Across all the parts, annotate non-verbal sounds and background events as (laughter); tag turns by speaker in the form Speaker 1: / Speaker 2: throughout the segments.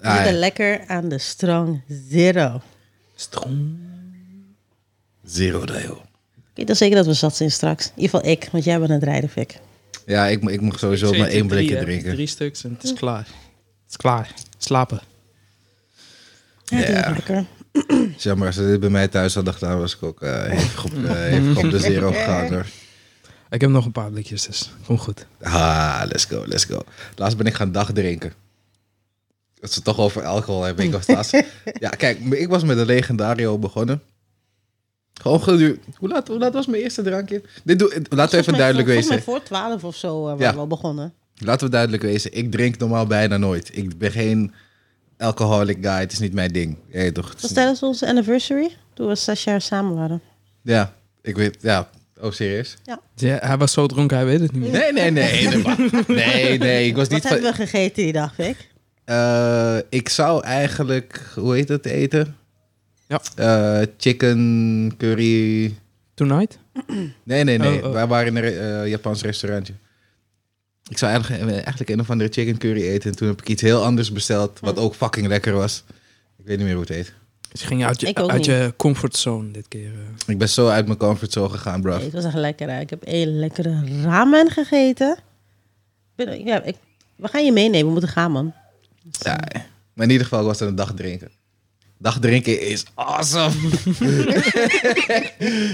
Speaker 1: Ah,
Speaker 2: We zitten lekker aan de strong zero. Ik
Speaker 1: Strom. Zero Dayo.
Speaker 2: weet wel zeker dat we zat zijn straks. In ieder geval ik, want jij bent aan het rijden, Fik.
Speaker 1: Ja, ik, mo- ik mocht sowieso maar één
Speaker 3: blikje
Speaker 1: blikje drinken.
Speaker 3: Drie stuks en het is klaar. Het is klaar. Slapen.
Speaker 2: Ja, doe
Speaker 1: Ja.
Speaker 2: het lekker.
Speaker 1: Zeg maar, als ze dit bij mij thuis hadden gedaan, was ik ook
Speaker 2: Oh.
Speaker 1: eh hevig, op, eh, hevig op de
Speaker 2: (laughs)
Speaker 1: zero gegaan hoor.
Speaker 3: Ik heb nog een paar blikjes, dus kom goed.
Speaker 1: Ah, let's go, let's go. Laatst ben ik gaan dagdrinken. Dat ze het toch over alcohol hebben. Ik was
Speaker 2: (laughs)
Speaker 1: laatst... ja, kijk, ik was met een legendario begonnen. Gewoon geduurd. Hoe laat, hoe laat was mijn eerste drankje? Dit doe, laten we
Speaker 2: Volgens
Speaker 1: even
Speaker 2: mij
Speaker 1: duidelijk
Speaker 2: voor-
Speaker 1: wezen.
Speaker 2: Volgens mij voor 12 of zo eh, waren
Speaker 1: Ja.
Speaker 2: we al begonnen.
Speaker 1: Laten we duidelijk wezen, ik drink normaal bijna nooit. Ik ben geen alcoholic guy, het is niet mijn ding. Je weet toch? het is
Speaker 2: Was
Speaker 1: niet-
Speaker 2: tijdens onze anniversary, toen we zes jaar samen waren.
Speaker 1: Ja, ik weet, ja. Oh, serieus?
Speaker 3: Ja, hij was zo dronken, hij weet het niet meer.
Speaker 1: Nee, nee, nee. Nee, maar- nee, nee, ik was
Speaker 2: Wat
Speaker 1: niet van...
Speaker 2: hebben we gegeten die dag, Fik?
Speaker 1: Eh, ik zou eigenlijk, hoe heet dat eten?
Speaker 3: Ja.
Speaker 1: Eh, chicken, curry...
Speaker 3: Tonight?
Speaker 1: Nee, nee, nee.
Speaker 3: Oh, oh.
Speaker 1: Wij waren in een re- eh, Japans restaurantje. Ik zou eigenlijk, eh, eigenlijk een of andere chicken curry eten. En toen heb ik iets heel anders besteld, wat ook fucking lekker was. Ik weet niet meer hoe het heet.
Speaker 3: Dus je ging uit je,
Speaker 2: Ik ook
Speaker 3: uit
Speaker 2: niet.
Speaker 3: je comfortzone dit keer. eh.
Speaker 1: Ik ben zo uit mijn comfortzone gegaan, bro.
Speaker 2: Nee, het was echt lekker. hè. Ik heb één lekkere ramen gegeten. Ik ben- ja, ik, we gaan je meenemen, we moeten gaan, man.
Speaker 1: Ja, maar in ieder geval was het een dag drinken. Dag drinken is awesome. (laughs)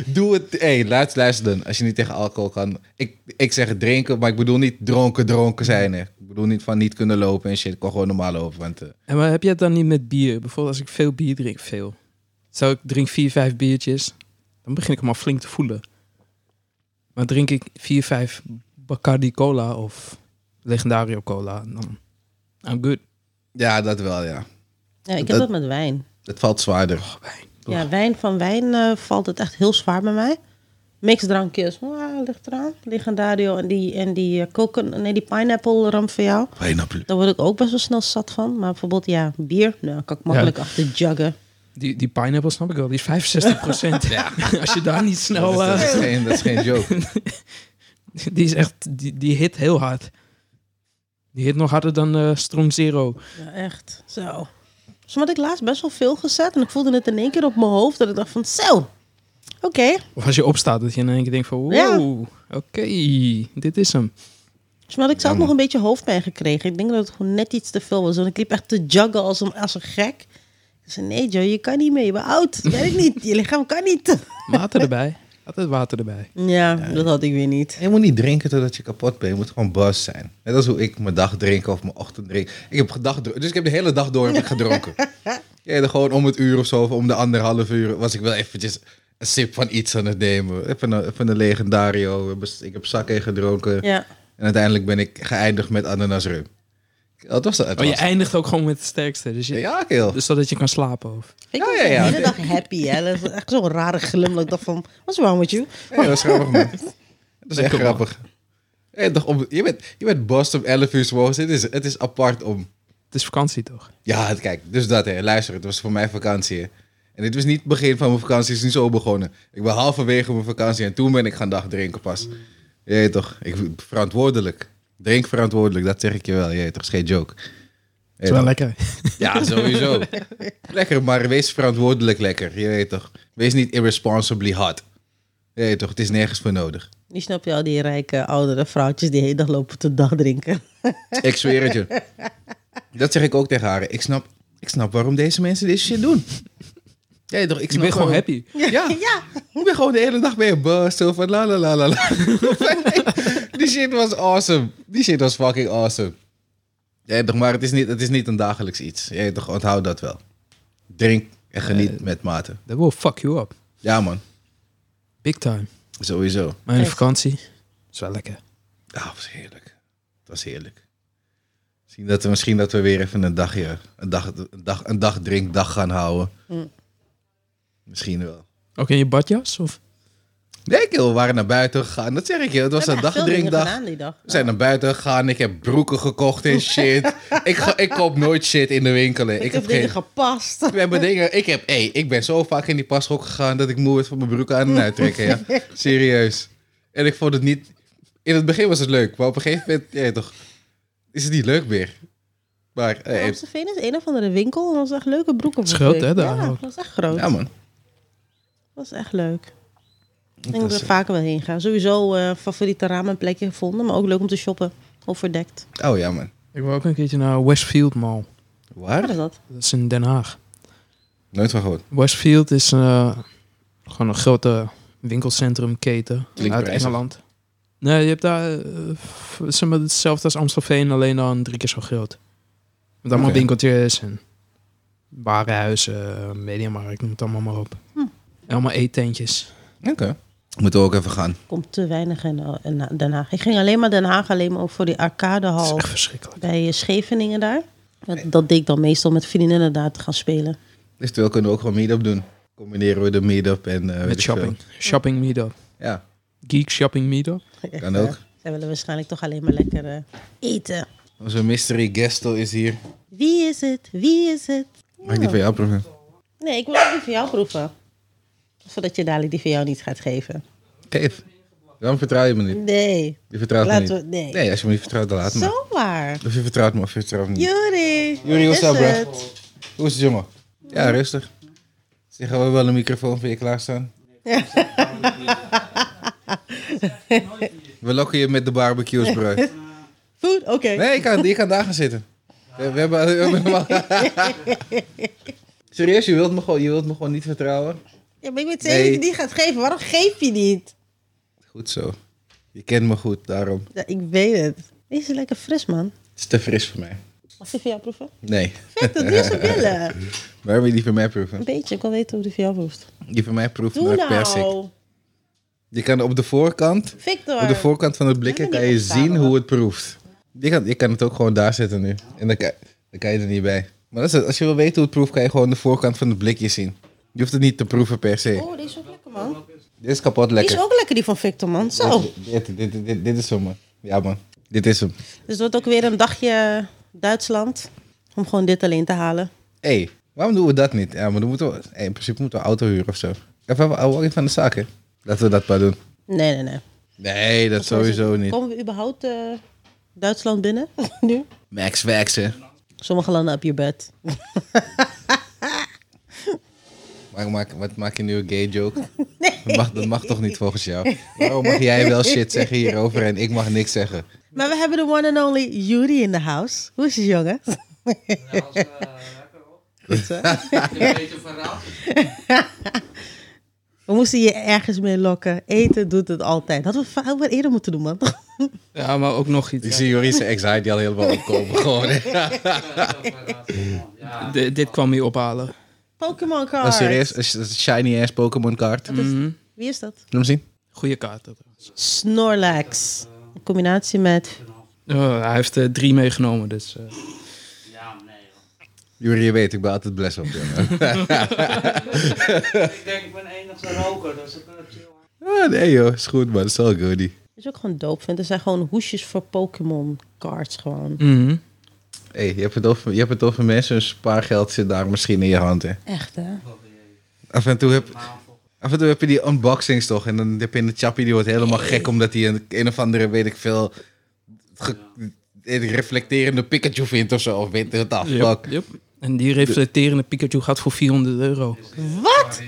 Speaker 1: Doe het. hey, luister, luister dan. Als je niet tegen alcohol kan. Ik, ik zeg drinken, maar ik bedoel niet dronken, dronken zijn. Hè. Ik bedoel niet van niet kunnen lopen en shit. Ik kon gewoon normaal lopen. Want, eh,
Speaker 3: En maar heb je het dan niet met bier? Bijvoorbeeld als ik veel bier drink, veel. Zou ik drink vier, vijf biertjes, dan begin ik hem al flink te voelen. Maar drink ik vier, vijf Bacardi Cola of Legendario Cola, dan I'm good.
Speaker 1: ja, dat wel, ja.
Speaker 2: Ja, ik heb
Speaker 1: Dat-
Speaker 2: dat met wijn.
Speaker 1: Het valt zwaarder.
Speaker 3: Toch?
Speaker 2: Ja, wijn van wijn eh, valt het echt heel zwaar bij mij. Mixdrankjes, ah, ligt eraan. Legendario en die, en die, eh, coco- nee, die pineapple ram van jou.
Speaker 1: Pineapple.
Speaker 2: Daar word ik ook best wel snel zat van. Maar bijvoorbeeld, ja, bier, nou, kan ik makkelijk achter juggen.
Speaker 3: Die, die pineapple snap ik wel, die is 65 procent. (laughs) Als je daar niet
Speaker 1: Dat is,
Speaker 3: snel...
Speaker 1: dat is
Speaker 3: eh,
Speaker 1: geen, dat is geen joke.
Speaker 3: die is echt, die, die hit heel hard. Die hit nog harder dan eh Strong Zero.
Speaker 2: Ja, echt. Zo. Zo had ik laatst best wel veel gezet. En ik voelde het in één keer op mijn hoofd. Dat ik dacht van, zo. Oké.
Speaker 3: Of als je opstaat, dat je in één keer denkt van... Wow,
Speaker 2: Ja.
Speaker 3: oké, dit is hem.
Speaker 2: Dus maar had ik zelf
Speaker 1: Jammer.
Speaker 2: nog een beetje hoofdpijn gekregen. Ik denk dat het gewoon net iets te veel was. Want ik liep echt te juggen als een, als een gek. Ik zei, nee Joe, je kan niet mee. Je bent oud. Je
Speaker 1: (laughs)
Speaker 2: werkt niet. Je lichaam kan niet.
Speaker 3: Water erbij. Altijd water erbij.
Speaker 2: Ja, dat had ik weer niet.
Speaker 1: Je moet niet drinken totdat je kapot bent. Je moet gewoon buzz zijn. Net als hoe ik mijn dag drink of mijn ochtend drink. Ik heb gedag, dus ik heb de hele dag door heb ik gedronken. ja, dan gewoon om het uur of zo, of om de anderhalf uur, was ik wel eventjes een sip van iets aan het nemen. Even een, even een legendario. We hebben- Ik heb sake gedronken.
Speaker 2: Ja.
Speaker 1: En uiteindelijk ben ik geëindigd met ananasrum. Dat was dat. Het
Speaker 3: Oh, je
Speaker 1: was-
Speaker 3: eindigt ook gewoon met de sterkste. Dus, je,
Speaker 1: ja, keel.
Speaker 3: dus zodat je kan slapen. Of.
Speaker 2: Ik
Speaker 1: Oh, Ja,
Speaker 2: was
Speaker 1: ja,
Speaker 2: de
Speaker 1: ja.
Speaker 2: hele dag happy. Hè. Dat was echt zo'n rare glimlach. Ik dacht van, what's wrong with you?
Speaker 1: Ja, dat is grappig,
Speaker 3: (laughs)
Speaker 1: man. Dat is echt
Speaker 3: Lekker, man.
Speaker 1: grappig. Ja, toch, om- je bent, je bent boss om 11 uur 's morgens. Het is, het is apart om
Speaker 3: Het is vakantie toch?
Speaker 1: Ja, het- kijk, dus dat hè. Luister, het was voor mij vakantie. hè. En dit was niet het begin van mijn vakantie, het is niet zo begonnen. Ik ben halverwege mijn vakantie en toen ben ik gaan dagdrinken pas. Je weet toch, ik, verantwoordelijk. Drink verantwoordelijk, dat zeg ik je wel. Je weet toch, is geen joke. Je weet
Speaker 3: is wel
Speaker 1: toch.
Speaker 3: lekker. (laughs)
Speaker 1: Ja, sowieso. lekker, maar wees verantwoordelijk lekker. Je weet toch, wees niet irresponsibly hot. Je weet toch, het is nergens voor nodig.
Speaker 2: Nu snap je al die rijke oudere vrouwtjes die de hele dag lopen te dagdrinken.
Speaker 1: Ik zweer het je. Dat zeg ik ook tegen haar. Ik snap, ik snap waarom deze mensen dit shit doen. Ja, toch, ik
Speaker 3: Je
Speaker 1: snap
Speaker 3: bent gewoon
Speaker 1: waarom-
Speaker 3: happy. (laughs)
Speaker 1: Ja.
Speaker 2: (laughs) Ja.
Speaker 1: Ik ben gewoon de hele dag bij een bus. Zo van la la la
Speaker 2: (laughs)
Speaker 1: la la. Die shit was awesome. Die shit was fucking awesome. Ja, toch, maar het is niet, het is niet een dagelijks iets. Ja, toch, onthoud dat wel. Drink en geniet
Speaker 2: Eh.
Speaker 1: met mate.
Speaker 3: That will fuck you up.
Speaker 1: Ja, man.
Speaker 3: Big time.
Speaker 1: Sowieso.
Speaker 3: Maar in
Speaker 2: Echt.
Speaker 3: vakantie is wel lekker.
Speaker 1: Ja, het was heerlijk. Het was heerlijk. Misschien dat we, misschien dat we weer even een dagje, een dag, een dag, een dag drinkdag gaan houden.
Speaker 2: Mm.
Speaker 1: Misschien wel.
Speaker 3: Ook in je badjas? Of?
Speaker 1: Nee, kerel, we waren naar buiten gegaan. Dat zeg ik je. Het was
Speaker 2: We
Speaker 1: een
Speaker 2: hebben echt veel dingen
Speaker 1: dagdrinkdag.
Speaker 2: gedaan die dag.
Speaker 1: We zijn naar buiten gegaan. Ik heb broeken gekocht en
Speaker 2: (laughs)
Speaker 1: shit. ik, ga- ik koop nooit shit in de winkel. hè.
Speaker 2: Ik,
Speaker 1: Ik,
Speaker 2: heb,
Speaker 1: heb
Speaker 2: dingen
Speaker 1: geen...
Speaker 2: gepast.
Speaker 1: We hebben dingen... Ik heb... Hey, ik ben zo vaak in die pashok gegaan dat ik moe werd van mijn broeken aan en uittrekken. Ja.
Speaker 2: (laughs)
Speaker 1: Serieus. En ik vond het niet... In het begin was het leuk, maar op een gegeven moment... Ja, toch... Is het niet leuk meer. Maar, hey,
Speaker 2: Amstelveen is een of andere winkel. En dat was echt leuke broeken.
Speaker 3: is
Speaker 2: vond
Speaker 3: groot,
Speaker 2: ik.
Speaker 3: hè, daar
Speaker 2: Ja,
Speaker 3: ook.
Speaker 2: dat was echt groot.
Speaker 1: ja man.
Speaker 2: Dat was echt leuk. Ik denk
Speaker 1: Dat
Speaker 2: dat
Speaker 1: is,
Speaker 2: we er vaker wel heen gaan. Sowieso eh favoriete ramenplekje gevonden. Maar ook leuk om te shoppen. Overdekt.
Speaker 1: eh, Oh ja man.
Speaker 3: Ik wil ook een keertje naar Westfield Mall.
Speaker 2: Waar
Speaker 1: Waar?
Speaker 2: is dat?
Speaker 3: Dat is in Den Haag.
Speaker 1: Nooit van gehoord.
Speaker 3: Westfield is eh, gewoon een grote winkelcentrumketen
Speaker 1: Klinkt
Speaker 3: uit
Speaker 1: prijzig.
Speaker 3: Engeland. Nee, je hebt daar eh, f- zeg maar hetzelfde als Amstelveen, alleen dan drie keer zo groot. Met allemaal
Speaker 1: Oké.
Speaker 3: winkeltjes en warenhuizen, mediamarkt, noem het allemaal maar op. En allemaal eetentjes.
Speaker 1: Oké. Moeten we ook even gaan.
Speaker 2: Komt te weinig in eh, in Den Haag. Ik ging alleen maar Den Haag. Alleen maar ook voor die
Speaker 3: Dat is
Speaker 2: arcadehal.
Speaker 3: echt verschrikkelijk.
Speaker 2: Bij eh, Scheveningen daar. Dat, dat deed ik dan meestal met vriendinnen daar te gaan spelen.
Speaker 1: Eventueel Dus kunnen we ook gewoon meet-up doen. Combineren we de meet-up en... eh, weet ik
Speaker 3: Met
Speaker 1: veel.
Speaker 3: shopping. Shopping meetup.
Speaker 1: Ja,
Speaker 3: Geek shopping meetup.
Speaker 1: (laughs) kan ook.
Speaker 2: Zij willen waarschijnlijk toch alleen maar lekker eh, eten.
Speaker 1: Onze mystery guestel is hier.
Speaker 2: Wie is het? Wie is het?
Speaker 1: Mag ik die van jou proeven?
Speaker 2: Nee, ik wil ook die van jou proeven. Zodat je dadelijk die van jou niet gaat geven.
Speaker 1: Geef. Dan vertrouw je me niet.
Speaker 2: Nee.
Speaker 1: Je vertrouwt
Speaker 2: Laten
Speaker 1: me
Speaker 2: we-
Speaker 1: niet.
Speaker 2: nee.
Speaker 1: als je me niet vertrouwt, dan laat me.
Speaker 2: Zomaar.
Speaker 1: Of je vertrouwt me of je vertrouwt me niet.
Speaker 2: Juri.
Speaker 1: Nou. Juri, what's
Speaker 2: is
Speaker 1: up, bruh?
Speaker 2: het?
Speaker 1: Hoe is het, jongen? Ja, rustig. Zeg, hebben we wel een microfoon voor je (laughs) klaarstaan? we lokken je met de barbecues, (laughs) bro.
Speaker 2: Food? Oké.
Speaker 1: Nee, je kan, je kan daar gaan zitten. We, we hebben... We hebben (laughs) Serieus, je wilt, me gewoon, je wilt me gewoon niet vertrouwen?
Speaker 2: Ja, maar ik weet zeker dat je
Speaker 1: Nee.
Speaker 2: die gaat geven. Waarom geef je niet?
Speaker 1: Goed zo. Je kent me goed, daarom.
Speaker 2: Ja, ik weet het. Deze is lekker fris, man.
Speaker 1: Het is te fris voor mij.
Speaker 2: Mag ik die van jou proeven?
Speaker 1: Nee.
Speaker 2: Vet, dat
Speaker 1: (laughs)
Speaker 2: wil ze willen.
Speaker 1: Waar wil je die van mij proeven?
Speaker 2: Een beetje, ik wil weten hoe die van jou proeft.
Speaker 1: Die van mij proeft
Speaker 2: Doe
Speaker 1: naar persik.
Speaker 2: nou.
Speaker 1: Je kan op de voorkant,
Speaker 2: Victor.
Speaker 1: op de voorkant van het blikje
Speaker 2: Ik ben
Speaker 1: kan je
Speaker 2: niet opstaan,
Speaker 1: zien
Speaker 2: hoor.
Speaker 1: hoe het proeft. Je kan, je kan het ook gewoon daar zetten nu. En dan kan, dan kan je er niet bij. Maar dat is het. als je wil weten hoe het proeft, kan je gewoon de voorkant van het blikje zien. Je hoeft het niet te proeven per se.
Speaker 2: Oh, die is ook lekker, man.
Speaker 1: Dit is kapot
Speaker 2: Die is Oh.
Speaker 1: lekker.
Speaker 2: ook lekker, die van Victor, man. Zo.
Speaker 1: Dit, dit, dit, dit, dit is hem, man. Ja, man. Dit is hem.
Speaker 2: Dus het wordt ook weer een dagje Duitsland. Om gewoon dit alleen te halen.
Speaker 1: Hé, hey, waarom doen we dat niet? Ja, maar dan moeten we, hey, in principe moeten we auto huren of zo. Even een oude van de zaak, hè? Laten we dat maar doen.
Speaker 2: Nee, nee, nee.
Speaker 1: Nee, dat sowieso niet.
Speaker 2: Komen we überhaupt eh, Duitsland binnen (laughs) nu?
Speaker 1: Max Wax, hè?
Speaker 2: Sommige landen op je bed.
Speaker 1: Maak, maak, wat maak je nu een gay joke? Dat, mag, dat mag toch niet volgens jou? Waarom mag jij wel shit zeggen hierover en ik mag niks zeggen?
Speaker 2: Maar we hebben de one and only Yuri in de house. Hoe is het, jongen? Goed, hè? (laughs) We moesten je ergens mee lokken. Eten doet het altijd. Hadden we vaak wel eerder moeten doen, man. (laughs)
Speaker 3: Ja, maar ook nog iets.
Speaker 1: Ik zie Joris' anxiety al helemaal opkomen. Gewoon, hè?
Speaker 3: D- dit kwam hier ophalen.
Speaker 2: Pokémon
Speaker 1: Maar
Speaker 2: card.
Speaker 1: Oh, serieus, een sh- een shiny ass Pokémon kaart. Laat
Speaker 2: Wie is dat?
Speaker 1: hem zien.
Speaker 3: Goeie kaart. dat.
Speaker 2: Snorlax. In combinatie met...
Speaker 3: Eh, hij heeft er drie meegenomen, dus... eh,
Speaker 4: Ja, nee. joh.
Speaker 1: Juri, je weet, ik ben altijd bless op. jongen.
Speaker 4: Ik denk, ik ben enigste roker, dus ik ben het chill.
Speaker 1: (laughs) Ah, nee joh, is goed man, is all goodie.
Speaker 2: Dat is ook gewoon dope, vind. Er zijn gewoon hoesjes voor Pokémon cards gewoon.
Speaker 3: mhm.
Speaker 1: hey, je, hebt het over- je hebt het over mensen, een spaargeld zit daar misschien in je hand hè.
Speaker 2: Echt, hè?
Speaker 1: Af en toe heb, af en toe heb je die unboxings toch. En dan heb je een chappie die wordt helemaal gek omdat hij een, een of andere, weet ik veel, ge- weet ik, reflecterende Pikachu vindt of zo. Of weet je wat de fuck.
Speaker 3: Yep, yep. En die reflecterende Pikachu gaat voor 400 euro.
Speaker 2: Wat?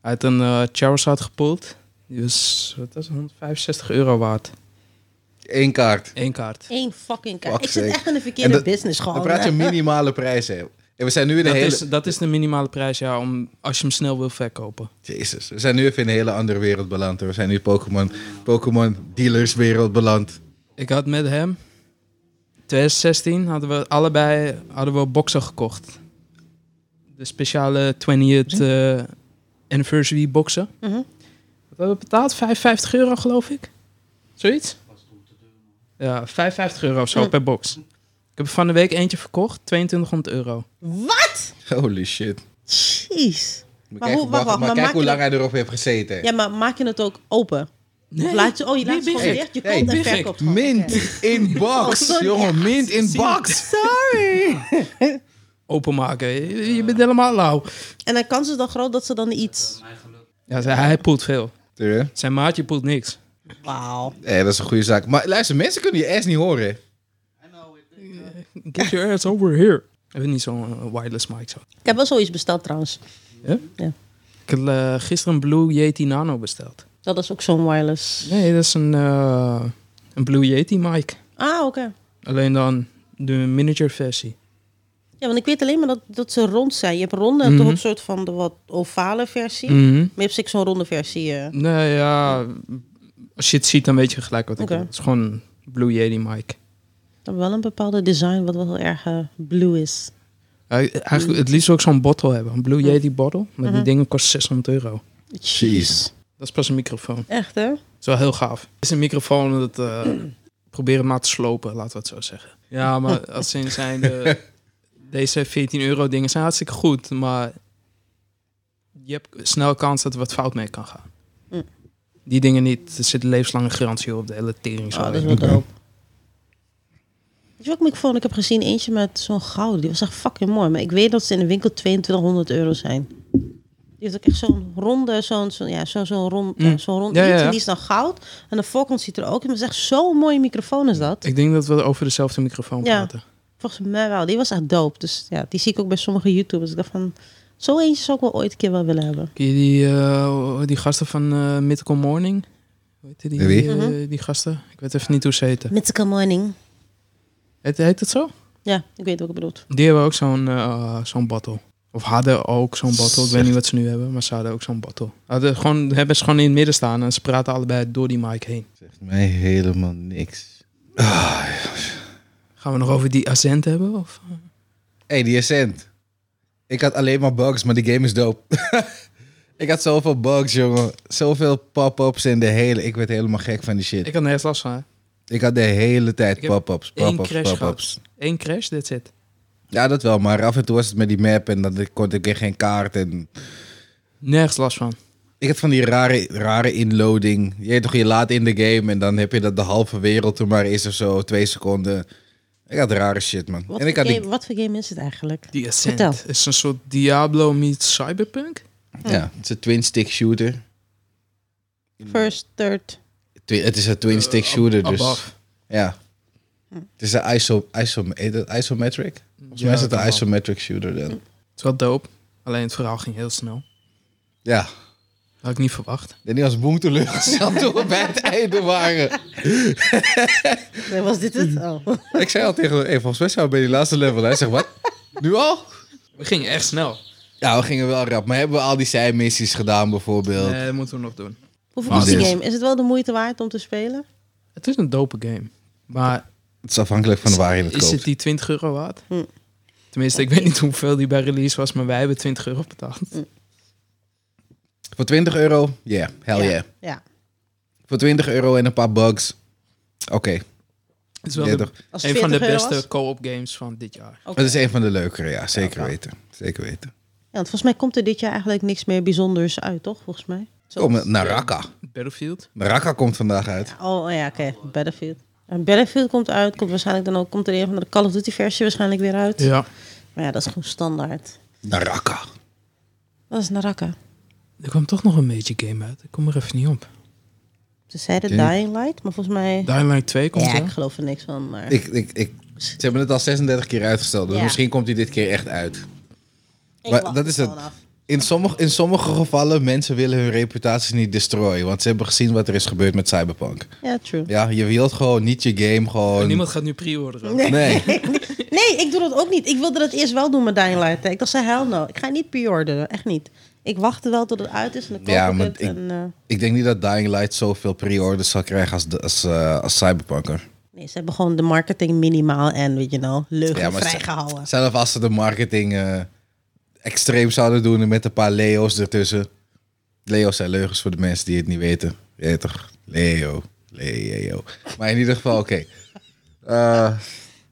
Speaker 3: Hij had een eh, Charizard gepoeld. Die was, wat was het, 165 euro waard.
Speaker 1: Eén kaart.
Speaker 3: Eén kaart.
Speaker 2: Eén fucking kaart.
Speaker 1: Fuck
Speaker 2: ik zit
Speaker 1: sake.
Speaker 2: echt in de
Speaker 1: En
Speaker 2: verkeerde
Speaker 1: dat-
Speaker 2: business gewoon.
Speaker 1: Dan praat je
Speaker 2: hè?
Speaker 1: minimale prijzen. hè. En we zijn nu in een
Speaker 3: Dat
Speaker 1: hele...
Speaker 3: is, dat is de minimale prijs, ja, om, als je hem snel wil verkopen.
Speaker 1: Jezus, we zijn nu even in een hele andere wereld beland. hoor. We zijn nu Pokémon, Pokémon dealers wereld beland.
Speaker 3: Ik had met hem, 2016, hadden we allebei hadden we boxen gekocht. De speciale 20th eh, anniversary boxen.
Speaker 2: Mhm.
Speaker 3: Wat hebben we betaald? 55 euro, geloof ik. Zoiets? Ja, 55 euro of zo per box. Ik heb er van de week eentje verkocht, 2200 euro.
Speaker 2: Wat?
Speaker 1: Holy shit.
Speaker 2: Jeez.
Speaker 1: Maar,
Speaker 2: Maar
Speaker 1: kijk,
Speaker 2: hoe- wacht,
Speaker 1: wacht,
Speaker 2: wacht,
Speaker 1: maar
Speaker 2: maar
Speaker 1: kijk
Speaker 2: maak
Speaker 1: hoe
Speaker 2: je
Speaker 1: lang hij erop heeft gezeten. hè.
Speaker 2: Ja, maar maak je het ook open? Of laat je, oh, je laat het gewoon
Speaker 3: ben
Speaker 2: dicht. Je
Speaker 1: Hey,
Speaker 2: komt en
Speaker 3: ben gek.
Speaker 2: verkoopt gewoon.
Speaker 1: Mint
Speaker 2: Oké. (laughs)
Speaker 1: in box,
Speaker 2: sorry.
Speaker 1: jongen. Mint in box.
Speaker 2: Sorry.
Speaker 3: (laughs) Openmaken, je, je bent helemaal lauw.
Speaker 2: En dan kans is dan groot dat ze dan iets...
Speaker 3: Ja, zij- hij poelt veel.
Speaker 1: Tuurlijk.
Speaker 3: Zijn maatje poelt niks.
Speaker 2: Wauw.
Speaker 1: Eh, Nee, dat is een goede zaak. Maar luister, mensen kunnen je ass niet horen. hè.
Speaker 3: Get your ass over here. Hebben we niet zo'n eh, wireless mic zo.
Speaker 2: Ik heb wel zoiets besteld trouwens.
Speaker 3: Ik heb eh, gisteren een Blue Yeti Nano besteld.
Speaker 2: Dat is ook zo'n wireless.
Speaker 3: Nee, dat is een, eh, een Blue Yeti mic.
Speaker 2: Ah, oké.
Speaker 3: Alleen dan de miniature versie.
Speaker 2: Ja, want ik weet alleen maar dat, dat ze rond zijn. Je hebt ronde en
Speaker 3: Mhm.
Speaker 2: toch een soort van de wat ovale versie.
Speaker 3: Mhm.
Speaker 2: Maar je hebt zeker zo'n ronde versie. eh.
Speaker 3: Nou ja, als je het ziet, dan weet je gelijk wat ik
Speaker 2: Oké.
Speaker 3: bedoel. Het is gewoon een Blue Yeti mic.
Speaker 2: Dan wel een bepaalde design wat wel heel erg eh, blue is.
Speaker 3: Hij- Eigenlijk het liefst zou ik zo'n bottle hebben. Een Blue Yeti bottle. Maar die dingen kost 600 euro.
Speaker 1: Jeez.
Speaker 3: Dat is pas een microfoon.
Speaker 2: Echt, hè?
Speaker 3: Dat is wel heel gaaf. Het is een microfoon dat... eh (clears throat) probeer het maar te slopen, laten we het zo zeggen. Ja, maar als in zijn... (laughs) de- deze 14 euro dingen zijn hartstikke goed, maar... Je hebt snel kans dat er wat fout mee kan gaan.
Speaker 2: Mm.
Speaker 3: Die dingen niet. Er zit een levenslange garantie op de hele tering.
Speaker 2: Oh, dat is wel dope. Weet je welke microfoon ik heb gezien? Eentje met zo'n gouden. Die was echt fucking mooi. Maar ik weet dat ze in de winkel 2200 euro zijn. Die heeft ook echt zo'n ronde, zo'n zo'n- ja, zo'n zo'n rond,
Speaker 3: Mm.
Speaker 2: ja, zo'n rond
Speaker 3: Ja,
Speaker 2: iets.
Speaker 3: ja, ja.
Speaker 2: En die is dan goud. En de voorkant ziet er ook in. Maar het is echt zo'n mooie microfoon is dat.
Speaker 3: Ik denk dat we over dezelfde microfoon
Speaker 2: Ja.
Speaker 3: praten.
Speaker 2: Volgens mij wel. Die was echt dope. Dus ja, die zie ik ook bij sommige YouTubers. Ik dacht van, zo eentje zou ik wel ooit een keer wel willen hebben.
Speaker 3: Ken je die, eh, die gasten van eh Mythical Morning? Hoe heette die,
Speaker 1: Wie?
Speaker 3: eh,
Speaker 2: Mhm.
Speaker 3: die gasten? Ik weet even niet hoe ze heten.
Speaker 2: Mythical Morning.
Speaker 3: Heet, heet het zo?
Speaker 2: Ja, ik weet wat ik bedoel.
Speaker 3: Die hebben ook zo'n eh, zo'n bottle. Of hadden ook zo'n bottle. Ik weet
Speaker 1: Zeg.
Speaker 3: niet wat ze nu hebben, maar ze hadden ook zo'n bottle. Hadden gewoon, hebben ze gewoon in het midden staan en ze praten allebei door die mic heen.
Speaker 1: Zegt mij helemaal niks.
Speaker 3: Gaan we nog over die accent hebben? Of?
Speaker 1: hey, die Ascent. Ik had alleen maar bugs, maar die game is dope. (laughs) ik had zoveel bugs, jongen. Zoveel pop-ups en de hele... Ik werd helemaal gek van die shit.
Speaker 3: Ik had nergens last van. hè.
Speaker 1: Ik had de hele tijd
Speaker 3: Ik heb
Speaker 1: pop-ups,
Speaker 3: één
Speaker 1: pop-ups,
Speaker 3: crash
Speaker 1: pop-ups.
Speaker 3: Eén crash, that's it.
Speaker 1: Ja, dat wel, maar af en toe was het met die map en dan kon ik weer geen kaart. En...
Speaker 3: Nergens last van.
Speaker 1: Ik had van die rare, rare inloading. Je weet toch, je laat in de game en dan heb je dat de halve wereld er maar is of zo, twee seconden. Ik had rare shit, man.
Speaker 2: Wat,
Speaker 1: en ik
Speaker 2: voor
Speaker 1: had
Speaker 2: game,
Speaker 1: die...
Speaker 2: wat voor game is het eigenlijk?
Speaker 3: Die accent
Speaker 2: Vertel.
Speaker 3: is een soort Diablo meets Cyberpunk.
Speaker 1: Ja, het is een twin-stick shooter.
Speaker 2: First, third.
Speaker 1: Twi- het is een twin-stick shooter, dus...
Speaker 3: Above.
Speaker 1: Ja.
Speaker 2: Hm.
Speaker 1: Het is een iso iso heet dat isometric. Volgens mij is het een isometric shooter dan.
Speaker 3: Het is wel dope. Alleen het verhaal ging heel snel.
Speaker 1: Ja.
Speaker 3: Had ik niet verwacht.
Speaker 1: Danny was boem teleurgesteld (laughs) toen we bij het einde waren.
Speaker 2: Nee, was dit
Speaker 3: (laughs)
Speaker 2: het? Oh.
Speaker 1: Ik zei al tegen hem, hey, volgens mij zijn we bij die laatste level. Hij zegt, wat? Nu al?
Speaker 3: We gingen echt snel.
Speaker 1: Ja, we gingen wel rap. Maar hebben we al die zijmissies gedaan bijvoorbeeld?
Speaker 3: Nee, Eh, dat moeten we nog doen.
Speaker 2: Hoe
Speaker 1: Maar
Speaker 2: is die
Speaker 1: dit-
Speaker 2: game? Is het wel de moeite waard om te spelen?
Speaker 3: Het is een dope game. Maar
Speaker 1: Het is afhankelijk van waar je het
Speaker 3: is
Speaker 1: koopt.
Speaker 3: het die 20 euro waard?
Speaker 2: Hm.
Speaker 3: Tenminste, ik weet niet hoeveel die bij release was, maar wij hebben 20 euro betaald.
Speaker 2: Hm.
Speaker 1: Voor 20 euro? Yeah, hell
Speaker 2: Ja.
Speaker 1: yeah.
Speaker 2: Ja.
Speaker 1: Voor 20 euro en een paar bugs? Oké,
Speaker 3: Het is wel
Speaker 1: Ja,
Speaker 3: de-
Speaker 1: toch.
Speaker 2: Als het
Speaker 3: een van de
Speaker 2: 40 euro was?
Speaker 3: beste co-op games van dit jaar.
Speaker 2: Oké.
Speaker 1: dat is een van de leukere, ja. Zeker
Speaker 2: Ja,
Speaker 1: weten. Zeker weten.
Speaker 2: Ja, want volgens mij komt er dit jaar eigenlijk niks meer bijzonders uit, toch? Volgens mij. Zo.
Speaker 1: Kom naar Raqqa.
Speaker 3: Battlefield.
Speaker 1: Raqqa komt vandaag uit.
Speaker 2: Oh oh ja, oké. Battlefield. En Battlefield komt uit. Komt waarschijnlijk dan ook. Komt er een van de Call of Duty versie waarschijnlijk weer uit.
Speaker 3: Ja.
Speaker 2: Maar ja, dat is gewoon standaard.
Speaker 1: Naar Raqqa.
Speaker 2: Dat is Naraka.
Speaker 3: Er kwam toch nog een major game uit. Ik kom er even niet op.
Speaker 2: Ze zeiden
Speaker 1: Oké.
Speaker 2: Dying Light, maar volgens mij...
Speaker 3: Dying Light 2 komt
Speaker 2: Ja,
Speaker 3: er.
Speaker 2: ik geloof er niks van, maar...
Speaker 1: Ik, ik, ik, ze hebben het al 36 keer uitgesteld, dus
Speaker 2: Ja.
Speaker 1: misschien komt hij dit keer echt uit.
Speaker 2: Ik
Speaker 1: Maar
Speaker 2: wacht
Speaker 1: dat is het.
Speaker 2: gewoon af.
Speaker 1: In sommige, in sommige gevallen, mensen willen hun reputaties niet destroyen, want ze hebben gezien wat er is gebeurd met Cyberpunk.
Speaker 2: Ja, true.
Speaker 1: Ja, je wilt gewoon niet je game gewoon...
Speaker 3: Niemand gaat nu pre-orderen.
Speaker 1: Nee.
Speaker 2: (laughs) Nee, ik doe dat ook niet. Ik wilde dat eerst wel doen met Dying Light. Ik dacht, zei, hell no. Ik ga niet pre-orderen. Echt niet. Ik wachtte wel tot het uit is en dan koop
Speaker 1: Ja,
Speaker 2: ik
Speaker 1: maar
Speaker 2: het.
Speaker 1: ik-
Speaker 2: En, eh,
Speaker 1: Ik denk niet dat Dying Light zoveel pre-orders zal krijgen als, de- als, eh, als Cyberpunker.
Speaker 2: Nee, ze hebben gewoon de marketing minimaal en, weet je nou, leugen
Speaker 1: Ja, maar ze-
Speaker 2: vrijgehouden.
Speaker 1: Zelf als ze de marketing eh, extreem zouden doen met een paar Leo's ertussen. Leo's zijn leugens voor de mensen die het niet weten. Je weet toch? Leo, Leo. Maar in ieder geval, oké. Eh,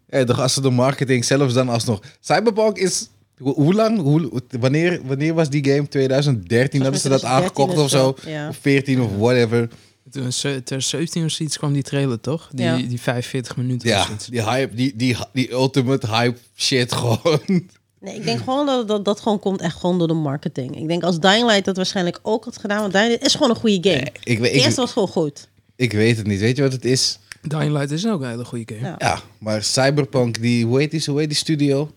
Speaker 1: ja, toch als ze de marketing zelfs dan alsnog... Cyberpunk is... ho- hoe lang? Hoe, wanneer, wanneer was die game? 2013 hadden ze dat aangekocht of zo?
Speaker 2: Ja.
Speaker 1: Of 14 of whatever.
Speaker 3: Toen in ze- ter 17 of zoiets kwam die trailer, toch? Die,
Speaker 2: Ja.
Speaker 3: die 45 minuten of
Speaker 1: Ja,
Speaker 3: zoiets.
Speaker 1: die hype, die, die, die ultimate hype shit gewoon. (laughs)
Speaker 2: Nee, ik denk gewoon dat, dat dat gewoon komt echt gewoon door de marketing. Ik denk als Dying Light dat waarschijnlijk ook had gedaan, want Dying Light is gewoon een goede game.
Speaker 1: Ik, weet-
Speaker 2: Eerst
Speaker 1: ik,
Speaker 2: was gewoon goed.
Speaker 1: ik weet het niet. Weet je wat het is?
Speaker 3: Dying Light is ook een hele goede game.
Speaker 2: Ja.
Speaker 1: Ja, maar Cyberpunk, die, hoe heet die, hoe heet die studio?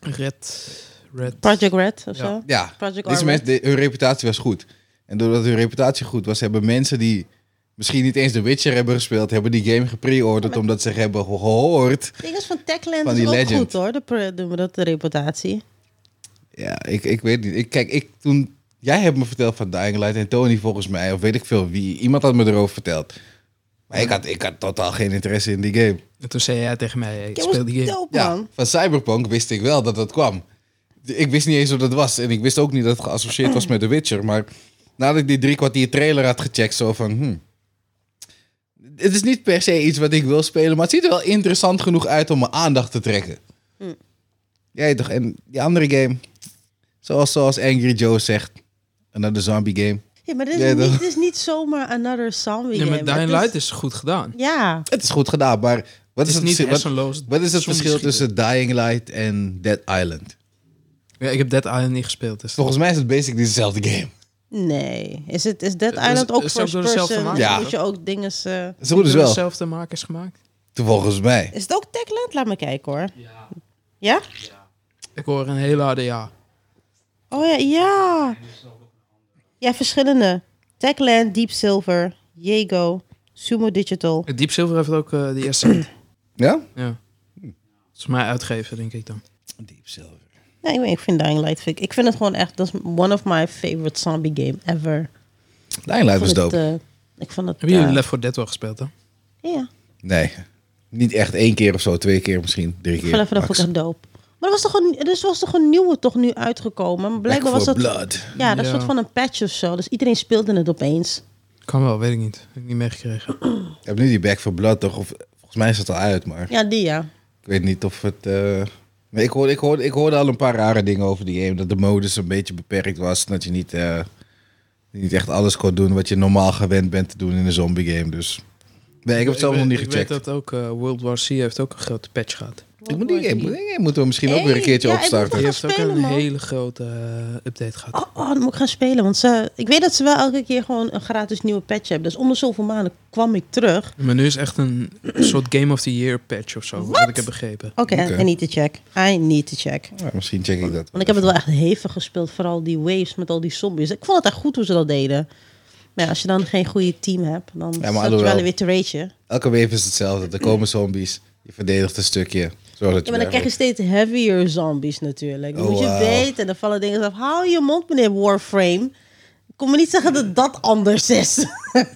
Speaker 3: Red. Red.
Speaker 2: Project Red of zo.
Speaker 1: Ja,
Speaker 2: Project
Speaker 1: deze
Speaker 2: Armor.
Speaker 1: mensen, de- hun reputatie was goed. En doordat hun reputatie goed was, hebben mensen die misschien niet eens The Witcher hebben gespeeld, hebben die game gepreorderd omdat ze hebben gehoord.
Speaker 2: Het ding is van Techland
Speaker 1: Van
Speaker 2: is
Speaker 1: die
Speaker 2: ook
Speaker 1: legend.
Speaker 2: goed hoor. De, pre- doen we dat de reputatie.
Speaker 1: Ja, ik, ik weet niet. Ik, kijk, ik toen... Jij hebt me verteld van Dying Light en Tony volgens mij, of weet ik veel wie. Iemand had me erover verteld. Maar ik had, ik had totaal geen interesse in die game.
Speaker 3: En toen zei jij tegen mij, hey,
Speaker 2: Ik was
Speaker 3: speel die game.
Speaker 2: dope
Speaker 1: Ja,
Speaker 2: man.
Speaker 1: van Cyberpunk wist ik wel dat dat kwam. Ik wist niet eens wat dat was. En ik wist ook niet dat het geassocieerd was met The Witcher. Maar nadat ik die drie kwartier trailer had gecheckt, zo van... hmm, het is niet per se iets wat ik wil spelen, maar het ziet er wel interessant genoeg uit om mijn aandacht te trekken. Jij toch? En die andere game, zoals, zoals Angry Joe zegt, another zombie game.
Speaker 2: Ja, maar dit is,
Speaker 1: Ja,
Speaker 2: niet,
Speaker 1: dat-
Speaker 2: dit is niet zomaar another zombie
Speaker 3: Nee, maar
Speaker 2: game. dus-
Speaker 3: Dying
Speaker 2: Het
Speaker 3: Light is goed gedaan.
Speaker 2: Ja,
Speaker 1: Het is goed gedaan, maar wat
Speaker 3: Het
Speaker 1: is
Speaker 3: is
Speaker 1: het,
Speaker 3: niet
Speaker 1: verschil- wat,
Speaker 3: hersenloos.
Speaker 1: wat is het
Speaker 3: zombies
Speaker 1: verschil
Speaker 3: schieten.
Speaker 1: tussen Dying Light en Dead Island?
Speaker 3: Ja, ik heb Dead Island niet gespeeld. Dus
Speaker 1: Volgens mij is het basically dezelfde game.
Speaker 2: nee. Is, het, is Dead
Speaker 3: Is-
Speaker 2: Island ook
Speaker 3: is
Speaker 2: first
Speaker 3: ook door dezelfde
Speaker 2: person?
Speaker 3: maker?
Speaker 2: Ja.
Speaker 1: Ja.
Speaker 2: Moet je ook dingen... eh,
Speaker 1: Ze moeten
Speaker 3: Door
Speaker 1: dus wel.
Speaker 3: dezelfde makers gemaakt.
Speaker 1: Volgens mij.
Speaker 2: Is het ook Techland? Laat me kijken hoor.
Speaker 4: Ja,
Speaker 2: Ja?
Speaker 3: Ik hoor een hele harde ja.
Speaker 2: Oh ja, ja. Ja, verschillende. Techland, Deep Silver, Jago, Sumo Digital.
Speaker 3: Deep Silver heeft ook eh,
Speaker 1: (clears throat)
Speaker 3: de eerste.
Speaker 1: Ja?
Speaker 3: ja. Volgens mij uitgeven, denk ik dan.
Speaker 1: Deep Silver.
Speaker 2: Nee, ik, weet- ik vind Dying Light... vind Ik, ik vind het gewoon echt... Dat is one of my favorite zombie game ever.
Speaker 1: Dying Light
Speaker 2: Ik
Speaker 1: was
Speaker 2: vond het,
Speaker 1: dope.
Speaker 2: eh, ik vond het...
Speaker 3: Hebben jullie
Speaker 2: eh,
Speaker 3: Left 4 Dead wel gespeeld, hè?
Speaker 2: Ja.
Speaker 1: Nee. Niet echt één keer of zo, twee keer misschien, drie
Speaker 2: Ik
Speaker 1: keer.
Speaker 2: vond even dat
Speaker 1: max.
Speaker 2: vond ik echt dope. Maar er was toch een, er was toch een nieuwe toch nu uitgekomen? Maar blijkbaar was
Speaker 1: Back
Speaker 2: dat...
Speaker 1: for Blood.
Speaker 2: Ja, dat
Speaker 3: Ja.
Speaker 2: soort van een patch of zo. Dus iedereen speelde het opeens.
Speaker 3: Kan wel, weet ik niet. Heb ik niet meegekregen.
Speaker 1: Ik heb nu die Back for Blood toch? Of, volgens mij is dat al uit, maar
Speaker 2: Ja, die ja.
Speaker 1: ik weet niet of het... eh, Nee, ik, hoorde, ik, hoorde, ik hoorde al een paar rare dingen over die game. Dat de modus een beetje beperkt was. Dat je niet, eh, niet echt alles kon doen wat je normaal gewend bent te doen in een zombie game. Dus nee, ik heb het zelf
Speaker 3: weet-
Speaker 1: nog niet
Speaker 3: ik
Speaker 1: gecheckt.
Speaker 3: weet dat ook eh, World War C heeft ook een grote patch gehad.
Speaker 1: Ik moet die game, die game moeten we misschien ook weer een
Speaker 2: Hey,
Speaker 1: keertje
Speaker 2: ja, ik moet
Speaker 1: opstarten.
Speaker 2: We
Speaker 3: Die
Speaker 2: gaan
Speaker 3: heeft ook
Speaker 2: spelen,
Speaker 3: een
Speaker 2: man.
Speaker 3: hele grote eh, update gehad.
Speaker 2: Oh, oh, dan moet ik gaan spelen. Want ze, ik weet dat ze wel elke keer gewoon een gratis nieuwe patch hebben. Dus om de zoveel maanden kwam ik terug.
Speaker 3: Maar nu is echt een soort Game of the Year patch of zo, wat ik heb begrepen.
Speaker 2: Oké,
Speaker 1: Oké.
Speaker 2: I need to check. I need to check.
Speaker 1: Ja, misschien check ik dat.
Speaker 2: Want ik heb het wel echt hevig gespeeld. Vooral die waves met al die zombies. Ik vond het echt goed hoe ze dat deden. Maar ja, als je dan geen goede team hebt, dan
Speaker 1: maar
Speaker 2: staat je
Speaker 1: alhoewel-
Speaker 2: wel weer te ragen.
Speaker 1: Elke wave is hetzelfde. Er komen zombies. Je verdedigt een stukje. Zodat
Speaker 2: Ja,
Speaker 1: je
Speaker 2: maar dan krijg je steeds heavier zombies natuurlijk. Dan
Speaker 1: Oh,
Speaker 2: moet je
Speaker 1: wauw.
Speaker 2: weten. Dan vallen dingen af. Hou je mond, meneer Warframe. Kom me niet zeggen dat dat anders is.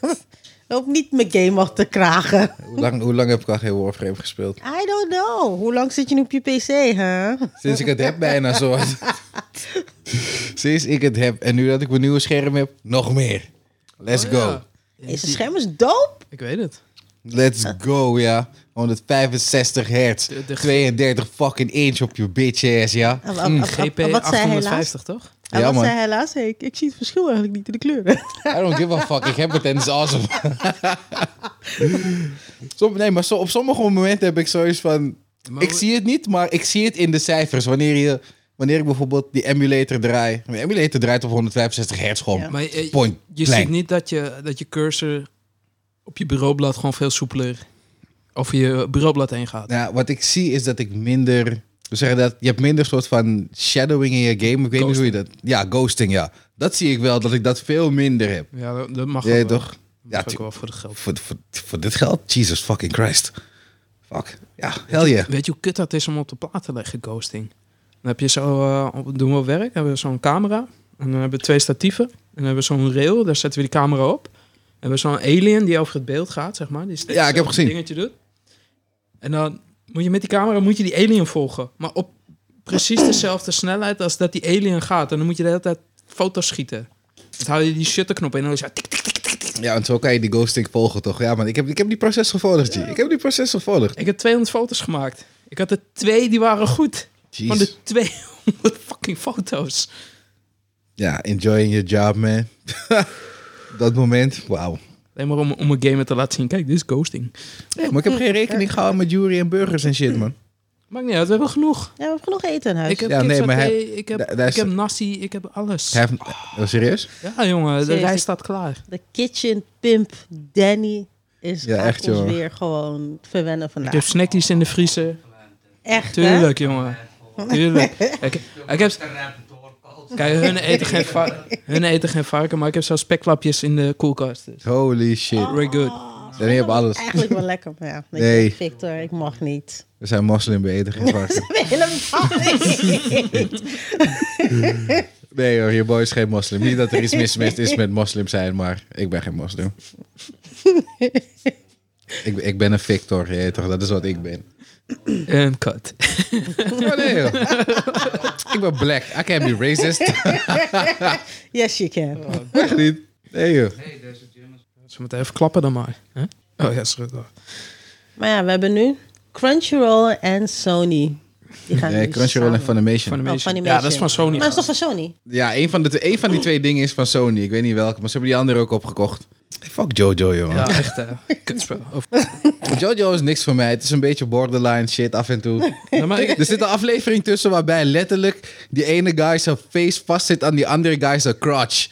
Speaker 2: (laughs) Loop niet mijn game af te kragen.
Speaker 1: hoe, lang, hoe lang heb ik al geen Warframe gespeeld?
Speaker 2: I don't know. Hoe lang zit je nu op je PC, hè?
Speaker 1: Sinds ik het heb bijna
Speaker 2: (laughs)
Speaker 1: zo. Sinds ik het heb. En nu dat ik mijn nieuwe scherm heb, nog meer. Let's
Speaker 3: Oh,
Speaker 1: go.
Speaker 3: ja.
Speaker 2: Deze scherm is dope.
Speaker 3: Ik weet het.
Speaker 1: Let's go, ja. 165 hertz.
Speaker 3: De- de-
Speaker 1: 32 fucking inch op je bitch ass, ja.
Speaker 2: Ah, ah, ah, ah,
Speaker 3: GP
Speaker 2: ah, wat zei hij laatst?
Speaker 3: 850, toch?
Speaker 2: Ah,
Speaker 1: Ja,
Speaker 2: wat
Speaker 1: man.
Speaker 2: zei hij laatst? Hey, ik, ik zie het verschil eigenlijk niet in de kleuren.
Speaker 1: I don't give a fuck. Ik heb het en het is
Speaker 3: (laughs)
Speaker 1: awesome. Som- nee, maar zo- op sommige momenten heb ik zoiets van...
Speaker 3: Maar
Speaker 1: Ik
Speaker 3: hoe-
Speaker 1: zie het niet, maar ik zie het in de cijfers. Wanneer, je, wanneer ik bijvoorbeeld die emulator draai. Mijn emulator draait op 165 hertz gewoon.
Speaker 2: Ja.
Speaker 3: Maar je, je-
Speaker 1: Point
Speaker 3: je
Speaker 1: blank.
Speaker 3: ziet niet dat je, dat je cursor op je bureaublad gewoon veel soepeler over je bureaublad heen gaat.
Speaker 1: Nou, wat ik zie is dat ik minder... We zeggen dat je hebt minder soort van shadowing in je game. Ik weet niet hoe je dat... Ja, ghosting, ja. Dat zie ik wel, dat ik dat veel minder heb.
Speaker 3: Ja, dat, dat mag
Speaker 1: Jij
Speaker 3: ook wel.
Speaker 1: toch?
Speaker 3: Dat
Speaker 1: Ja,
Speaker 3: mag ook
Speaker 1: tu-
Speaker 3: wel voor de geld.
Speaker 1: Voor, voor, voor dit geld? Jesus fucking Christ. Fuck. Ja, hell yeah.
Speaker 3: Weet je hoe kut dat is om op de plaat te leggen, ghosting? Dan heb je zo, eh, op- doen we werk, hebben we zo'n camera. En dan hebben we twee statieven. En dan hebben we zo'n rail, daar zetten we die camera op. En we hebben zo'n alien die over het beeld gaat, zeg maar. Die steeds
Speaker 1: Ja, ik heb
Speaker 3: zo'n
Speaker 1: gezien.
Speaker 3: dingetje doet. En dan moet je met die camera moet je die alien volgen. Maar op precies dezelfde snelheid als dat die alien gaat. En dan moet je de hele tijd foto's schieten. Dan hou je die shutterknop in en dan is het tik, tik, tik, tik, tik.
Speaker 1: Ja, en zo kan je die ghosting volgen, toch? Ja, man, ik heb, ik heb die proces gevolgd, G. Ik heb die proces gevolgd.
Speaker 3: Ik heb 200 foto's gemaakt. Ik had er twee, die waren goed. Van
Speaker 1: Jeez.
Speaker 3: de 200 fucking foto's.
Speaker 1: Ja, enjoying your job, (laughs) man. dat moment, wauw.
Speaker 3: Alleen maar om, om een gamer te laten zien. Kijk, dit is ghosting.
Speaker 1: maar ik heb geen rekening gehouden met jury en burgers en shit, man.
Speaker 3: Maakt niet uit, we hebben genoeg.
Speaker 2: Ja, we hebben genoeg eten in huis.
Speaker 3: Ik heb
Speaker 1: Ja,
Speaker 3: ja,
Speaker 1: nee, maar hij-
Speaker 3: ik heb,
Speaker 1: daar- daar
Speaker 3: ik
Speaker 1: is-
Speaker 3: heb nasi, ik heb alles.
Speaker 1: Hij heeft- oh, serieus?
Speaker 3: Ja, jongen, de
Speaker 2: Serieus,
Speaker 3: rij
Speaker 2: ik-
Speaker 3: staat klaar.
Speaker 2: De kitchen pimp Danny is
Speaker 1: Ja,
Speaker 2: ja,
Speaker 1: echt, joh.
Speaker 2: weer gewoon verwennen
Speaker 3: Ik
Speaker 1: Nou.
Speaker 2: vandaag.
Speaker 3: heb snackies in de vriezer.
Speaker 2: Echt, hè?
Speaker 3: Tuurlijk, jongen.
Speaker 1: (laughs)
Speaker 3: Tuurlijk. Ik, ik heb, kijk, hun eten, geen va- hun eten geen varken, maar ik heb zo speklapjes in de koelkast. Dus.
Speaker 1: Holy shit.
Speaker 3: Very good.
Speaker 2: Oh,
Speaker 1: En je hebt alles.
Speaker 2: Eigenlijk wel lekker, (laughs) maar ja. weet
Speaker 1: Nee.
Speaker 2: je, Victor, ik mag niet. (laughs)
Speaker 1: We zijn moslim, we eten geen varken.
Speaker 2: Helemaal niet. (laughs)
Speaker 1: Nee hoor, je boy is geen moslim. Niet dat er iets mis mis is met moslim zijn, maar ik ben geen moslim. ik, ben- ik ben een victor, je weet toch? Dat is wat ik ben.
Speaker 3: En cut.
Speaker 1: Oh, nee,
Speaker 2: (laughs)
Speaker 1: joh. ik ben black. I can't be racist. (laughs)
Speaker 2: Yes, you can.
Speaker 1: Echt niet. Nee joh.
Speaker 3: Ze moeten even klappen dan maar. hè? Oh ja, sorry.
Speaker 2: Maar ja, we hebben nu Crunchyroll en Sony. Die gaan
Speaker 1: Nee,
Speaker 2: nu
Speaker 1: Crunchyroll en
Speaker 2: samen.
Speaker 1: Funimation.
Speaker 3: Funimation.
Speaker 2: Funimation.
Speaker 3: Ja, dat is van Sony.
Speaker 2: Maar het is toch van Sony?
Speaker 1: Ja, een van, de, twee- een van die twee dingen is van Sony. Ik weet niet welke, maar ze hebben die andere ook opgekocht. Fuck Jojo, jongen.
Speaker 3: Ja, echt. eh, kutspel. Of-
Speaker 1: Jojo is niks voor mij. Het is een beetje borderline shit af en toe.
Speaker 3: (laughs) Ja, maar ik-
Speaker 1: er zit een aflevering tussen waarbij letterlijk die ene guy zijn face vastzit aan die andere guy zijn crotch.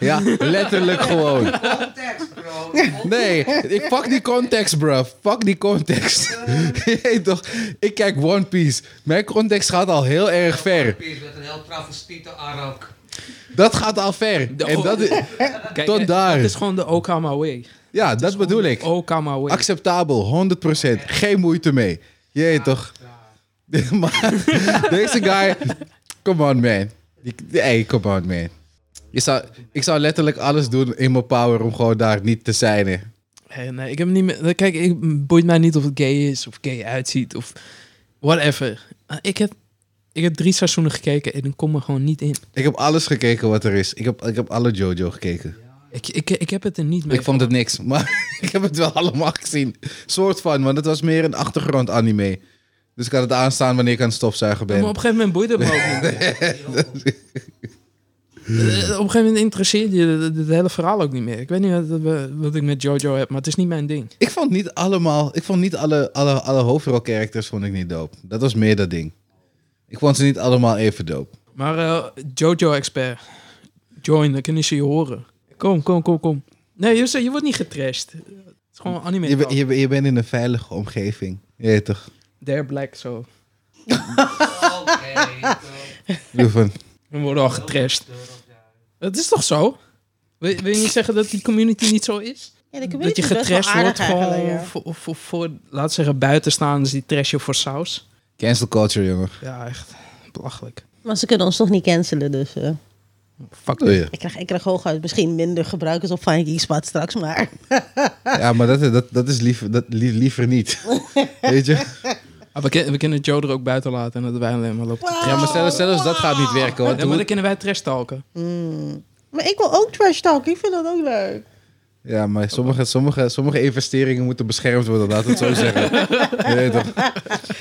Speaker 1: Ja, letterlijk gewoon.
Speaker 4: Context, bro. Context.
Speaker 1: Nee, ik pak die context, bruv. Pak die context. (laughs) Jeet toch? Ik kijk One Piece. Mijn context gaat al heel erg ver.
Speaker 4: Met een heel travestiete Arak.
Speaker 1: Dat gaat al ver. En dat is,
Speaker 3: Kijk,
Speaker 1: tot
Speaker 3: eh,
Speaker 1: daar.
Speaker 3: Het is gewoon de Okama Way.
Speaker 1: ja, dat bedoel ik.
Speaker 3: Okama Way.
Speaker 1: Acceptabel, 100%. Geen moeite mee. Jeet toch? (laughs) Maar deze guy, come on man. Die- Hey, come on man. Je zou, ik zou letterlijk alles doen in mijn power om gewoon daar niet te zijn. hè.
Speaker 3: Hey, nee, eh, ik heb niet meer. Kijk, ik m, boeit mij niet of het gay is of gay uitziet of whatever. Eh, Ik heb, ik heb drie seizoenen gekeken en ik kom er gewoon niet in.
Speaker 1: Ik heb alles gekeken wat er is. Ik heb, ik heb alle JoJo gekeken.
Speaker 3: Ik, ik, ik heb het er niet mee.
Speaker 1: Ik vond het niks, (laughs) maar ik heb het wel allemaal gezien. Soort van, want het was meer een achtergrond anime. Dus ik had het aanstaan wanneer ik aan het stofzuigen ben.
Speaker 3: Maar op een gegeven moment boeit het me ook
Speaker 1: (laughs)
Speaker 3: niet. Eh, Op een gegeven moment interesseert je het- het hele verhaal ook niet meer. Ik weet niet wat, wat ik met Jojo heb, maar het is niet mijn ding.
Speaker 1: Ik vond niet allemaal, ik vond niet alle, alle, alle hoofdrolcharacters vond ik niet dope. Dat was meer dat ding. Ik vond ze niet allemaal even dope.
Speaker 3: Maar eh, Jojo-expert, join, dan kunnen ze je horen. Kom, kom, kom, kom. Nee, je, je wordt niet getrashed. Het is gewoon anime.
Speaker 1: Je, ben- je, ben- je bent in een veilige omgeving. Je weet toch?
Speaker 3: They're black, zo.
Speaker 4: Oké.
Speaker 1: Doe van,
Speaker 3: We worden al getrashed. Dat is toch zo? Wil, wil je niet zeggen dat die community niet zo is?
Speaker 2: Ja, de
Speaker 3: dat
Speaker 2: community
Speaker 3: je
Speaker 2: is best wel
Speaker 3: getrashed
Speaker 2: aardig
Speaker 3: wordt gewoon
Speaker 2: eigenlijk, ja.
Speaker 3: voor, voor, voor, laat zeggen, buitenstaanders die trash je voor saus.
Speaker 1: Cancel culture, jongen.
Speaker 3: Ja, echt belachelijk.
Speaker 2: Maar ze kunnen ons toch niet cancelen, dus... eh,
Speaker 3: Fuck
Speaker 1: Doe je.
Speaker 2: ik, krijg, ik krijg hooguit misschien minder gebruikers op Fine Geek Spot straks, maar...
Speaker 1: Ja, maar dat, dat, dat is liever, dat, lie- liever
Speaker 3: (laughs)
Speaker 1: niet. Weet je?
Speaker 3: Ah, we, ken- we kunnen Joe er ook buiten laten en dat wij alleen maar lopen te
Speaker 1: Ja, maar zelfs, zelfs dat gaat niet werken.
Speaker 3: trash.
Speaker 1: Want
Speaker 3: Ja, maar
Speaker 1: hoe-
Speaker 3: dan kunnen wij trash talken.
Speaker 2: Maar ik wil ook trash talk, ik vind dat ook leuk.
Speaker 1: Ja, maar sommige, sommige, sommige investeringen moeten beschermd worden, laten we het zo zeggen. Je weet toch?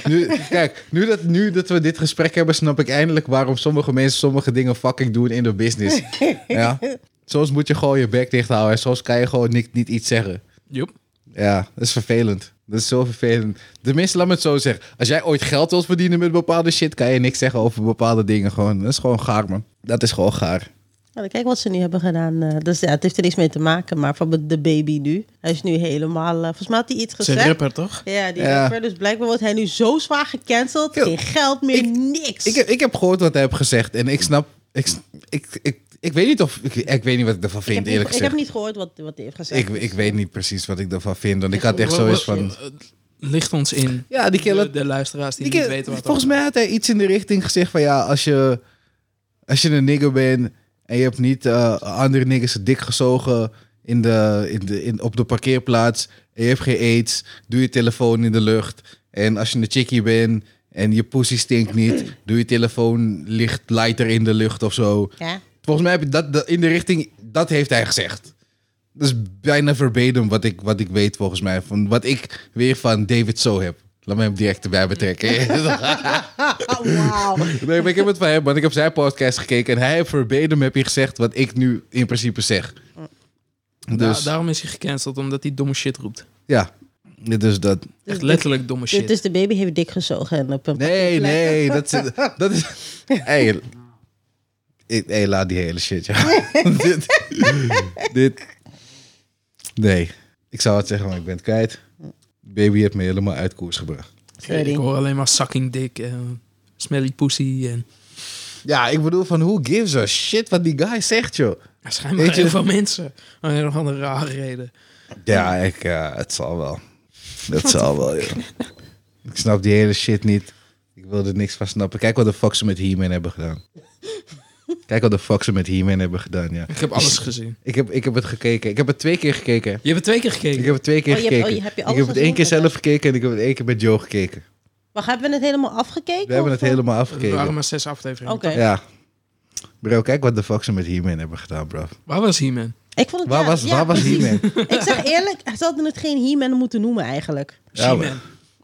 Speaker 1: Nu, kijk, nu dat, nu dat we dit gesprek hebben, snap ik eindelijk waarom sommige mensen sommige dingen fucking doen in de business. Ja? Soms moet je gewoon je bek dicht houden en soms kan je gewoon niet, niet iets zeggen.
Speaker 3: Joep.
Speaker 1: Ja, dat is vervelend. Dat is zo vervelend. Tenminste, laat me het zo zeggen. Als jij ooit geld wilt verdienen met bepaalde shit, kan je niks zeggen over bepaalde dingen. Gewoon. Dat is gewoon gaar, man. Dat is gewoon gaar.
Speaker 2: Nou, kijk wat ze nu hebben gedaan. eh, dus ja, het heeft er niks mee te maken, maar van de baby nu. Hij is nu helemaal... eh, volgens mij had hij iets
Speaker 3: Ze
Speaker 2: gezegd.
Speaker 3: rapper, toch?
Speaker 2: Ja, die
Speaker 1: Ja.
Speaker 2: rapper. Dus blijkbaar wordt hij nu zo zwaar gecanceld.
Speaker 1: Yo,
Speaker 2: Geen geld meer,
Speaker 1: ik-
Speaker 2: niks.
Speaker 1: Ik, heb- ik heb gehoord wat hij heeft gezegd en ik snap. Ik, ik, ik, ik weet niet of. Ik, ik weet niet wat ik ervan
Speaker 2: Ik
Speaker 1: vind,
Speaker 2: heb niet-
Speaker 1: eerlijk
Speaker 2: ik heb
Speaker 1: gezegd.
Speaker 2: niet gehoord wat, wat hij heeft gezegd.
Speaker 1: Ik, ik weet niet precies wat ik ervan vind, want ik had echt
Speaker 3: Wa-
Speaker 1: zo
Speaker 3: wa-
Speaker 1: eens van.
Speaker 3: Ligt ons in.
Speaker 1: Ja, die
Speaker 3: De,
Speaker 1: killer.
Speaker 3: de luisteraars die,
Speaker 1: die
Speaker 3: niet
Speaker 1: killer-
Speaker 3: weten wat
Speaker 1: eh, volgens mij had hij iets in de richting gezegd van ja, als je, als je een nigger bent en je hebt niet eh, andere niggers dik gezogen in de, in de, in, op de parkeerplaats en je hebt geen aids, doe je telefoon in de lucht. En als je een chickie bent en je pussy stinkt niet, doe je telefoon licht lighter in de lucht of zo.
Speaker 2: Ja.
Speaker 1: Volgens mij heb ik dat, dat in de richting, dat heeft hij gezegd. Dat is bijna verbatim wat ik, wat ik weet volgens mij. Van wat ik weer van David zo heb. Laat me hem direct erbij betrekken.
Speaker 3: (laughs)
Speaker 2: Wauw.
Speaker 1: nee, maar ik heb het van hem, want ik heb zijn podcast gekeken. En hij heeft verbatim heb je gezegd wat ik nu in principe zeg. Dus
Speaker 3: Da- daarom is hij gecanceld, omdat hij domme shit roept.
Speaker 1: ja, dus dat.
Speaker 3: Echt letterlijk domme shit.
Speaker 2: Dus, dus de baby heeft dik gezogen. En op een
Speaker 1: Nee, nee, dat is... Dat (laughs) is hey, ik- hey, (laughs) laat die hele shit, ja. dit, dit... Nee. Ik zou het zeggen, maar ik ben het kwijt. Baby heeft me helemaal uit koers gebracht.
Speaker 2: Sorry.
Speaker 3: Ik hoor alleen maar sucking dick en smelly pussy. En,
Speaker 1: Ja, ik bedoel van who gives a shit wat die guy zegt, joh.
Speaker 3: Ja, schijnbaar
Speaker 1: Weet je-
Speaker 3: heel veel mensen. Oh, Om een of andere rare reden.
Speaker 1: Ja, ik, eh, het zal wel. Dat zal wel, joh. Ik snap die hele shit niet. Ik wil er niks van snappen. Kijk wat de fuck ze met He-Man hebben gedaan. Kijk wat de fuck ze met He-Man hebben gedaan, ja.
Speaker 3: Ik heb (laughs) alles gezien.
Speaker 1: Ik heb, ik heb het gekeken. Ik heb het twee keer gekeken.
Speaker 3: Je hebt het twee keer gekeken.
Speaker 1: Ik heb het twee keer
Speaker 2: Oh, je hebt-
Speaker 1: gekeken.
Speaker 2: oh, je- heb je
Speaker 1: ik
Speaker 2: alles
Speaker 1: heb het één keer
Speaker 2: gezien? Oh,
Speaker 1: zelf gekeken en ik heb het één keer met Joe gekeken.
Speaker 2: Maar hebben we het helemaal afgekeken?
Speaker 1: We hebben
Speaker 2: of-
Speaker 1: het helemaal
Speaker 3: Er waren
Speaker 1: afgekeken.
Speaker 3: maar zes afleveringen.
Speaker 2: Oké.
Speaker 1: Ja. Bro, kijk wat de fuck ze met He-Man hebben gedaan, bro.
Speaker 3: Waar was He-Man?
Speaker 2: Ik vond het
Speaker 1: Waar
Speaker 2: ja,
Speaker 1: was,
Speaker 2: ja,
Speaker 1: waar was
Speaker 2: precies.
Speaker 1: He-Man? (laughs)
Speaker 2: Ik zeg eerlijk, ze hadden het geen He-Man moeten noemen eigenlijk.
Speaker 1: Ja,
Speaker 3: He-Man.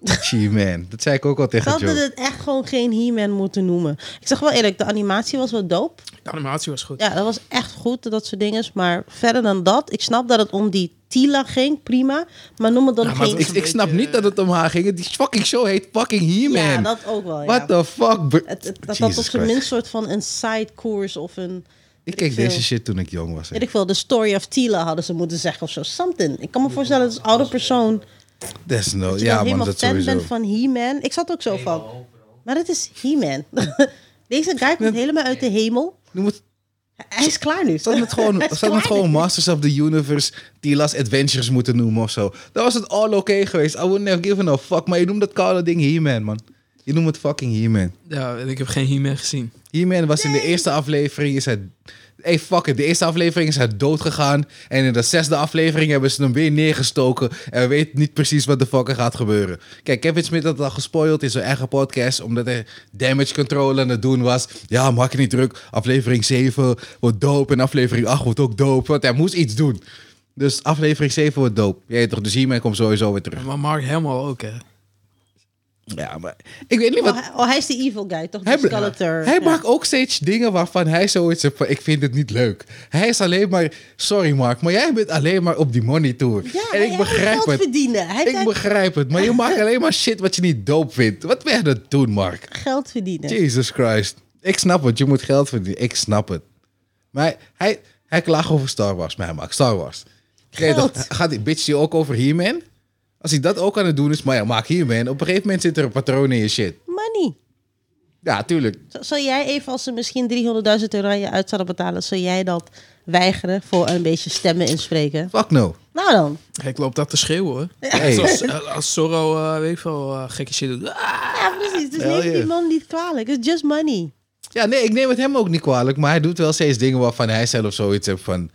Speaker 1: He-Man. Dat zei ik ook al
Speaker 2: Ze
Speaker 1: tegen
Speaker 2: hadden
Speaker 1: Joe.
Speaker 2: het echt gewoon geen He-Man moeten noemen. Ik zeg wel eerlijk, de animatie was wel dope.
Speaker 3: De animatie was goed.
Speaker 2: Ja, dat was echt goed, dat soort dingen. Maar verder dan dat, ik snap dat het om die Tila ging, prima. Maar noem het dan
Speaker 3: Ja, maar
Speaker 2: geen...
Speaker 1: Ik, ik snap niet dat het om haar ging. Die fucking show heet fucking He-Man.
Speaker 2: ja, dat ook wel, ja.
Speaker 1: What the fuck? bro?
Speaker 2: Het, het- dat dat
Speaker 1: Jesus
Speaker 2: op zijn
Speaker 1: Christ.
Speaker 2: minst soort van een side course of een...
Speaker 1: Ik keek deze shit toen ik jong was. hè.
Speaker 2: Weet ik veel, de story of Tila hadden ze moeten zeggen of zo. Something. Ik kan me voorstellen dat als oude persoon...
Speaker 1: Desnoods.
Speaker 2: Dat je dan
Speaker 1: Ja, man,
Speaker 2: helemaal
Speaker 1: dat
Speaker 2: fan
Speaker 1: sowieso.
Speaker 2: bent van He-Man. Ik zat ook zo van... Maar het is He-Man. (laughs) Deze guy komt helemaal uit de hemel.
Speaker 1: Noem het,
Speaker 2: Hij is klaar nu.
Speaker 1: ze hadden het gewoon,
Speaker 2: Hij
Speaker 1: ze
Speaker 2: is
Speaker 1: hadden het
Speaker 2: klaar
Speaker 1: gewoon Masters of the Universe, die Last Adventures moeten noemen of zo. Dan was het all oké geweest. I wouldn't have given a fuck. Maar je noemt dat koude ding He-Man, man. Je noemt het fucking He-Man.
Speaker 3: Ja, en ik heb geen He-Man gezien.
Speaker 1: He-Man was in de eerste aflevering, is hij... Hey, fuck it. De eerste aflevering is hij dood gegaan. En in de zesde aflevering hebben ze hem weer neergestoken. En we weten niet precies wat de fuck er gaat gebeuren. Kijk, Kevin Smith had het al gespoild in zijn eigen podcast. Omdat hij damage control aan het doen was. Ja, maak je niet druk. Aflevering 7 wordt dope. En aflevering 8 wordt ook dope. Want hij moest iets doen. Dus aflevering 7 wordt dope. Je weet toch, dus He-Man komt sowieso weer terug.
Speaker 3: Maar Mark Hamill ook, hè.
Speaker 1: Ja, maar ik weet niet
Speaker 2: Oh,
Speaker 1: wat...
Speaker 2: hij, oh, hij is de evil guy, toch?
Speaker 1: Hij,
Speaker 2: De Skeletor.
Speaker 1: hij
Speaker 2: Ja.
Speaker 1: maakt ook steeds dingen waarvan hij zoiets heeft van... ik vind het niet leuk. Hij is alleen maar... sorry Mark, maar jij bent alleen maar op die money tour.
Speaker 2: Ja,
Speaker 1: en
Speaker 2: hij
Speaker 1: ik
Speaker 2: wil
Speaker 1: begrijp
Speaker 2: geld
Speaker 1: het.
Speaker 2: verdienen. Hij
Speaker 1: Ik
Speaker 2: wil
Speaker 1: begrijp
Speaker 2: (laughs)
Speaker 1: het. Maar je maakt alleen maar shit wat je niet dope vindt. Wat ben je aan het doen, Mark?
Speaker 2: geld verdienen.
Speaker 1: Jesus Christ. Ik snap het. Je moet geld verdienen. Ik snap het. Maar hij, hij klaagt over Star Wars. Maar hij maakt Star Wars. Kijk, dan
Speaker 2: Geld.
Speaker 1: gaat die bitch die ook over He-Man? Als hij dat ook aan het doen is... maar ja, maak He-Man. Op een gegeven moment zit er een patroon in je shit.
Speaker 2: Money.
Speaker 1: Ja, tuurlijk.
Speaker 2: Z- Zal jij even, als ze misschien 300.000 euro aan je uit zouden betalen, zal jij dat weigeren voor een beetje stemmen inspreken?
Speaker 1: Fuck no.
Speaker 2: (laughs) Nou dan.
Speaker 3: Ik loop dat te schreeuwen, hoor.
Speaker 1: Hey.
Speaker 3: Zoals, eh, als Zorro, eh, weet ik veel, eh, gekke shit doet. Ah!
Speaker 2: Ja, precies. Dus
Speaker 1: Hell
Speaker 2: neem die
Speaker 1: yeah.
Speaker 2: man niet kwalijk. It's just money.
Speaker 1: Ja, nee, ik neem het hem ook niet kwalijk. Maar hij doet wel steeds dingen waarvan hij zelf zoiets heeft van...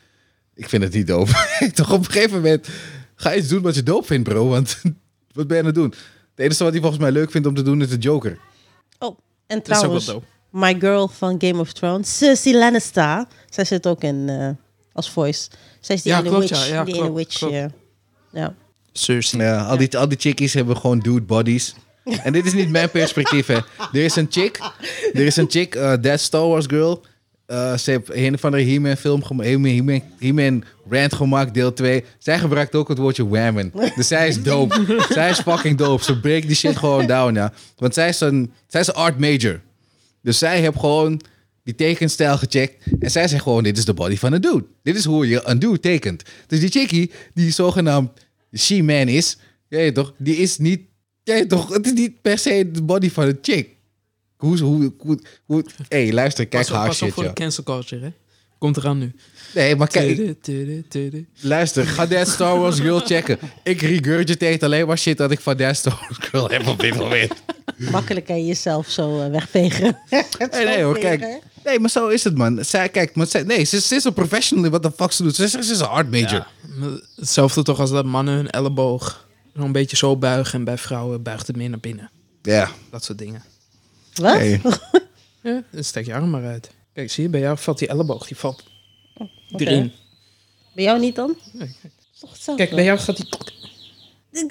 Speaker 1: Ik vind het niet dope. (laughs) Toch op een gegeven moment ga iets doen wat je dope vindt, bro. Want (laughs) wat ben je aan het doen? Het enige wat hij volgens mij leuk vindt om te doen is de Joker.
Speaker 2: Oh, en
Speaker 3: Dat is ook wel
Speaker 2: trouwens,
Speaker 3: dope.
Speaker 2: my girl van Game of Thrones, Cersei Lannister. Zij zit ook in, eh, als voice. Zij is die
Speaker 3: Ja,
Speaker 2: ene
Speaker 3: klopt,
Speaker 2: witch.
Speaker 3: ja, ja,
Speaker 2: die
Speaker 3: klopt,
Speaker 2: ene witch,
Speaker 3: klopt.
Speaker 2: ja. Ja.
Speaker 3: Cersei.
Speaker 1: Ja, al die, al die chickies hebben gewoon dude bodies. En dit is niet mijn perspectief, hè. Er is een chick, er is een chick, eh that Star Wars girl. Eh, ze heeft een of andere He-Man film gemaakt, He-Man, He-Man, He-Man rant gemaakt, deel 2. Zij gebruikt ook het woordje whammen. Dus zij is dope. zij is fucking dope. Ze breekt die shit gewoon down, ja. Want zij is een, zij is een art major. Dus zij heeft gewoon die tekenstijl gecheckt. En zij zegt gewoon, dit is de body van een dude. Dit is hoe je een dude tekent. Dus die chickie, die zogenaamd she-man is... Jij weet toch, die is niet... Jij weet toch, het is niet per se de body van een chick. Hoe... hoe, hoe, hoe hey, luister, kijk
Speaker 3: Pas op,
Speaker 1: haar
Speaker 3: pas op
Speaker 1: shit,
Speaker 3: voor
Speaker 1: ja.
Speaker 3: de cancel culture, hè. Komt eraan nu.
Speaker 1: Nee, maar kijk...
Speaker 3: (laughs) Tudu, tudu, tudu.
Speaker 1: Luister, ga dat Star Wars Girl checken. Ik regurgitate alleen maar shit dat ik van dat Star Wars Girl heb op dit moment.
Speaker 2: Makkelijk kan je jezelf zo eh,
Speaker 3: (laughs)
Speaker 2: wegvegen.
Speaker 1: Nee, nee hoor,
Speaker 2: Tegen.
Speaker 1: kijk. Nee, maar zo is het, man. Zij, kijk, maar zij, nee, ze, ze is een professional in wat de fuck ze doet. Ze is, ze is een art major.
Speaker 3: Maar Hetzelfde toch als dat mannen hun elleboog zo'n beetje zo buigen. En bij vrouwen buigt het meer naar binnen.
Speaker 1: Ja.
Speaker 3: Dat soort dingen.
Speaker 2: Wat?
Speaker 1: Hey.
Speaker 3: Ja, dan steek je arm maar uit. Kijk, zie je, bij jou valt die elleboog, die valt
Speaker 2: oké.
Speaker 3: erin.
Speaker 2: Bij jou niet dan?
Speaker 3: Nee,
Speaker 2: Is toch hetzelfde?
Speaker 3: Kijk, bij jou gaat die...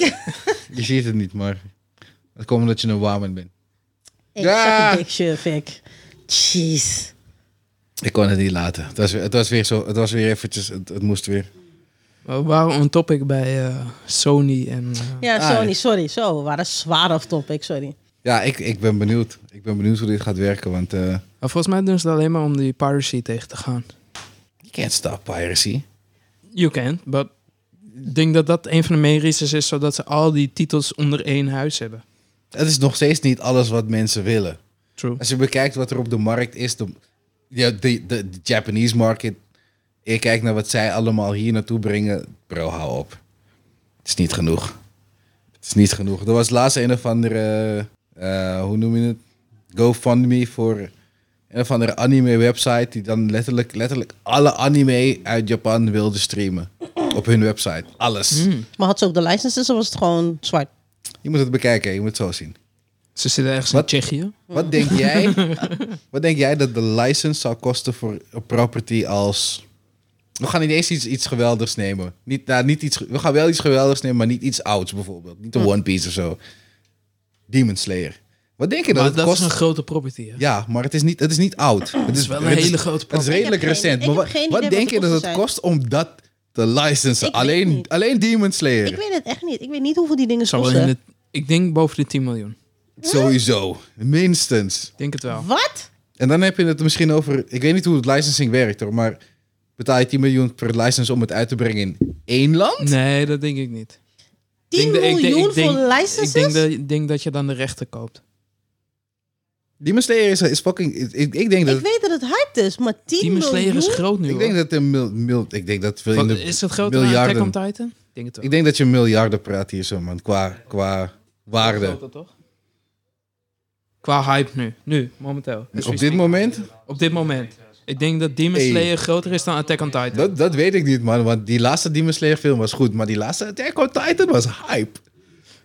Speaker 1: Je ziet het niet, maar het komt omdat je een waman bent.
Speaker 2: (laughs) Ik
Speaker 1: Ja.
Speaker 2: zag een dikje, Vic. Jeez.
Speaker 1: Ik kon het niet laten. Het was, weer- het was weer zo, het was weer eventjes, het, het moest weer.
Speaker 3: We waren on topic bij eh, Sony en... eh,
Speaker 2: Ja,
Speaker 1: Ah,
Speaker 2: Sony,
Speaker 1: ja.
Speaker 2: sorry. Zo, we waren zwaar off topic, sorry.
Speaker 1: Ja, ik, ik ben benieuwd. Ik ben benieuwd hoe dit gaat werken, want eh
Speaker 3: maar volgens mij doen ze dat alleen maar om die piracy tegen te gaan.
Speaker 1: you can't stop piracy.
Speaker 3: You can, but Ik denk dat dat een van de main reasons is, zodat ze al die titels onder één huis hebben.
Speaker 1: Het is nog steeds niet alles wat mensen willen.
Speaker 3: True.
Speaker 1: Als je bekijkt wat er op de markt is, de, ja, de, de, de Japanese market. Ik kijk naar wat zij allemaal hier naartoe brengen. Bro, hou op. Het is niet genoeg. Het is niet genoeg. Er was laatst een of andere, eh, hoe noem je het? GoFundMe voor een of andere anime website die dan letterlijk, letterlijk alle anime uit Japan wilde streamen. Op hun website. Alles.
Speaker 2: Maar had ze ook de licenses of was het gewoon zwart?
Speaker 1: Je moet het bekijken, je moet het zo zien.
Speaker 3: Ze zitten ergens
Speaker 1: Wat?
Speaker 3: in Tsjechië.
Speaker 1: Wat denk
Speaker 3: (laughs)
Speaker 1: jij? wat denk jij dat de license zou kosten voor een property als. We gaan niet eens iets, iets geweldigs nemen. Niet, nou, niet iets, we gaan wel iets geweldigs nemen, maar niet iets ouds bijvoorbeeld. Niet een One Piece of zo. Demon Slayer. Wat denk je dat
Speaker 3: Maar
Speaker 1: het
Speaker 3: dat
Speaker 1: kost?
Speaker 3: is een grote property, hè?
Speaker 1: Ja, maar het is niet, het is niet oud. Het is
Speaker 3: wel een hele grote
Speaker 1: Het is
Speaker 2: Ik heb
Speaker 1: redelijk
Speaker 2: geen-
Speaker 1: recent.
Speaker 2: ik
Speaker 1: Maar
Speaker 2: heb
Speaker 1: wat,
Speaker 2: geen idee
Speaker 1: wat
Speaker 2: wat
Speaker 1: denk
Speaker 2: de
Speaker 1: je dat
Speaker 2: kosten
Speaker 1: het
Speaker 2: zijn.
Speaker 1: kost om dat te licensen?
Speaker 2: Ik weet
Speaker 1: Alleen,
Speaker 2: niet.
Speaker 1: alleen Demon
Speaker 2: Ik
Speaker 1: Slayer.
Speaker 2: weet het echt niet. Ik weet niet hoeveel die dingen
Speaker 3: Zou wel in
Speaker 2: kosten.
Speaker 3: de, ik denk boven de 10 miljoen.
Speaker 1: Sowieso. Minstens.
Speaker 3: Ik denk het wel.
Speaker 2: Wat?
Speaker 1: En dan heb je het misschien over... Ik weet niet hoe het licensing werkt, hoor. Maar betaal je 10 miljoen per license om het uit te brengen in één land?
Speaker 3: Nee, dat denk ik niet.
Speaker 2: 10
Speaker 3: Ik denk dat- ik denk-
Speaker 2: miljoen
Speaker 3: ik denk-
Speaker 2: voor licenses?
Speaker 3: Ik denk dat, ik denk dat je dan de rechten koopt.
Speaker 1: Demon Slayer is, is fucking... Ik, ik denk dat...
Speaker 2: Ik weet dat het hyped is, maar 10
Speaker 3: Demon Slayer
Speaker 2: miljoen?
Speaker 3: is groot nu,
Speaker 1: Ik denk
Speaker 3: hoor.
Speaker 1: dat een mil, mil- ik denk dat veel in
Speaker 3: Wat,
Speaker 1: de
Speaker 3: is het groter dan Attack
Speaker 1: miljarden.
Speaker 3: on Titan? Ik denk het wel.
Speaker 1: Ik denk dat je miljarden praat hier zo man qua qua waarde.
Speaker 3: Groter, toch? Qua hype nu. Nu, momenteel. As we
Speaker 1: Op dit
Speaker 3: speak.
Speaker 1: moment?
Speaker 3: Op dit moment. Ik denk dat Demon
Speaker 1: Hey.
Speaker 3: Slayer groter is dan Attack on Titan.
Speaker 1: Dat, dat weet ik niet man, want die laatste Demon Slayer film was goed, maar die laatste Attack on Titan was hype.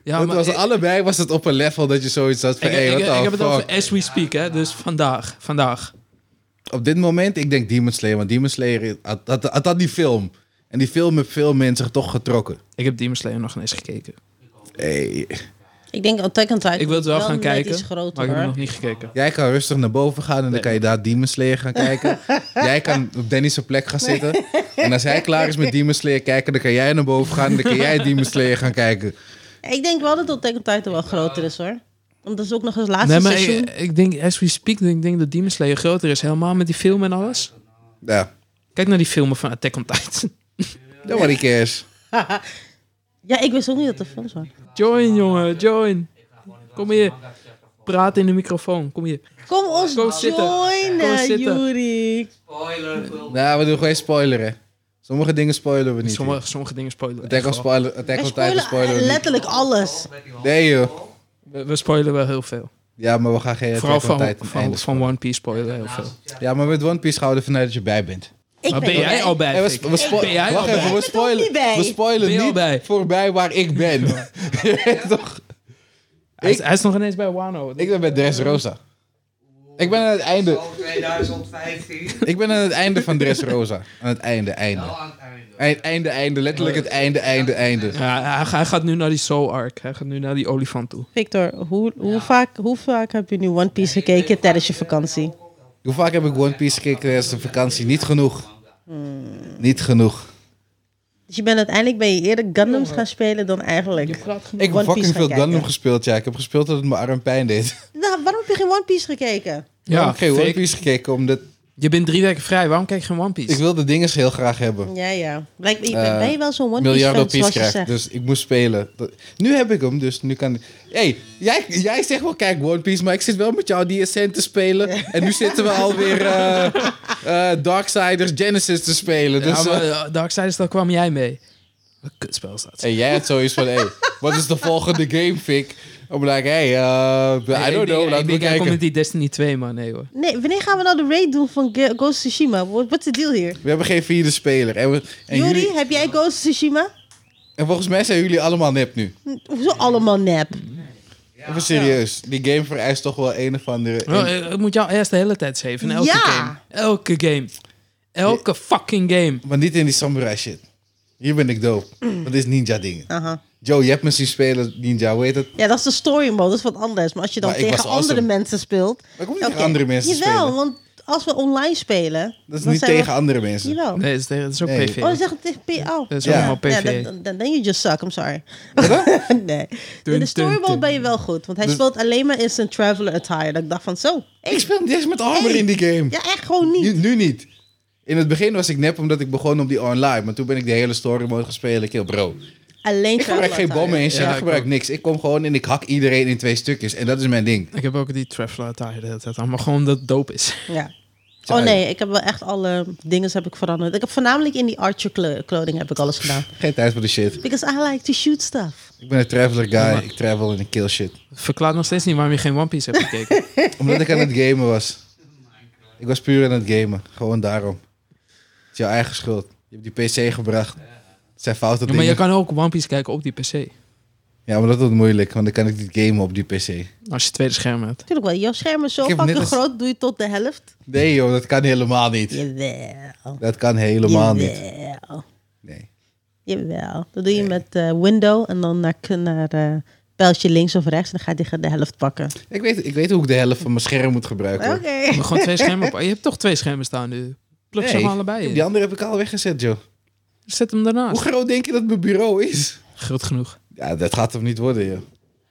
Speaker 3: ja,
Speaker 1: het was
Speaker 3: Nou, ik,
Speaker 1: allebei was het op een level dat je zoiets had van
Speaker 3: ik,
Speaker 1: hey,
Speaker 3: ik,
Speaker 1: what
Speaker 3: ik
Speaker 1: the
Speaker 3: heb het
Speaker 1: fuck?
Speaker 3: over as we speak, hè. Dus vandaag. Vandaag.
Speaker 1: op dit moment, ik denk Demon Slayer. Want Demon Slayer had, had, had, had die film. En die film heeft veel mensen toch getrokken.
Speaker 3: Ik heb Demon Slayer nog niet eens gekeken.
Speaker 1: Hey.
Speaker 2: Ik denk Attack on Titan
Speaker 3: Ik wil het wel, gaan
Speaker 2: net
Speaker 3: kijken,
Speaker 2: iets groter,
Speaker 3: maar ik heb het
Speaker 2: hoor.
Speaker 3: nog niet gekeken.
Speaker 1: Jij kan rustig naar boven gaan en dan kan je daar Demon Slayer gaan kijken. jij kan op Danny's plek gaan zitten. En als hij klaar is met Demon Slayer kijken, dan kan jij naar boven gaan. En dan kan jij Demon Slayer gaan kijken.
Speaker 2: Ik denk wel dat Attack on Titan wel groter is hoor. Want dat is ook nog het laatste
Speaker 3: Nee, maar
Speaker 2: seizoen.
Speaker 3: ik, ik denk, as we speak, ik denk dat Demon Slayer groter is. Helemaal met die film en alles.
Speaker 1: Ja,
Speaker 3: Kijk naar die filmen van Attack on Titan. (laughs)
Speaker 1: nobody cares.
Speaker 2: Ja, ik wist ook niet dat er films waren.
Speaker 3: Join, jongen, join. Kom hier. Praat in de microfoon. Kom hier.
Speaker 2: Kom ons
Speaker 3: Kom zitten. Kom
Speaker 2: joinen,
Speaker 3: zitten.
Speaker 2: Yuri.
Speaker 4: Spoiler, Wil.
Speaker 1: Nou, we doen geen spoileren. Sommige dingen spoileren we niet. Sommige...
Speaker 3: Sommige, sommige dingen spoilen. we
Speaker 1: Attack on
Speaker 3: echt wel.
Speaker 1: spoiler, Attack
Speaker 2: Wij
Speaker 1: on Titan
Speaker 2: spoilen
Speaker 1: spoileren we niet.
Speaker 2: letterlijk alles.
Speaker 4: Met die hand.
Speaker 1: Nee joh.
Speaker 3: We, we spoilen wel heel veel.
Speaker 1: Ja, maar we gaan geen
Speaker 3: Vooral
Speaker 1: Attack on
Speaker 3: van,
Speaker 1: Titan
Speaker 3: van,
Speaker 1: eindigen.
Speaker 3: van One Piece spoilen we heel veel.
Speaker 1: Ja, maar met One Piece houden we ervan uit dat je bij bent.
Speaker 2: Ik
Speaker 3: Maar ben jij al bij?
Speaker 1: Hey, we,
Speaker 3: Fik?
Speaker 1: spo- we spo-
Speaker 3: ben jij al
Speaker 1: wacht
Speaker 3: bij?
Speaker 1: even, we
Speaker 2: bent ook
Speaker 1: spoilen,
Speaker 2: niet bij.
Speaker 1: we spoilen
Speaker 3: Ben je al
Speaker 1: niet
Speaker 3: bij?
Speaker 1: voorbij waar ik ben. (laughs) Je weet toch?
Speaker 3: Hij is, hij is nog ineens bij Wano.
Speaker 1: Ik ben bij Dressrosa. Ik ben aan het einde.
Speaker 4: Zo 2015.
Speaker 1: Ik ben aan het einde van Dressrosa. Aan het einde, einde.
Speaker 4: Wel aan het einde.
Speaker 1: Eind, einde, einde. Letterlijk het einde, einde, einde.
Speaker 3: Ja, hij, hij gaat nu naar die Soul Arc. Hij gaat nu naar die olifant toe.
Speaker 2: Victor, hoe, hoe, vaak, hoe vaak heb je nu One Piece gekeken tijdens je vakantie?
Speaker 1: Hoe vaak heb ik One Piece gekeken tijdens de vakantie? Niet genoeg.
Speaker 2: Hmm.
Speaker 1: Niet genoeg.
Speaker 2: Dus je bent uiteindelijk ben je eerder Gundams gaan spelen dan eigenlijk.
Speaker 1: Ik heb
Speaker 2: One Piece
Speaker 1: fucking
Speaker 2: gaan
Speaker 1: veel
Speaker 2: kijken.
Speaker 1: Gundam gespeeld, ja. Ik heb gespeeld dat het mijn arm pijn deed.
Speaker 2: Nou, waarom heb je geen One Piece gekeken?
Speaker 1: Ja, ik heb geen One
Speaker 3: Fik,
Speaker 1: Piece gekeken, omdat
Speaker 3: Je bent drie weken vrij. Waarom kijk je geen One Piece?
Speaker 1: ik wil de dingen heel graag hebben.
Speaker 2: Ja, ja. Blijkt, ik
Speaker 1: Eh,
Speaker 2: ben, ben je wel zo'n One Piece fan,
Speaker 1: miljarden piece
Speaker 2: zoals je
Speaker 1: krijgt.
Speaker 2: zegt?
Speaker 1: Dus ik moest spelen. Dat- Nu heb ik hem, dus nu kan ik... hey, jij, jij zegt wel, kijk One Piece, maar ik zit wel met jou DSN te spelen. En nu zitten we alweer eh eh, Darksiders Genesis te spelen. Dus,
Speaker 3: ja, maar
Speaker 1: eh,
Speaker 3: eh, Darksiders, daar kwam jij mee. Wat een kutspel staat.
Speaker 1: hey, jij had zoiets van, hey, wat is de volgende game, Fik? I'm like, hey, eh, I don't know, laten we
Speaker 3: Ik denk, hij komt
Speaker 1: kijken.
Speaker 3: met die Destiny 2, man. Nee,
Speaker 1: dus-
Speaker 3: hoor.
Speaker 2: Nee, wanneer gaan we nou de raid doen van Ge- Ghost of Tsushima? Wat wat is de deal hier?
Speaker 1: We hebben geen vierde speler. En, we, en,
Speaker 2: Yuri,
Speaker 1: jullie,
Speaker 2: heb jij Ghost of Tsushima?
Speaker 1: en volgens mij zijn jullie allemaal nep nu.
Speaker 2: Hm, Hoezo allemaal nep?
Speaker 1: Even serieus. Die game vereist toch wel een of andere...
Speaker 3: Wel, eh, ik moet jou eerst de hele tijd zeven. Elke
Speaker 2: Ja.
Speaker 3: game. Elke game. Elke fucking game.
Speaker 1: Maar niet in die samurai shit. Hier ben ik dope. Dat is ninja dingen.
Speaker 2: Aha.
Speaker 1: Joe, je hebt me zien spelen ninja, hoe heet het?
Speaker 2: Ja, dat is de story mode, dat is wat anders. Maar als je dan
Speaker 1: Maar ik
Speaker 2: tegen
Speaker 1: was awesome.
Speaker 2: andere mensen speelt...
Speaker 1: Maar ik hoef niet tegen
Speaker 2: Oké.
Speaker 1: andere mensen te
Speaker 2: Jawel,
Speaker 1: spelen.
Speaker 2: want als we online spelen...
Speaker 1: Dat is
Speaker 2: dan
Speaker 1: niet
Speaker 2: zijn
Speaker 1: tegen
Speaker 2: we...
Speaker 1: andere mensen.
Speaker 2: Jawel.
Speaker 3: Nee, dat is, dat is ook
Speaker 1: Nee.
Speaker 3: PV.
Speaker 2: Oh, zeg het tegen PO.
Speaker 3: Dat is
Speaker 1: Ja.
Speaker 3: allemaal PV.
Speaker 2: Ja, dan, dan, dan then you just suck, I'm sorry. (laughs) nee.
Speaker 3: Dun,
Speaker 2: In de story
Speaker 3: dun,
Speaker 2: mode
Speaker 3: dun.
Speaker 2: ben je wel goed. Want hij
Speaker 1: Dus-
Speaker 2: speelt alleen maar in zijn traveler attire. Dat ik dacht van zo.
Speaker 1: Ik speel niet eens met armor
Speaker 2: Hey.
Speaker 1: in die game.
Speaker 2: Ja, echt gewoon niet.
Speaker 1: Nu, nu niet. In het begin was ik nep omdat ik begon op die online. Maar toen ben ik de hele story mode gespeeld. Ik heel bro.
Speaker 2: Alleen
Speaker 1: Ik gebruik geen bommen en shit.
Speaker 3: Ja,
Speaker 1: ik
Speaker 3: ik
Speaker 1: gebruik
Speaker 3: ook.
Speaker 1: niks. Ik kom gewoon in. Ik hak iedereen in twee stukjes. En dat is mijn ding.
Speaker 3: Ik heb ook die Treffler tire de hele tijd aan, maar gewoon dat het dope is.
Speaker 2: Ja. Oh nee, ik heb wel echt alle dingen heb ik veranderd. Ik heb voornamelijk in die archer kle- clothing heb ik alles gedaan.
Speaker 1: Geen tijd voor de shit.
Speaker 2: Because I like to shoot stuff.
Speaker 1: Ik ben een traveler guy. Ik travel en ik kill shit.
Speaker 3: Verklaart nog steeds niet waarom je geen One
Speaker 1: (laughs)
Speaker 3: Piece hebt gekeken.
Speaker 1: Omdat ik aan het gamen was. Ik was puur aan het gamen. Gewoon daarom. Het is jouw eigen schuld. Je hebt die PC gebracht. Het zijn foute
Speaker 3: Ja,
Speaker 1: dingen.
Speaker 3: maar je kan ook One Piece kijken op die PC.
Speaker 1: Ja, maar dat wordt moeilijk. Want dan kan ik niet gamen op die PC.
Speaker 3: Als je tweede scherm hebt.
Speaker 2: Tuurlijk wel, jouw scherm is zo
Speaker 1: Ik heb net
Speaker 2: fucking
Speaker 1: als-
Speaker 2: groot, doe je tot de helft?
Speaker 1: Nee joh, dat kan helemaal niet.
Speaker 2: Jawel.
Speaker 1: Dat kan helemaal niet.
Speaker 2: Jawel.
Speaker 1: Nee.
Speaker 2: Jawel. Dat doe je met eh, window en dan naar, naar eh, pijltje links of rechts en dan gaat hij de helft pakken.
Speaker 1: Ik weet, ik weet hoe ik de helft van mijn scherm moet gebruiken.
Speaker 2: Oké.
Speaker 1: hoor. (laughs)
Speaker 3: Maar gewoon twee schermen op. Je hebt toch twee schermen staan nu. Plug ze
Speaker 1: Nee,
Speaker 3: maar allebei Ah. in.
Speaker 1: Die andere heb ik al weggezet joh.
Speaker 3: Zet hem
Speaker 1: Hoe
Speaker 3: daarnaast.
Speaker 1: groot denk je dat mijn bureau is?
Speaker 3: Groot genoeg.
Speaker 1: Ja, dat gaat hem niet worden joh.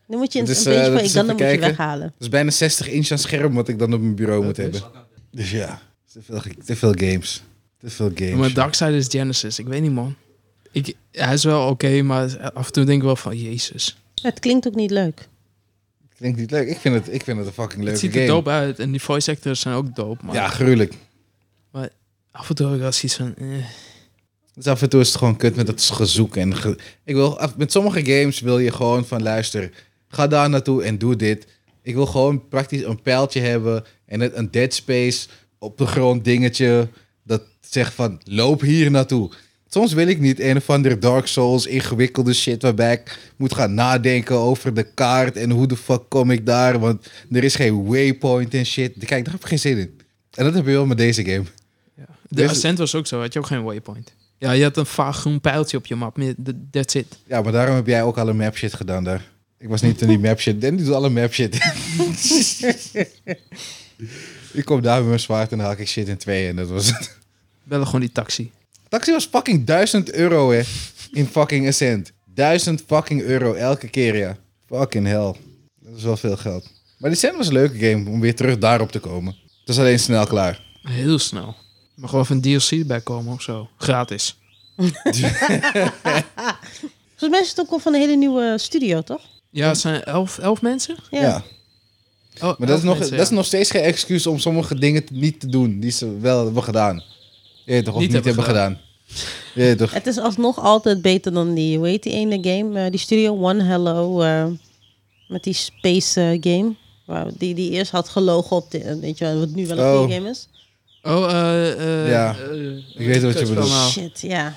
Speaker 2: Nu moet je een,
Speaker 1: Dus,
Speaker 2: een
Speaker 1: eh,
Speaker 2: beetje
Speaker 1: dat
Speaker 2: van je
Speaker 1: is
Speaker 2: dan
Speaker 1: even
Speaker 2: moet je
Speaker 1: kijken.
Speaker 2: weghalen.
Speaker 1: Dat is bijna 60 inch aan scherm wat ik dan op mijn bureau moet
Speaker 3: Dat is-
Speaker 1: hebben. Dus ja, te veel, te veel games. Te veel games.
Speaker 3: Maar Darksiders Genesis, ik weet niet man. Ik, hij is wel oké, maar af en toe denk ik wel van, jezus.
Speaker 2: Het klinkt ook niet leuk.
Speaker 1: Klinkt niet leuk. Ik vind het, ik vind het een fucking
Speaker 3: Het
Speaker 1: leuke
Speaker 3: ziet er
Speaker 1: game.
Speaker 3: dope uit en die voice actors zijn ook dope. Maar
Speaker 1: Ja, gruwelijk.
Speaker 3: af en toe heb ik wel zoiets van, eh.
Speaker 1: Dus af en toe is het gewoon kut met dat gezoek. En ge- ik wil, af- met sommige games wil je gewoon van luister, ga daar naartoe en doe dit. Ik wil gewoon praktisch een pijltje hebben en het, een dead space op de grond dingetje dat zegt van loop hier naartoe. Soms wil ik niet een of andere Dark Souls ingewikkelde shit waarbij ik moet gaan nadenken over de kaart en hoe de fuck kom ik daar, want er is geen waypoint en shit. Kijk, daar heb ik geen zin in. En dat heb je wel met deze game.
Speaker 3: Ja. De
Speaker 1: Dus-
Speaker 3: Ascent was ook zo, had je ook geen waypoint. Ja, je had een vaag groen pijltje op je map. meer- th- That's it.
Speaker 1: Ja, maar daarom heb jij ook alle map shit gedaan daar. Ik was niet in die map shit. Danny doet alle map shit. (laughs) ik kom daar met mijn zwaard en dan haak ik shit in twee en dat was het.
Speaker 3: Bellen gewoon die taxi.
Speaker 1: Taxi was fucking 1000 euro hè. In fucking Ascent. 1000 fucking euro elke keer ja. Fucking hell. Dat is wel veel geld. Maar die Ascent was een leuke game om weer terug daarop te komen. Het is alleen snel klaar.
Speaker 3: Heel snel. Er mag wel even een DLC bij komen of zo. Gratis.
Speaker 2: Volgens mij is het ook al van een hele nieuwe studio, toch?
Speaker 3: Ja, het zijn elf, elf mensen?
Speaker 1: Ja.
Speaker 3: Oh,
Speaker 1: Maar dat
Speaker 3: elf
Speaker 1: is, nog,
Speaker 3: mensen, ja.
Speaker 1: dat is nog steeds geen excuus om sommige dingen t- niet te doen die ze wel hebben gedaan. Je weet toch, of niet,
Speaker 3: Niet hebben
Speaker 1: hebben gedaan. Je weet toch.
Speaker 2: Het is alsnog altijd beter dan die, hoe heet die ene game? Eh, die Studio One Hello, eh, met die space eh, game. Waar, die die eerst had gelogen op, de, eh, weet je wel, wat nu wel een
Speaker 1: Oh.
Speaker 2: goede game is.
Speaker 3: Oh, eh... eh,
Speaker 1: Ja.
Speaker 3: eh,
Speaker 1: Ik weet wat je
Speaker 3: kut,
Speaker 1: bedoelt.
Speaker 3: allemaal.
Speaker 2: Shit, ja.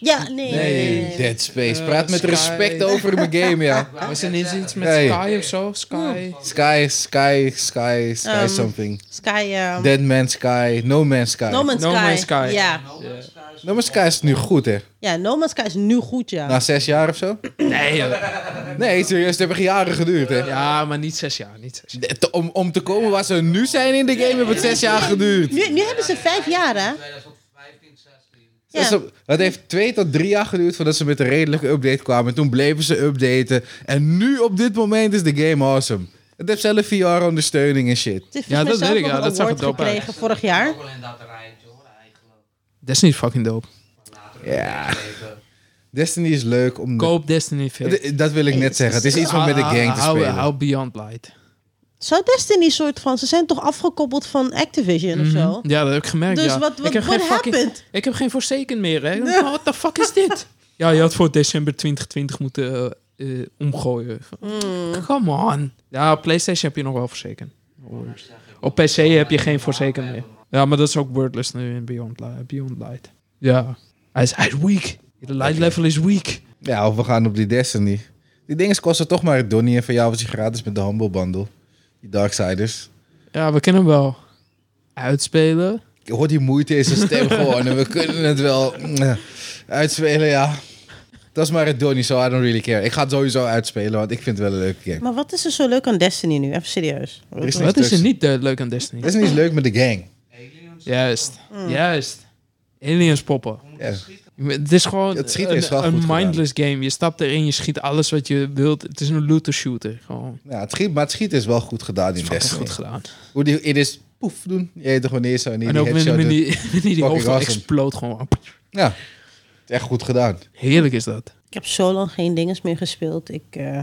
Speaker 2: Ja, nee. nee, nee,
Speaker 1: Nee,
Speaker 2: nee.
Speaker 1: Dead Space.
Speaker 3: Eh,
Speaker 1: Praat met
Speaker 3: Sky.
Speaker 1: respect over mijn game, ja.
Speaker 3: Was er niet iets met
Speaker 1: Nee.
Speaker 3: Sky of zo? Sky?
Speaker 1: Sky, Sky, Sky, Sky
Speaker 3: Um,
Speaker 2: Ehm,
Speaker 1: something.
Speaker 2: Sky, eh,
Speaker 1: Dead Man Sky, No Man's Sky.
Speaker 2: No Man's
Speaker 3: No
Speaker 2: Sky.
Speaker 3: Man's Sky.
Speaker 2: Ja.
Speaker 1: no Man's Sky is nu goed, hè?
Speaker 2: ja, No Man's Sky is nu goed, ja.
Speaker 3: Nou,
Speaker 1: Na zes jaar of zo?
Speaker 3: Nee, joh.
Speaker 1: Nee, serieus, het hebben jaren geduurd, hè?
Speaker 3: Ja, maar niet zes jaar. Niet zes jaar.
Speaker 1: De- te- Om, om te komen waar ze nu zijn in de game, hebben het zes jaar geduurd.
Speaker 2: Nu, nu hebben ze vijf jaar, hè?
Speaker 4: 2015, 16.
Speaker 2: Ja.
Speaker 1: Dat is- het heeft twee tot drie jaar geduurd voordat ze met een redelijke update kwamen. En toen bleven ze updaten. En nu op dit moment is de game awesome. Het heeft zelf VR-ondersteuning en shit.
Speaker 2: Het heeft
Speaker 3: Ja,
Speaker 2: volgens mij
Speaker 3: dat
Speaker 2: zelf
Speaker 3: weet ik,
Speaker 2: nog
Speaker 3: ja,
Speaker 2: een
Speaker 3: dat zag
Speaker 2: award
Speaker 3: er dope uit.
Speaker 2: gekregen vorig jaar.
Speaker 4: Ook wel in dat rijtje hoor, eigenlijk.
Speaker 3: Dat is niet fucking dope.
Speaker 4: Later
Speaker 1: Ja.
Speaker 4: even.
Speaker 1: Destiny is leuk om...
Speaker 3: Koop Destiny veel.
Speaker 1: D- Dat wil ik net zeggen. Het is iets om met de gang te
Speaker 3: dus Ah, Hou-
Speaker 1: spelen.
Speaker 3: Hou Beyond Light.
Speaker 2: Zou Destiny soort van... Ze zijn toch afgekoppeld van Activision of zo?
Speaker 3: Ja, dat heb ik gemerkt.
Speaker 2: Dus
Speaker 3: Mhm. ja.
Speaker 2: wat,
Speaker 3: ik
Speaker 2: wat,
Speaker 3: heb
Speaker 2: what
Speaker 3: geen fucking-
Speaker 2: happened?
Speaker 3: Ik heb geen voorzeken meer,
Speaker 2: (laughs)
Speaker 3: hè? What the fuck is dit? Ja, je had voor december 2020 moeten eh, eh, omgooien.
Speaker 2: Mm.
Speaker 3: Come on. Ja, op PlayStation heb je nog wel voorzeken. Op PC heb je geen voorzeken meer. Ja, maar dat is ook wordless nu in Beyond, Li- Beyond Light. Ja. Hij is, hij is weak. De light level is weak.
Speaker 1: Ja, of we gaan op die Destiny. Die dingen kosten toch maar het donnie. En van jou was die gratis met de Humble Bundle. Die Darksiders.
Speaker 3: Ja, we kunnen hem wel uitspelen.
Speaker 1: Ik hoor die moeite in zijn
Speaker 3: (laughs)
Speaker 1: stem gewoon. En we kunnen het wel eh, uitspelen, ja. Dat is maar het donnie, so I don't really care. Ik ga het sowieso uitspelen, want ik vind het wel een leuke game.
Speaker 2: Maar wat is er zo leuk aan Destiny nu? Even serieus.
Speaker 1: Er is
Speaker 3: Wat
Speaker 1: niks
Speaker 3: is er
Speaker 1: tussen.
Speaker 3: niet eh, leuk aan Destiny?
Speaker 1: Destiny is leuk met de gang.
Speaker 4: Aliens.
Speaker 3: Juist.
Speaker 2: Mm.
Speaker 3: Juist. Aliens poppen.
Speaker 1: Ja.
Speaker 3: Het is gewoon
Speaker 1: Het schieten is wel
Speaker 3: een, een
Speaker 1: goed gedaan.
Speaker 3: mindless game. Je stapt erin, je schiet alles wat je wilt. Het is een looter shooter. Gewoon.
Speaker 1: Ja, het schiet, maar het schieten is wel goed gedaan in
Speaker 3: Dat is
Speaker 1: Destiny.
Speaker 3: goed gedaan.
Speaker 1: Hoe die, it is poef doen. Je weet toch wanneer zo en die
Speaker 3: En ook wanneer
Speaker 1: headshot doet.
Speaker 3: die, (laughs) wanneer die hoofd
Speaker 1: awesome.
Speaker 3: exploot gewoon.
Speaker 1: Ja, het is echt goed gedaan.
Speaker 3: Heerlijk is dat.
Speaker 2: Ik heb zo lang geen dinges meer gespeeld. Ik, eh,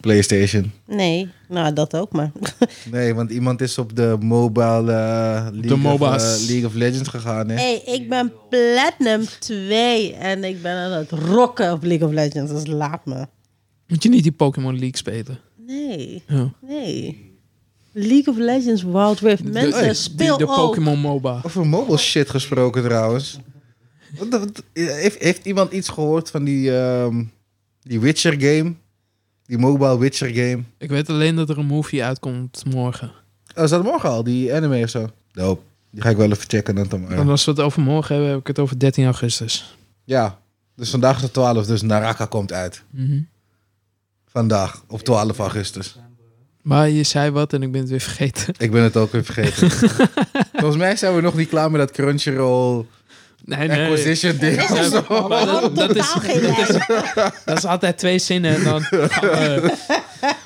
Speaker 1: PlayStation.
Speaker 2: nee, nou dat ook maar. (laughs)
Speaker 1: Nee, want iemand is op de mobile eh, League,
Speaker 3: MOBA's.
Speaker 1: Of, eh, League of Legends gegaan. Hè?
Speaker 2: hey, ik ben Platinum 2 en ik ben aan het rocken op League of Legends. Dus laat me.
Speaker 3: Moet je niet die Pokémon League spelen?
Speaker 2: Nee,
Speaker 3: Ja.
Speaker 2: nee. League of Legends Wild Rift. Mensen,
Speaker 1: hey, die-
Speaker 2: speel
Speaker 3: de
Speaker 2: ook.
Speaker 3: Pokémon MOBA.
Speaker 1: Over mobile shit gesproken trouwens. Wat- wat- Heeft, heeft iemand iets gehoord van die, ehm, die Witcher game? Die mobile Witcher game?
Speaker 3: Ik weet alleen dat er een movie uitkomt morgen.
Speaker 1: Oh, is dat morgen al? Die anime of zo? Doop. Die ga ik wel even checken. Dan dan
Speaker 3: En
Speaker 1: maar.
Speaker 3: als we het over morgen hebben, heb ik het over 13 augustus.
Speaker 1: Ja, dus vandaag is het 12, dus Naraka komt uit.
Speaker 3: Mhm.
Speaker 1: Vandaag, op 12 augustus.
Speaker 3: Maar je zei wat en ik ben het weer vergeten. (laughs)
Speaker 1: Ik ben het ook weer vergeten. Volgens mij zijn we nog niet klaar met dat Crunchyroll
Speaker 3: Nee, nee.
Speaker 1: acquisition ding
Speaker 2: Is
Speaker 1: of
Speaker 2: het-
Speaker 1: zo.
Speaker 2: Maar
Speaker 3: dat-
Speaker 2: dat,
Speaker 3: dat is-
Speaker 2: totaal geen lijn.
Speaker 3: (laughs) Dat is altijd twee zinnen en dan gaan we,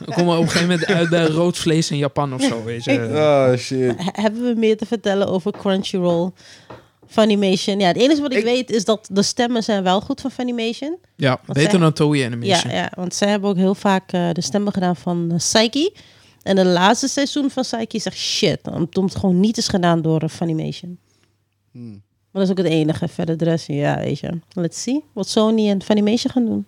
Speaker 3: we komen op een gegeven moment uit bij rood vlees in Japan of zo. Weet je.
Speaker 1: Oh shit.
Speaker 2: He- Hebben we meer te vertellen over Crunchyroll? Funimation. Ja, het enige wat ik,
Speaker 1: Ik-
Speaker 2: weet is dat de stemmen zijn wel goed van Funimation.
Speaker 3: Ja, beter
Speaker 2: zij-
Speaker 3: dan Toei
Speaker 2: Ja,
Speaker 3: Animation.
Speaker 2: ja, want zij hebben ook heel vaak eh, de stemmen gedaan van eh, Psyche. En het laatste seizoen van Psyche is echt shit. Omdat het gewoon niet is gedaan door eh, Funimation.
Speaker 1: Hmm.
Speaker 2: Maar dat is ook het enige. Verder de rest, ja, weet je. Let's see wat Sony en Funimation gaan doen.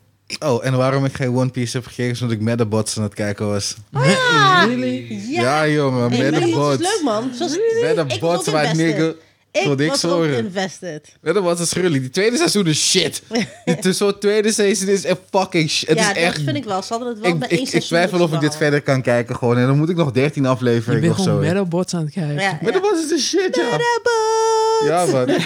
Speaker 1: Oh, en waarom ik geen One Piece heb gekeken, is omdat ik Metabots aan het kijken was. Ja, jongen,
Speaker 2: Hey, Metabots is leuk,
Speaker 1: Metabots.
Speaker 2: man. Zoals, ik was ook
Speaker 1: Metabots, waar
Speaker 2: invested.
Speaker 1: nigga.
Speaker 2: Ik
Speaker 1: Tot ik
Speaker 2: was ook
Speaker 1: zoren.
Speaker 2: invested.
Speaker 1: Metabots is gruwelijk. Die tweede seizoen is
Speaker 2: (laughs)
Speaker 1: shit. Het is Zo'n tweede seizoen is echt fucking shit. Het
Speaker 2: ja,
Speaker 1: is echt...
Speaker 2: dat vind ik wel. Ze hadden het wel
Speaker 1: Ik,
Speaker 2: bij één
Speaker 1: ik, ik
Speaker 2: seizoen
Speaker 1: twijfel of ik dit
Speaker 2: opgehouden.
Speaker 1: verder kan kijken gewoon. En dan moet ik nog 13
Speaker 3: Je
Speaker 1: afleveringen
Speaker 3: bent
Speaker 1: of zo.
Speaker 3: gewoon
Speaker 1: in.
Speaker 3: Metalbots aan het kijken.
Speaker 2: Ja, ja.
Speaker 1: Metabots is de shit, ja.
Speaker 2: Metabots!
Speaker 1: Ja,
Speaker 2: (laughs)
Speaker 1: man.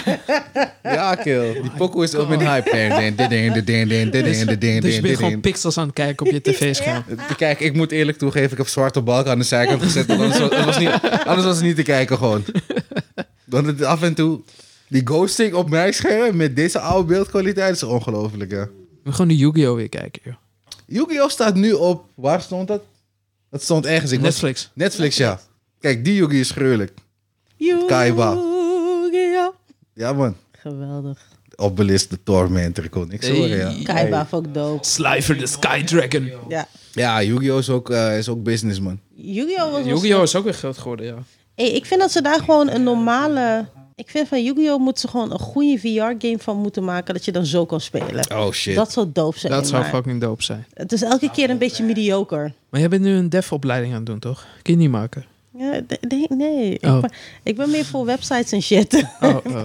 Speaker 1: Ja, kill. Die pokoe is ook met
Speaker 3: (laughs)
Speaker 1: hype. Ding, ding, ding, ding, ding, ding, ding,
Speaker 3: Dus,
Speaker 1: ding, ding, ding,
Speaker 3: dus je bent
Speaker 1: ding,
Speaker 3: gewoon
Speaker 1: ding.
Speaker 3: pixels aan het kijken op je tv-scherm.
Speaker 1: Eh, Kijk, ik moet eerlijk toegeven, ik heb zwarte balken aan de zijkant gezet. want Anders was, het was niet, anders was het niet te kijken gewoon. Want het, af en toe, die ghosting op mijn scherm met deze oude beeldkwaliteit is ongelooflijk, ja.
Speaker 3: Ik wil gewoon de Yu-Gi-Oh! weer kijken, joh.
Speaker 1: Yu-Gi-Oh! staat nu op, waar stond dat? Dat stond ergens. Ik was-
Speaker 3: Netflix.
Speaker 1: Netflix, ja. Kijk, die Yu-Gi-Oh! is gruwelijk. Kaiba.
Speaker 2: Yu-Gi-Oh!
Speaker 1: Ja, man.
Speaker 2: Geweldig.
Speaker 1: Obelisk de Tormentor kon ik zo, ja.
Speaker 3: Hey.
Speaker 2: Kaiba vond ik dope.
Speaker 3: Sliver the Sky Dragon.
Speaker 2: Ja.
Speaker 1: Ja, Yu-Gi-Oh! is ook, eh, is ook business, man.
Speaker 2: Yu-Gi-Oh! was...
Speaker 3: Yu-Gi-Oh! is ook weer groot geworden, ja.
Speaker 2: Hey, ik vind dat ze daar gewoon een normale... Ik vind van Yu-Gi-Oh! moeten ze gewoon een goede VR-game van moeten maken... dat je dan zo kan spelen.
Speaker 1: Oh, shit.
Speaker 2: Dat zou dope zijn.
Speaker 3: Dat zou
Speaker 2: maar
Speaker 3: fucking dope zijn.
Speaker 2: Het is elke keer een beetje mediocre.
Speaker 3: Maar jij bent nu een dev-opleiding aan het doen, toch? Kun je niet maken?
Speaker 2: Ja, de- de- nee,
Speaker 3: Oh.
Speaker 2: ik, ben, ik ben meer voor websites en (laughs) shit.
Speaker 3: Oh, oh.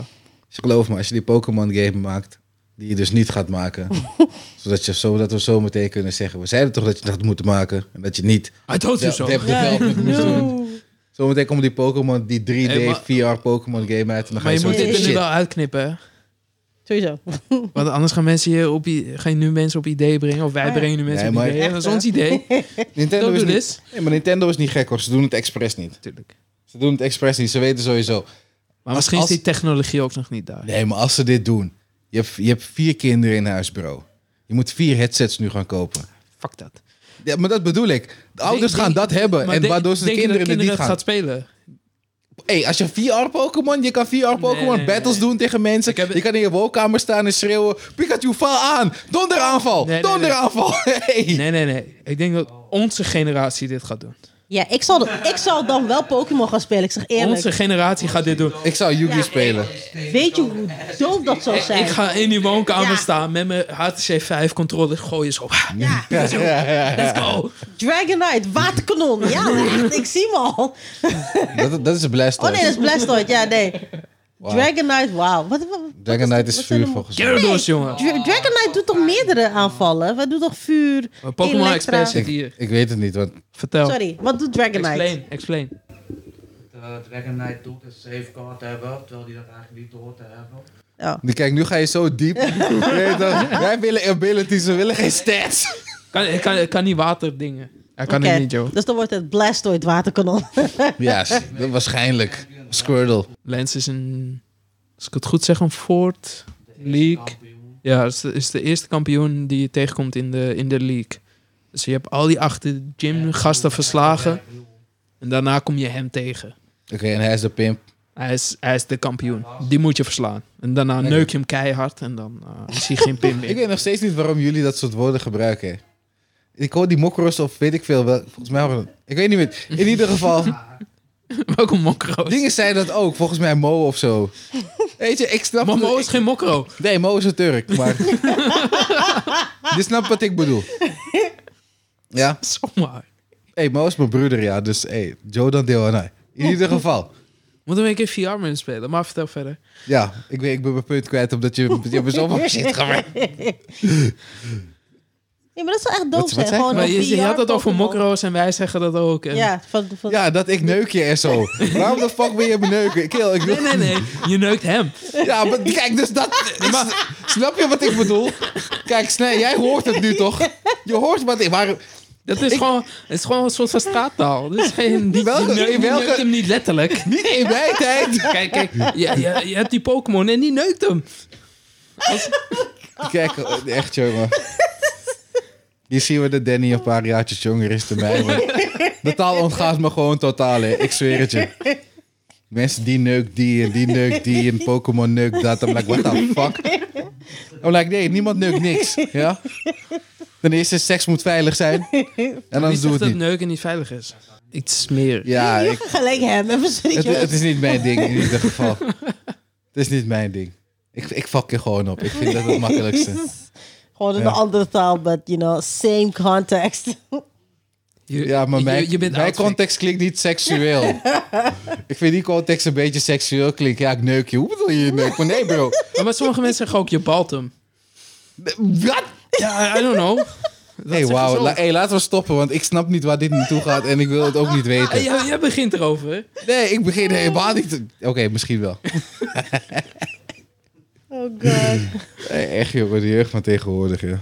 Speaker 1: Dus geloof me, als je die Pokémon game maakt, die je dus niet gaat maken. zodat, je, zodat we zo meteen kunnen zeggen, we zeiden toch dat je dat had moeten maken. En dat je niet
Speaker 3: I told you
Speaker 1: de-
Speaker 3: so.
Speaker 1: de- development moest doen. Zometeen komt die Pokémon, die 3D
Speaker 3: Hey, maar-
Speaker 1: VR Pokémon game uit. En dan ga je,
Speaker 3: Maar je
Speaker 1: zo
Speaker 3: moet dit er nu
Speaker 1: shit.
Speaker 3: wel uitknippen, hè?
Speaker 2: Sowieso.
Speaker 3: Want anders gaan mensen je op, i- ga je nu mensen op idee brengen. Of wij
Speaker 2: Ah, ja.
Speaker 3: brengen nu mensen
Speaker 1: Oh Nee,
Speaker 3: op
Speaker 1: maar-
Speaker 3: idee. Dat is ons
Speaker 1: (laughs)
Speaker 3: idee.
Speaker 1: Nintendo
Speaker 3: Don't
Speaker 1: is
Speaker 3: do
Speaker 1: niet,
Speaker 3: this.
Speaker 1: nee, maar Nintendo is niet gek hoor, ze doen het expres niet.
Speaker 3: Tuurlijk.
Speaker 1: Ze doen het expres niet, ze weten sowieso.
Speaker 3: Maar misschien
Speaker 1: als-
Speaker 3: is die technologie ook nog niet daar.
Speaker 1: Nee, maar als ze dit doen, je hebt, je hebt vier kinderen in huis, bro. Je moet vier headsets nu gaan kopen.
Speaker 3: Fuck dat.
Speaker 1: Ja, maar dat bedoel ik. De ouders
Speaker 3: Denk-
Speaker 1: gaan
Speaker 3: denk-
Speaker 1: dat hebben.
Speaker 3: maar
Speaker 1: En
Speaker 3: denk-
Speaker 1: waardoor ze de
Speaker 3: denk je dat
Speaker 1: kinderen het niet
Speaker 3: kinderen
Speaker 1: gaan.
Speaker 3: gaat spelen.
Speaker 1: Hey, als je VR Pokémon, je kan VR Pokémon
Speaker 3: Nee.
Speaker 1: battles doen tegen mensen.
Speaker 3: Ik heb-
Speaker 1: Je kan in je woonkamer staan en schreeuwen: Pikachu, val aan! Donderaanval!
Speaker 3: Nee, nee,
Speaker 1: Donderaanval! (laughs) Hey.
Speaker 3: Nee, nee, nee. Ik denk dat onze generatie dit gaat doen.
Speaker 2: Ja, ik zal, ik zal dan wel Pokémon gaan spelen. Ik zeg eerlijk.
Speaker 3: Onze generatie gaat dit doen.
Speaker 1: Ik zou Yugi spelen.
Speaker 2: Weet je hoe dope dat zou zijn?
Speaker 3: Ik ga in die woonkamer
Speaker 2: Ja.
Speaker 3: staan met mijn HTC 5 controller. Gooien zo.
Speaker 2: Ja,
Speaker 1: Ja, ja, ja.
Speaker 3: Let's go.
Speaker 2: Dragonite, waterkanon. Ja, echt, ik zie hem al.
Speaker 1: (laughs) Dat, dat is
Speaker 2: Oh nee, dat
Speaker 1: een Blastoise.
Speaker 2: is Blastoise. Ja, nee. Dragonite, wauw. Wat, wat,
Speaker 1: Dragonite is
Speaker 2: wat zijn
Speaker 1: vuur
Speaker 2: de-
Speaker 1: volgens mij.
Speaker 3: Gyarados, jongen.
Speaker 2: Dra- Dragonite doet toch meerdere aanvallen? Wat doet toch vuur?
Speaker 3: Maar Pokémon
Speaker 2: Electra?
Speaker 3: Express zit
Speaker 1: Ik,
Speaker 3: hier.
Speaker 1: ik weet het niet, want
Speaker 3: Vertel.
Speaker 2: Sorry, wat doet Dragonite?
Speaker 3: Explain, explain.
Speaker 4: De Dragon Knight doet een safeguard hebben, terwijl die dat eigenlijk niet hoort te hebben.
Speaker 2: Oh.
Speaker 1: kijk, nu ga je
Speaker 2: (laughs)
Speaker 1: zo diep. (laughs) Je weet toch, wij willen abilities, we willen geen
Speaker 2: (laughs)
Speaker 1: stats.
Speaker 3: Kan, ik kan, ik kan niet water dingen. Hij kan
Speaker 2: Oké,
Speaker 3: het niet, joh.
Speaker 2: Dus dan wordt het Blastoise waterkanon. (laughs)
Speaker 1: Ja, s- dat waarschijnlijk. Squirtle.
Speaker 3: Lens is een, als ik het goed zeg, een Ford League. Ja, is de, is de eerste kampioen die je tegenkomt in de, in de league. Dus je hebt al die achter gym gasten verslagen. En daarna kom je hem tegen.
Speaker 1: Oké, en hij is de pimp.
Speaker 3: Hij is, hij is de kampioen. Die moet je verslaan. En daarna
Speaker 1: Lekker.
Speaker 3: neuk je hem keihard en dan eh, is hij geen pin
Speaker 1: (laughs) Ik
Speaker 3: meer.
Speaker 1: weet nog steeds niet waarom jullie dat soort woorden gebruiken. Ik hoor die mokros of weet ik veel wel. Volgens mij hadden Ik weet niet meer. In ieder
Speaker 3: (laughs)
Speaker 1: geval.
Speaker 3: Welkom mokro.
Speaker 1: dingen zeiden dat ook. Volgens mij Mo of zo. Weet je, ik snap...
Speaker 3: Momo is geen
Speaker 1: (laughs)
Speaker 3: mokro.
Speaker 1: Nee, Mo is een Turk,
Speaker 3: (laughs)
Speaker 1: maar... je snapt wat ik bedoel. Ja?
Speaker 3: Zomaar.
Speaker 1: hey, Mo is mijn broeder, ja. Dus hey, Jodan Dewanai. In ieder geval.
Speaker 3: Moeten we een keer VR mee spelen? Maar vertel verder.
Speaker 1: Ja, ik, weet, ik ben mijn punt kwijt omdat
Speaker 3: (laughs)
Speaker 1: je, je hebt me zoveel shit gemaakt.
Speaker 2: Ja, maar dat zou echt
Speaker 1: Wat-
Speaker 2: doof
Speaker 1: wat
Speaker 2: zijn.
Speaker 1: zei je?
Speaker 2: Gewoon
Speaker 3: Maar
Speaker 2: een
Speaker 3: je, je
Speaker 2: VR
Speaker 3: had het over
Speaker 2: Pokémon.
Speaker 3: mokro's en wij zeggen dat ook. En...
Speaker 2: Ja, van, van,
Speaker 1: Ja, dat ik neuk je en zo. Waarom de fuck ben je me neuken? Kill, ik wil...
Speaker 3: (laughs) Nee, nee, nee. Je neukt hem.
Speaker 1: Ja, maar kijk, dus dat... maar, snap je wat ik bedoel? Kijk, Snij, jij hoort het nu toch? Je hoort wat ik... Waarom...
Speaker 3: Dat is, gewoon, het is gewoon een soort van straattaal. Dus geen, die,
Speaker 1: Welke-
Speaker 3: die neukt, die
Speaker 1: welke-
Speaker 3: neukt hem niet (laughs) letterlijk.
Speaker 1: Niet in mijn tijd.
Speaker 3: Kijk, kijk. Je, je, je hebt die Pokémon en die neukt hem.
Speaker 1: Kijk, echt jongen. Hier zien we dat Danny een paar jaartjes jonger is dan mij. maar De taal ontgaat me gewoon totaal, hè. Ik zweer het je. Mensen die neukt die en die neukt die en Pokémon neukt dat. I'm like, what the fuck? I'm like, nee, niemand neukt niks. Ja? Ten eerste, seks moet veilig zijn. En
Speaker 3: Wie
Speaker 1: anders doe
Speaker 3: zegt
Speaker 1: het
Speaker 3: dat
Speaker 1: niet.
Speaker 3: neuken niet veilig is? Iets smerig.
Speaker 1: Ja,
Speaker 2: je
Speaker 1: ik,
Speaker 2: hebt gelijk hem. (laughs) Even
Speaker 1: het,
Speaker 2: serieus.
Speaker 1: het is niet mijn ding in
Speaker 3: (laughs)
Speaker 1: ieder geval. Het is niet mijn ding. Ik, ik fuck je gewoon op. Ik vind dat het makkelijkste.
Speaker 2: (laughs) Gewoon in
Speaker 1: Ja.
Speaker 2: een andere taal, but you know, same context. (laughs)
Speaker 3: (laughs) Je,
Speaker 1: Ja, maar
Speaker 3: je-
Speaker 1: mijn,
Speaker 3: je bent
Speaker 1: mijn
Speaker 3: oud,
Speaker 1: context klinkt niet seksueel.
Speaker 3: (laughs)
Speaker 1: ik vind die context een beetje seksueel klinken. Ja, ik neuk je. Hoe bedoel je je neuk? Maar nee, bro.
Speaker 3: Fik. Maar, sommige mensen zeggen ook je balt hem.
Speaker 1: Wat?
Speaker 3: Ja, I don't know.
Speaker 1: Hey,
Speaker 3: zeggen ze
Speaker 1: wauw.
Speaker 3: ook.
Speaker 1: La- hey, laten we stoppen, want ik snap niet waar dit naartoe gaat en ik wil het ook niet
Speaker 3: (laughs) Ah,
Speaker 1: weten.
Speaker 3: jij, jij begint erover.
Speaker 1: Nee, ik begin
Speaker 3: Oh.
Speaker 1: helemaal niet. te- Oké, misschien
Speaker 3: (laughs)
Speaker 1: wel.
Speaker 2: Oh god.
Speaker 1: Hey, echt, joh, de jeugd van tegenwoordig, joh.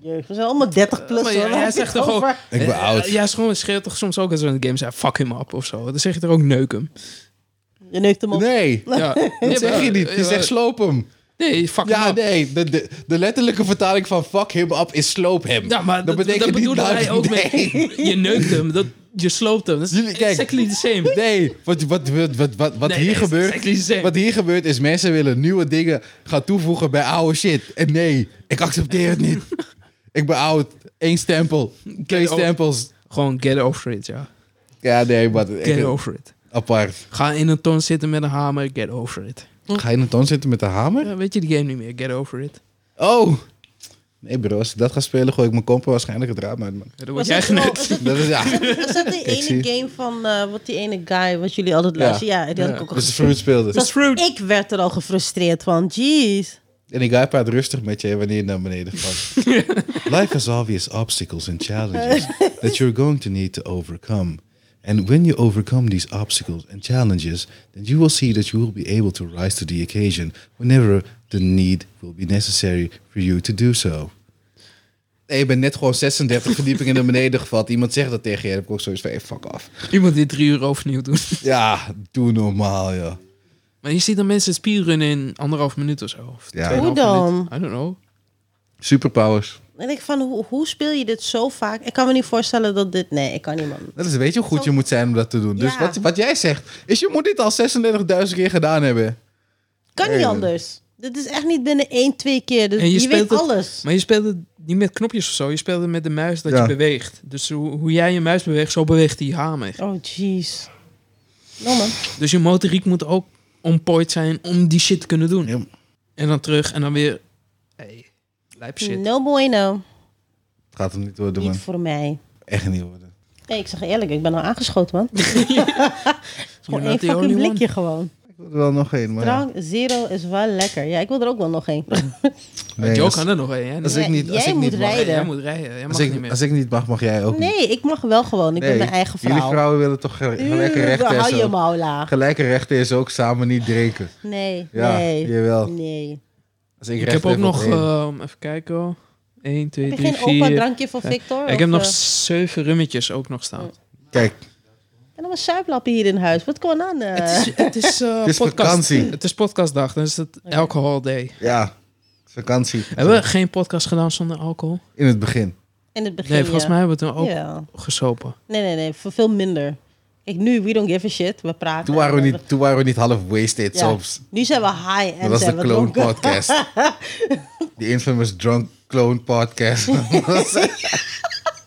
Speaker 2: Jeugd, we zijn allemaal 30 plus
Speaker 3: Maar
Speaker 2: hoor.
Speaker 3: ja,
Speaker 2: Waar
Speaker 3: hij
Speaker 2: heb je
Speaker 3: zegt
Speaker 2: het
Speaker 3: toch ook-
Speaker 2: over?
Speaker 1: Ik ben
Speaker 3: Eh,
Speaker 1: oud.
Speaker 3: Ja, soms schreeuwt toch soms ook als we in de game zijn, fuck him up of zo. Dan zeg je er ook neuk hem.
Speaker 2: Je neukt hem op.
Speaker 1: Nee,
Speaker 3: (laughs) Ja.
Speaker 1: dat zeg je niet. Je zegt sloop hem.
Speaker 3: Nee, fuck
Speaker 1: Ja,
Speaker 3: hem up.
Speaker 1: nee. De, de, de letterlijke vertaling van fuck him up is sloop hem.
Speaker 3: Ja, maar dat, betekent dat
Speaker 1: niet
Speaker 3: bedoelde
Speaker 1: dat-
Speaker 3: hij ook
Speaker 1: (laughs)
Speaker 3: mee. Je neukt hem, dat, je sloopt hem. Dat is
Speaker 1: Jullie- kijk.
Speaker 3: exactly the same.
Speaker 1: Nee, wat, wat, wat, wat, wat, wat
Speaker 3: Nee,
Speaker 1: hier
Speaker 3: nee, het is exactly the
Speaker 1: gebeurt.
Speaker 3: same.
Speaker 1: Wat hier gebeurt is mensen willen nieuwe dingen gaan toevoegen bij oude shit. En nee, ik accepteer het
Speaker 3: (laughs)
Speaker 1: niet. ik ben oud. Eén stempel. Twee
Speaker 3: over-
Speaker 1: stempels.
Speaker 3: Gewoon get over it, ja.
Speaker 1: Ja, nee, maar ik-
Speaker 3: Get over it.
Speaker 1: apart.
Speaker 3: Ga in een ton zitten met een hamer, get over it.
Speaker 1: Ga je in een ton zitten met de hamer?
Speaker 3: Ja, weet je die game niet meer, get over it.
Speaker 1: Oh! Nee bro, als ik dat ga spelen gooi ik mijn compo waarschijnlijk het raam uit. Man.
Speaker 3: Ja, Dan
Speaker 2: Was
Speaker 3: word jij
Speaker 2: dat wel-
Speaker 3: geneukt.
Speaker 2: was dat-
Speaker 1: Dat is ja.
Speaker 2: Was dat die
Speaker 1: zie je.
Speaker 2: ene game van eh, wat die ene guy, wat jullie altijd luisteren? Ja, die had ik ook al
Speaker 1: Dus de fruit speelde.
Speaker 2: gezien. Dus
Speaker 3: fruit.
Speaker 2: Ik werd er al gefrustreerd van. Jeez.
Speaker 1: En ik ga praat rustig met je wanneer je naar beneden gaat. Life has obvious obstacles and challenges that you're going to need to overcome. And when you overcome these obstacles and challenges, then you will see that you will be able to rise to the occasion whenever the need will be necessary for you to do so. Nee, je bent net gewoon 36 verdiepingen naar beneden gevallen. Iemand zegt dat tegen je. Dan heb ik ook zoiets van, hey, fuck af.
Speaker 3: (laughs) Iemand die drie uur overnieuw doet. (laughs)
Speaker 1: Ja, doe normaal, joh.
Speaker 3: Maar je ziet dan mensen speedrunnen in anderhalf minuut of zo. Of
Speaker 1: Ja.
Speaker 3: tweeënhalf
Speaker 2: Hoe dan?
Speaker 3: minuut. I don't know.
Speaker 1: Superpowers.
Speaker 2: En ik van, hoe, hoe speel je dit zo vaak? Ik kan me niet voorstellen dat dit... Nee, ik kan niet, man.
Speaker 1: Dat is, weet je hoe goed je moet zijn om dat te doen. Dus
Speaker 2: Ja.
Speaker 1: wat, wat jij zegt, is je moet dit al 36.000 keer gedaan hebben.
Speaker 2: Kan niet
Speaker 1: Nee, man.
Speaker 2: anders. Dit is echt niet binnen één, twee keer. Dus
Speaker 3: En je
Speaker 2: je,
Speaker 3: speelt
Speaker 2: weet
Speaker 3: het-
Speaker 2: alles.
Speaker 3: Maar je speelde niet met knopjes of zo. Je speelde met de muis dat
Speaker 1: Ja.
Speaker 3: je beweegt. Dus hoe, hoe jij je muis beweegt, zo beweegt die hamer.
Speaker 2: Oh, jeez. No, man.
Speaker 3: Dus je motoriek moet ook on point zijn om die shit te kunnen doen.
Speaker 1: Ja.
Speaker 3: En dan terug en dan weer... Hey, lijp shit.
Speaker 2: No bueno.
Speaker 1: Het gaat hem niet worden,
Speaker 2: Niet
Speaker 1: man.
Speaker 2: voor mij.
Speaker 1: Echt niet worden.
Speaker 2: Nee, ik zeg eerlijk, ik ben al aangeschoten, man. Gewoon
Speaker 3: You're
Speaker 2: één
Speaker 3: not the
Speaker 2: fucking
Speaker 3: only one.
Speaker 2: blikje gewoon.
Speaker 1: Ik wil er wel nog één, maar... ja.
Speaker 2: Drank Zero is wel lekker. Ja, ik wil er ook wel nog één.
Speaker 1: Nee,
Speaker 3: Joe
Speaker 1: als,
Speaker 3: kan er nog een, hè?
Speaker 1: als ik
Speaker 2: Jij-
Speaker 1: niet, als
Speaker 2: jij
Speaker 1: ik niet
Speaker 2: moet
Speaker 1: mag,
Speaker 2: rijden.
Speaker 3: Nee, jij moet rijden. Jij mag
Speaker 1: als ik,
Speaker 3: niet meer.
Speaker 1: als ik niet mag, mag jij ook niet.
Speaker 2: Nee, ik mag wel gewoon. Ik ben
Speaker 1: Nee,
Speaker 2: mijn eigen vrouw.
Speaker 1: Jullie vrouwen willen toch gel- gelijke
Speaker 2: Uw,
Speaker 1: rechten en
Speaker 2: hou je
Speaker 1: zo.
Speaker 2: mouw laag.
Speaker 1: Gelijke rechten is ook samen niet drinken.
Speaker 2: Nee,
Speaker 1: Ja,
Speaker 2: nee.
Speaker 1: jawel.
Speaker 2: Nee.
Speaker 1: Als ik
Speaker 3: Ik
Speaker 1: recht
Speaker 3: heb ook
Speaker 1: op
Speaker 3: nog...
Speaker 1: één.
Speaker 3: ehm, even kijken. hoor. 1, 2,
Speaker 2: Heb je
Speaker 3: 3,
Speaker 2: geen opa
Speaker 3: 4...
Speaker 2: drankje van Victor?
Speaker 3: Ik heb
Speaker 2: Of,
Speaker 3: nog
Speaker 2: eh,
Speaker 3: zeven rummetjes ook nog staan.
Speaker 1: Kijk,
Speaker 2: en dan een suiplappen hier in huis. Wat kon aan? eh?
Speaker 3: Het is, het
Speaker 1: (laughs)
Speaker 3: is, eh,
Speaker 1: Het is
Speaker 3: podcast.
Speaker 1: vakantie.
Speaker 3: Het is podcastdag, dan is het alcohol day.
Speaker 1: ja, vakantie.
Speaker 3: Hebben we geen podcast gedaan zonder alcohol?
Speaker 1: In het begin.
Speaker 2: In het begin.
Speaker 3: Nee, volgens
Speaker 2: ja.
Speaker 3: mij hebben we het toen ook
Speaker 2: Ja.
Speaker 3: gesopen.
Speaker 2: Nee, nee, nee. Voor veel minder. Ik Kijk, nu, we don't give a shit. We praten.
Speaker 1: Toen waren we niet, toen waren we niet half wasted
Speaker 2: Ja.
Speaker 1: soms.
Speaker 2: Nu zijn we high
Speaker 1: Dat
Speaker 2: en
Speaker 1: was de
Speaker 2: zijn we
Speaker 1: Clone
Speaker 2: dronken.
Speaker 1: Podcast. Die infamous Drunk Clone Podcast.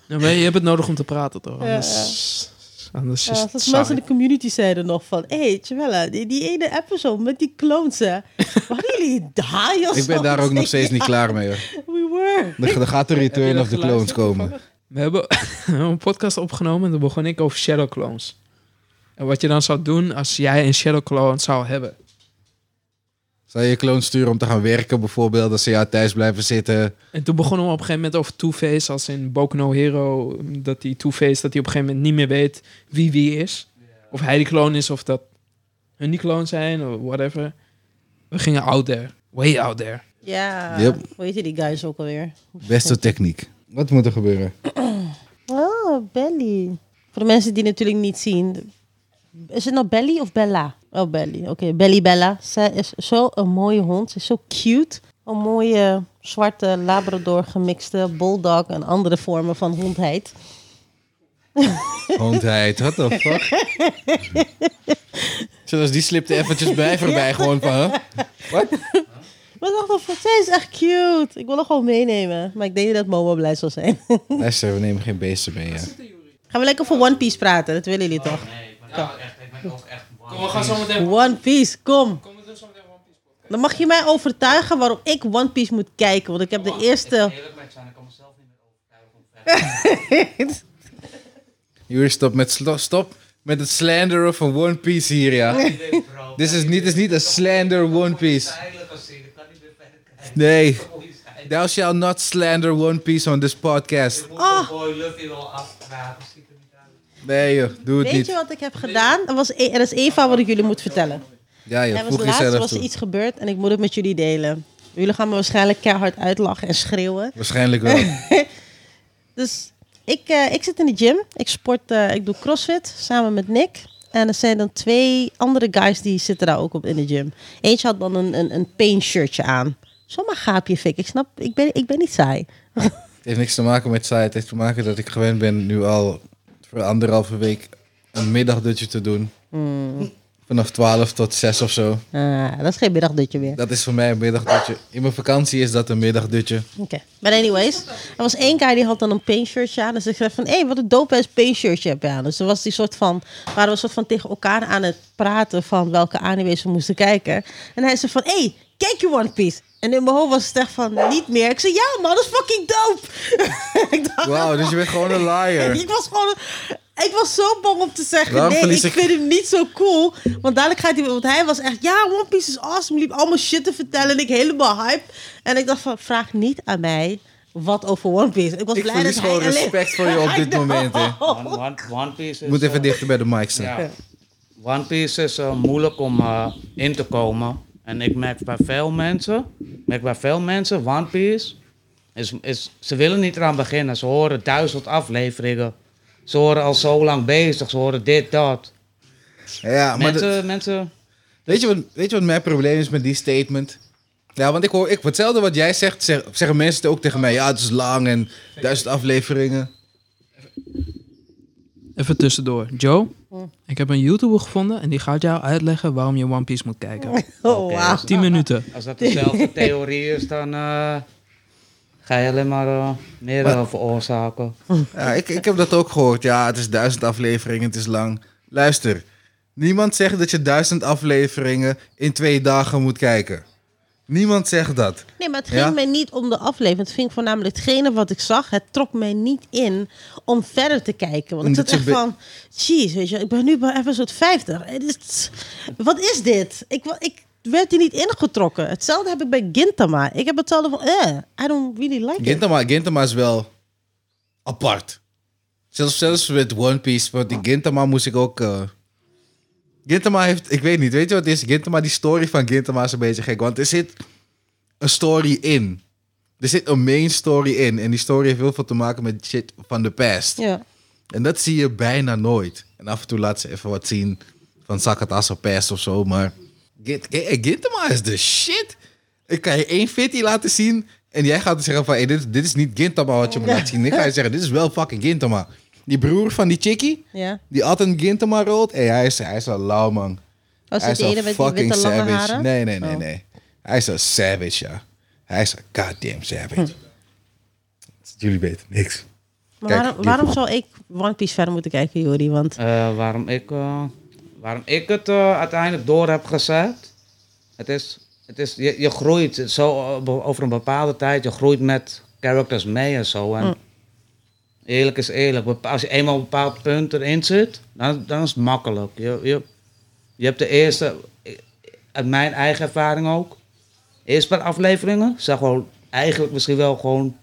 Speaker 3: Ja, maar je hebt het nodig om te praten, toch? Anders, anders
Speaker 2: Ja,
Speaker 3: is
Speaker 2: Zoals
Speaker 3: het
Speaker 2: mensen
Speaker 3: saai.
Speaker 2: in de community zeiden nog van... Hé, hey, Tjewella, die, die ene episode met die clones,
Speaker 1: (laughs)
Speaker 2: hè. Waren jullie die of
Speaker 1: Ik ben daar
Speaker 2: (laughs)
Speaker 1: ook nog steeds niet klaar mee. hoor.
Speaker 2: We were.
Speaker 1: Dan dan gaat de
Speaker 3: Heb
Speaker 1: Return
Speaker 3: je
Speaker 1: of
Speaker 3: dat
Speaker 1: the Clones
Speaker 3: geluisterd?
Speaker 1: komen.
Speaker 3: We hebben (laughs) een podcast opgenomen en daar begon ik over Shadow Clones. En wat je dan zou doen als jij een Shadow Clone zou hebben.
Speaker 1: Zou je je clone sturen om te gaan werken bijvoorbeeld? Als ze jou thuis blijven zitten.
Speaker 3: En toen begonnen we op een gegeven moment over Two-Face, als in Boku no Hero. Dat die Two-Face, dat hij op een gegeven moment niet meer weet wie wie is. Of hij die clone is, of dat hun die clone zijn, of whatever. We gingen out there. Way out there.
Speaker 2: Ja.
Speaker 1: Yep.
Speaker 2: Hoe heet die guys ook alweer?
Speaker 1: Beste techniek. Wat moet er gebeuren?
Speaker 2: Oh, Belly. Voor de mensen die natuurlijk niet zien. Is het nou Belly of Bella? Oh, Belly. Oké, Belly Bella. Zij is zo'n mooie hond. Ze is zo cute. Een mooie zwarte labrador gemixte bulldog en andere vormen van hondheid.
Speaker 1: Hondheid, what the fuck? Zoals die slipte eventjes bij voorbij gewoon van, huh?
Speaker 2: Maar ik dacht wel van, zij is echt cute. Ik wil haar gewoon meenemen. Maar ik denk niet dat Momo blij zal zijn. (laughs)
Speaker 1: Luister, we nemen geen beesten mee, ja.
Speaker 2: Gaan we lekker voor One Piece praten? Dat willen jullie toch?
Speaker 4: Nee, maar ja, echt, ik ben ook echt bang.
Speaker 3: we gaan zo meteen...
Speaker 2: One Piece, kom. Dan mag je mij overtuigen waarom ik One Piece moet kijken. Want ik heb de eerste... (laughs)
Speaker 4: Eerlijk met zijn, ik kan mezelf niet meer overtuigen om verder te
Speaker 1: Jullie stop met, slo- stop met het slanderen van One Piece hier,
Speaker 2: (laughs)
Speaker 4: (laughs)
Speaker 1: ja.
Speaker 4: kijken, bro.
Speaker 1: Dit is niet, dit is niet een slander One Piece.
Speaker 4: Eigenlijk als ik, ik kan niet meer verder kijken.
Speaker 1: Nee,
Speaker 4: Mooi zijn.
Speaker 1: thou shall not slander One Piece on this podcast.
Speaker 4: Ik moet
Speaker 2: Ah.
Speaker 4: oh. boy Luffy wel afvragen, ziet er niet uit.
Speaker 1: Nee joh, doe het
Speaker 2: Weet je
Speaker 1: niet.
Speaker 2: wat ik heb gedaan? Er, was e- er is één van wat ik jullie moet vertellen.
Speaker 1: Ja joh,
Speaker 2: Er was
Speaker 1: voeg
Speaker 2: laatst
Speaker 1: jezelf
Speaker 2: was er
Speaker 1: toe.
Speaker 2: iets gebeurd en ik moet het met jullie delen. Jullie gaan me waarschijnlijk keihard uitlachen en schreeuwen.
Speaker 1: Waarschijnlijk wel.
Speaker 2: Dus ik, eh, ik zit in de gym. Ik sport, eh, ik doe crossfit samen met Nick. En er zijn dan twee andere guys die zitten daar ook op in de gym. Eentje had dan een, een, een pain shirtje aan. Zomaar gaapje fik. Ik snap, ik ben, ik ben niet saai.
Speaker 1: Het heeft niks te maken met saai. Het heeft te maken dat ik gewend ben nu al voor anderhalve week een middagdutje te doen.
Speaker 2: Hmm.
Speaker 1: Vanaf 12 tot 6 of zo.
Speaker 2: Ah, dat is geen middagdutje meer.
Speaker 1: Dat is voor mij een middagdutje. In mijn vakantie is dat een middagdutje.
Speaker 2: Oké. Maar anyways, er was één guy die had dan een pain shirtje aan. Dus ik zei van, hé, hey, wat een dope ass pain shirtje heb je aan. Dus er was die soort van, waren we soort van tegen elkaar aan het praten van welke anime's we moesten kijken. En hij zei van, hé, hey, kijk je One Piece. En in mijn hoofd was het echt van, niet meer. Ik zei, ja man, dat is fucking dope. (laughs) ik dacht,
Speaker 1: Wauw, dus je bent gewoon een
Speaker 2: (laughs)
Speaker 1: liar.
Speaker 2: ik was gewoon... Ik was zo bang om te zeggen,
Speaker 1: Waarom
Speaker 2: nee,
Speaker 1: verlies
Speaker 2: ik,
Speaker 1: ik-
Speaker 2: vind hem niet zo cool. Want dadelijk gaat hij... Want hij was echt, ja, One Piece is awesome. Liep allemaal shit te vertellen en ik helemaal hype. En ik dacht van, vraag niet aan mij wat over One Piece. Ik was
Speaker 1: Ik
Speaker 2: blij dat
Speaker 1: verlies
Speaker 2: hij
Speaker 1: gewoon
Speaker 2: alleen...
Speaker 1: respect voor je
Speaker 2: (laughs)
Speaker 1: op dit moment. Hè.
Speaker 2: Oh.
Speaker 4: One, one, one Piece
Speaker 1: Je
Speaker 4: is...
Speaker 1: moet even
Speaker 4: eh,
Speaker 1: dichter bij de mic staan.
Speaker 4: ja. One Piece is eh, moeilijk om eh, in te komen. En ik merk bij veel mensen, ik merk bij veel mensen, One Piece, is, is, ze willen niet eraan beginnen. Ze horen duizend afleveringen. Ze horen al zo lang bezig, ze horen dit, dat.
Speaker 1: Ja, maar
Speaker 4: mensen,
Speaker 1: dat-
Speaker 4: mensen,
Speaker 1: weet, je wat, weet je wat mijn probleem is met die statement? Ja, want ik hoor, ik, hetzelfde wat jij zegt, zeg- zeggen mensen het ook tegen mij. Ja, het is lang en duizend afleveringen.
Speaker 3: Even tussendoor. Joe, ik heb een YouTuber gevonden en die gaat jou uitleggen waarom je One Piece moet kijken.
Speaker 2: Oh,
Speaker 4: Oké,
Speaker 2: wauw.
Speaker 4: dus
Speaker 3: 10 minuten.
Speaker 4: als dat dezelfde theorie is, dan eh, ga je alleen maar eh, meer eh, veroorzaken.
Speaker 1: Ja, ik, ik heb dat ook gehoord. Ja, het is duizend afleveringen, het is lang. Luister, niemand zegt dat je duizend afleveringen in twee dagen moet kijken. Niemand zegt dat.
Speaker 2: Nee, maar het ging
Speaker 1: Ja?
Speaker 2: mij niet om de aflevering. Het ging voornamelijk hetgene wat ik zag. Het trok mij niet in om verder te kijken. Want ik
Speaker 1: Omdat
Speaker 2: zat echt
Speaker 1: je be-
Speaker 2: van... Jeez, weet je, ik ben nu bij episode 50. Het is, wat is dit? Ik, wa- ik werd er niet ingetrokken. Hetzelfde heb ik bij Gintama. Ik heb hetzelfde van... Eh, I don't really like it.
Speaker 1: Gintama, Gintama is wel apart. Zelfs, zelfs met One Piece, want die Gintama moest ik ook... eh, Gintama heeft, ik weet niet, weet je wat het is? Gintama, die story van Gintama is een beetje gek, want er zit een story in. Er zit een main story in en die story heeft heel veel te maken met shit van de past.
Speaker 2: Ja.
Speaker 1: En dat zie je bijna nooit. En af en toe laat ze even wat zien van Sakatasa Pass of zo, maar... Gint- eh, Gintama is de shit. Ik kan je één fitty laten zien en jij gaat zeggen van... Hey, dit, dit is niet Gintama wat je me laat zien. Ik ga je zeggen, dit is wel fucking Gintama. Die broer van die chickie,
Speaker 2: Ja.
Speaker 1: die at een Gintama rood. Hé, hij is, hij is een lauw man.
Speaker 2: Als
Speaker 1: hij
Speaker 2: het
Speaker 1: is
Speaker 2: de ene met die witte lange
Speaker 1: savage.
Speaker 2: haren.
Speaker 1: Nee, nee, nee,
Speaker 2: Oh.
Speaker 1: nee. Hij is een savage, ja. Hij is een goddamn
Speaker 2: Hm.
Speaker 1: savage. Jullie weten niks.
Speaker 2: Maar
Speaker 1: Kijk,
Speaker 2: waarom,
Speaker 1: die-
Speaker 2: waarom zou ik One Piece verder moeten kijken, Jori? Want
Speaker 4: Eh, waarom, ik, eh, waarom ik het eh, uiteindelijk door heb gezet. Het is, het is, je, je groeit zo eh, be- over een bepaalde tijd. Je groeit met characters mee en zo. En Eerlijk is eerlijk. bepa- Als je eenmaal een bepaald punt erin zit, dan, dan is het makkelijk. Je, je, je hebt de eerste, eh, uit mijn eigen ervaring ook. Eerst paar afleveringen zijn gewoon eigenlijk misschien wel gewoon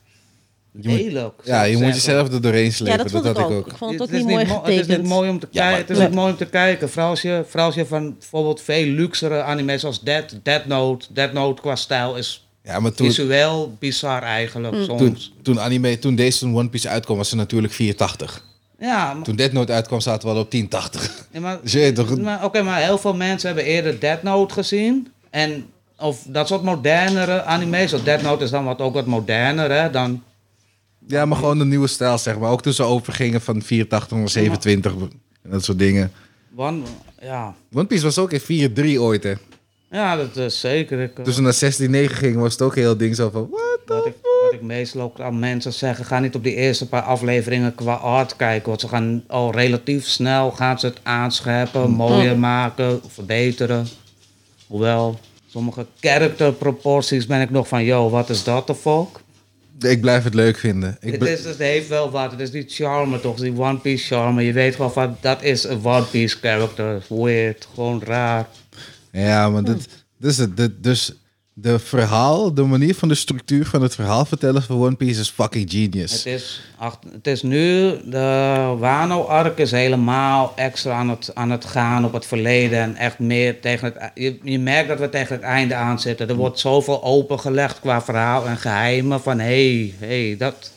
Speaker 1: moet-
Speaker 4: lelijk.
Speaker 1: Ja, je moet jezelf er doorheen
Speaker 2: ja,
Speaker 1: slepen.
Speaker 2: dat vond ik ook. Ik vond het ook niet
Speaker 4: is
Speaker 2: mooi
Speaker 4: mo- Het is niet
Speaker 2: getekend.
Speaker 4: mooi om te,
Speaker 1: Ja,
Speaker 4: kijken.
Speaker 1: maar-
Speaker 4: het is
Speaker 2: Nee.
Speaker 4: niet mooi om te kijken. Vooral als, je, vooral als je van bijvoorbeeld veel luxere anime's als Dead, Dead Note. Dead Note qua stijl is
Speaker 1: Ja, maar toen,
Speaker 4: visueel bizar eigenlijk
Speaker 2: Mm.
Speaker 4: soms.
Speaker 1: toen, toen, anime, toen deze One Piece uitkwam, was ze natuurlijk 480.
Speaker 4: ja, maar,
Speaker 1: Toen Dead Note uitkwam, zaten we al op 1080.
Speaker 4: ja, maar,
Speaker 1: Dus je weet toch,
Speaker 4: maar, oké, maar heel veel mensen hebben eerder Dead Note gezien. En of dat soort modernere anime's. Of Dead Note is dan wat, ook wat moderner hè, dan
Speaker 1: ja, maar gewoon de nieuwe stijl, zeg maar. Ook toen ze overgingen van 480 naar 27 en dat soort dingen.
Speaker 4: One. Ja,
Speaker 1: One Piece was ook in 4-3 ooit, hè.
Speaker 4: ja dat is zeker. Ik, eh,
Speaker 1: Toen ze naar 16-9 gingen, was het ook heel ding zo van... What?
Speaker 4: Wat ik, wat ik meestal ook aan mensen zeg, ga niet op die eerste paar afleveringen qua art kijken. Want ze gaan al relatief snel gaan ze het aanscheppen, mooier maken, verbeteren. Hoewel, sommige characterproporties ben ik nog van, yo, wat is dat de fuck?
Speaker 1: Ik blijf het leuk vinden. Ik
Speaker 4: Het,
Speaker 1: bl-
Speaker 4: is, het heeft wel wat, het is die charme toch, die One Piece charme. Je weet gewoon van, dat is een One Piece character. Weird, gewoon raar.
Speaker 1: Ja, maar dit, dit is het. Dit- dus de verhaal, de manier van de structuur van het verhaal vertellen van One Piece is fucking
Speaker 4: Het
Speaker 1: genius.
Speaker 4: is, acht- het is nu, de Wano-arc is helemaal extra aan het, aan het gaan op het verleden. En echt meer tegen het, e- je, je merkt dat we tegen het einde aan zitten. Er wordt zoveel opengelegd qua verhaal en geheimen van hé, hey, hey, dat...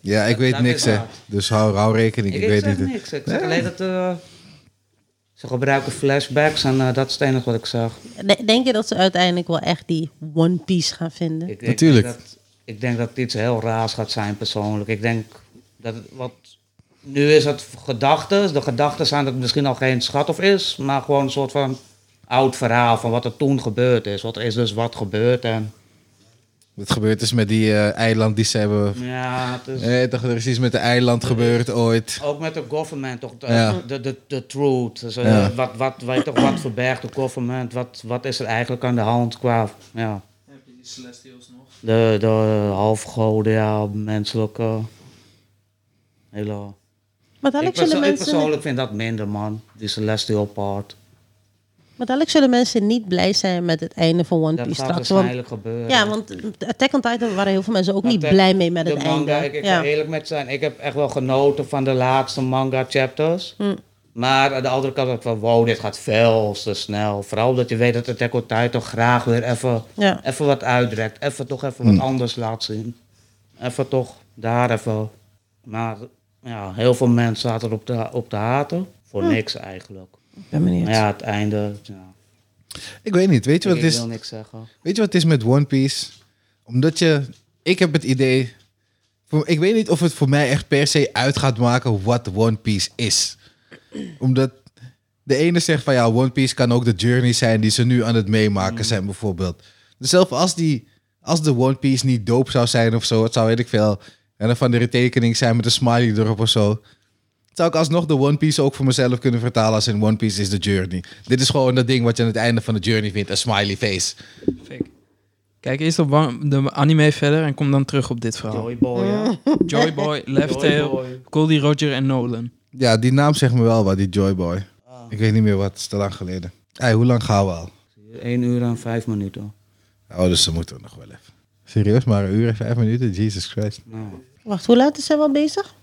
Speaker 1: Ja, ik weet
Speaker 4: dat
Speaker 1: niks
Speaker 4: is
Speaker 1: hè.
Speaker 4: waar.
Speaker 1: Dus hou, hou rekening, ik, weet
Speaker 4: zeg
Speaker 1: niet.
Speaker 4: niks, ik zeg alleen dat eh, ze gebruiken flashbacks en eh, dat is het enige wat ik zag.
Speaker 2: de- denk je dat ze uiteindelijk wel echt die One Piece gaan vinden?
Speaker 4: Ik, ik
Speaker 1: Natuurlijk.
Speaker 4: Denk dus dat, ik denk dat het iets heel raars gaat zijn persoonlijk. Ik denk dat het, wat nu is het gedachten. De gedachten zijn dat het misschien al geen schat of is, maar gewoon een soort van oud verhaal van wat er toen gebeurd is. Wat er is dus wat gebeurd en
Speaker 1: Wat gebeurd is met die eh, eiland die ze hebben...
Speaker 4: ja, het is
Speaker 1: Nee, toch, er is iets met de eiland gebeurd ooit.
Speaker 4: ook met de government toch de,
Speaker 1: Ja.
Speaker 4: de, de, de truth. Dus, eh,
Speaker 1: Ja.
Speaker 4: wat, wat, weet toch, wat verbergt de government? Wat, wat is er eigenlijk aan de hand qua ja,
Speaker 3: Heb je die Celestials nog?
Speaker 4: de, de halfgoden, ja, menselijke hele
Speaker 2: Maar dadelijk,
Speaker 4: Ik, perso-
Speaker 2: zullen
Speaker 4: ik
Speaker 2: mensen,
Speaker 4: persoonlijk vind dat minder, man. Die Celestial Part.
Speaker 2: maar dadelijk zullen mensen niet blij zijn met het einde van One
Speaker 4: Dat gaat
Speaker 2: Piece straks. Want,
Speaker 4: waarschijnlijk gebeuren.
Speaker 2: ja, want Attack on Titan waren heel veel mensen ook
Speaker 4: Maar
Speaker 2: niet
Speaker 4: Attack-
Speaker 2: blij mee met
Speaker 4: de
Speaker 2: het
Speaker 4: manga,
Speaker 2: einde.
Speaker 4: Ik, ik
Speaker 2: ja.
Speaker 4: ga eerlijk met zijn. Ik heb echt wel genoten van de laatste manga chapters.
Speaker 2: Hm.
Speaker 4: Maar aan de andere kant ook van, wow, dit gaat veel te snel. Vooral omdat je weet dat de Attack on Titan graag weer even,
Speaker 2: Ja.
Speaker 4: even wat uitrekt. Even toch even
Speaker 1: Hm.
Speaker 4: wat anders laat zien. Even toch daar even. Maar ja, heel veel mensen zaten op de, op de haten.
Speaker 2: Hm.
Speaker 4: Voor niks eigenlijk.
Speaker 2: Ik ben benieuwd.
Speaker 4: Maar ja, het einde. Ja,
Speaker 1: Ik weet niet, weet je wat
Speaker 4: ik
Speaker 1: het is?
Speaker 4: wil niks zeggen.
Speaker 1: Weet je wat het is met One Piece? Omdat je... Ik heb het idee... voor- Ik weet niet of het voor mij echt per se uit gaat maken wat One Piece is. Omdat de ene zegt van ja, One Piece kan ook de journey zijn die ze nu aan het meemaken zijn bijvoorbeeld. Dus zelfs als, die, als de One Piece niet doop zou zijn of zo, het zou weet ik veel. En dan van de retekening zijn met een smiley erop of zo. Zou ik alsnog de One Piece ook voor mezelf kunnen vertalen als in One Piece is de journey. Dit is gewoon dat ding wat je aan het einde van de journey vindt, een smiley face.
Speaker 3: Fake. Kijk eerst op wa- de anime verder en kom dan terug op dit verhaal.
Speaker 4: Joyboy,
Speaker 2: Hm.
Speaker 4: ja.
Speaker 3: Joyboy, Left Tail,
Speaker 4: Joyboy.
Speaker 3: Goldie, Roger en Nolan.
Speaker 1: Ja, die naam zegt me wel wat, die Joyboy. Ik weet niet meer wat, het is te lang geleden. Hey, hoe lang gaan we al?
Speaker 4: 1 uur en 5 minuten.
Speaker 1: Oh, dus ze moeten nog wel even. Serieus, maar een uur en vijf minuten? Jesus Christ.
Speaker 4: Nou,
Speaker 2: Wacht, hoe laat is zij wel bezig?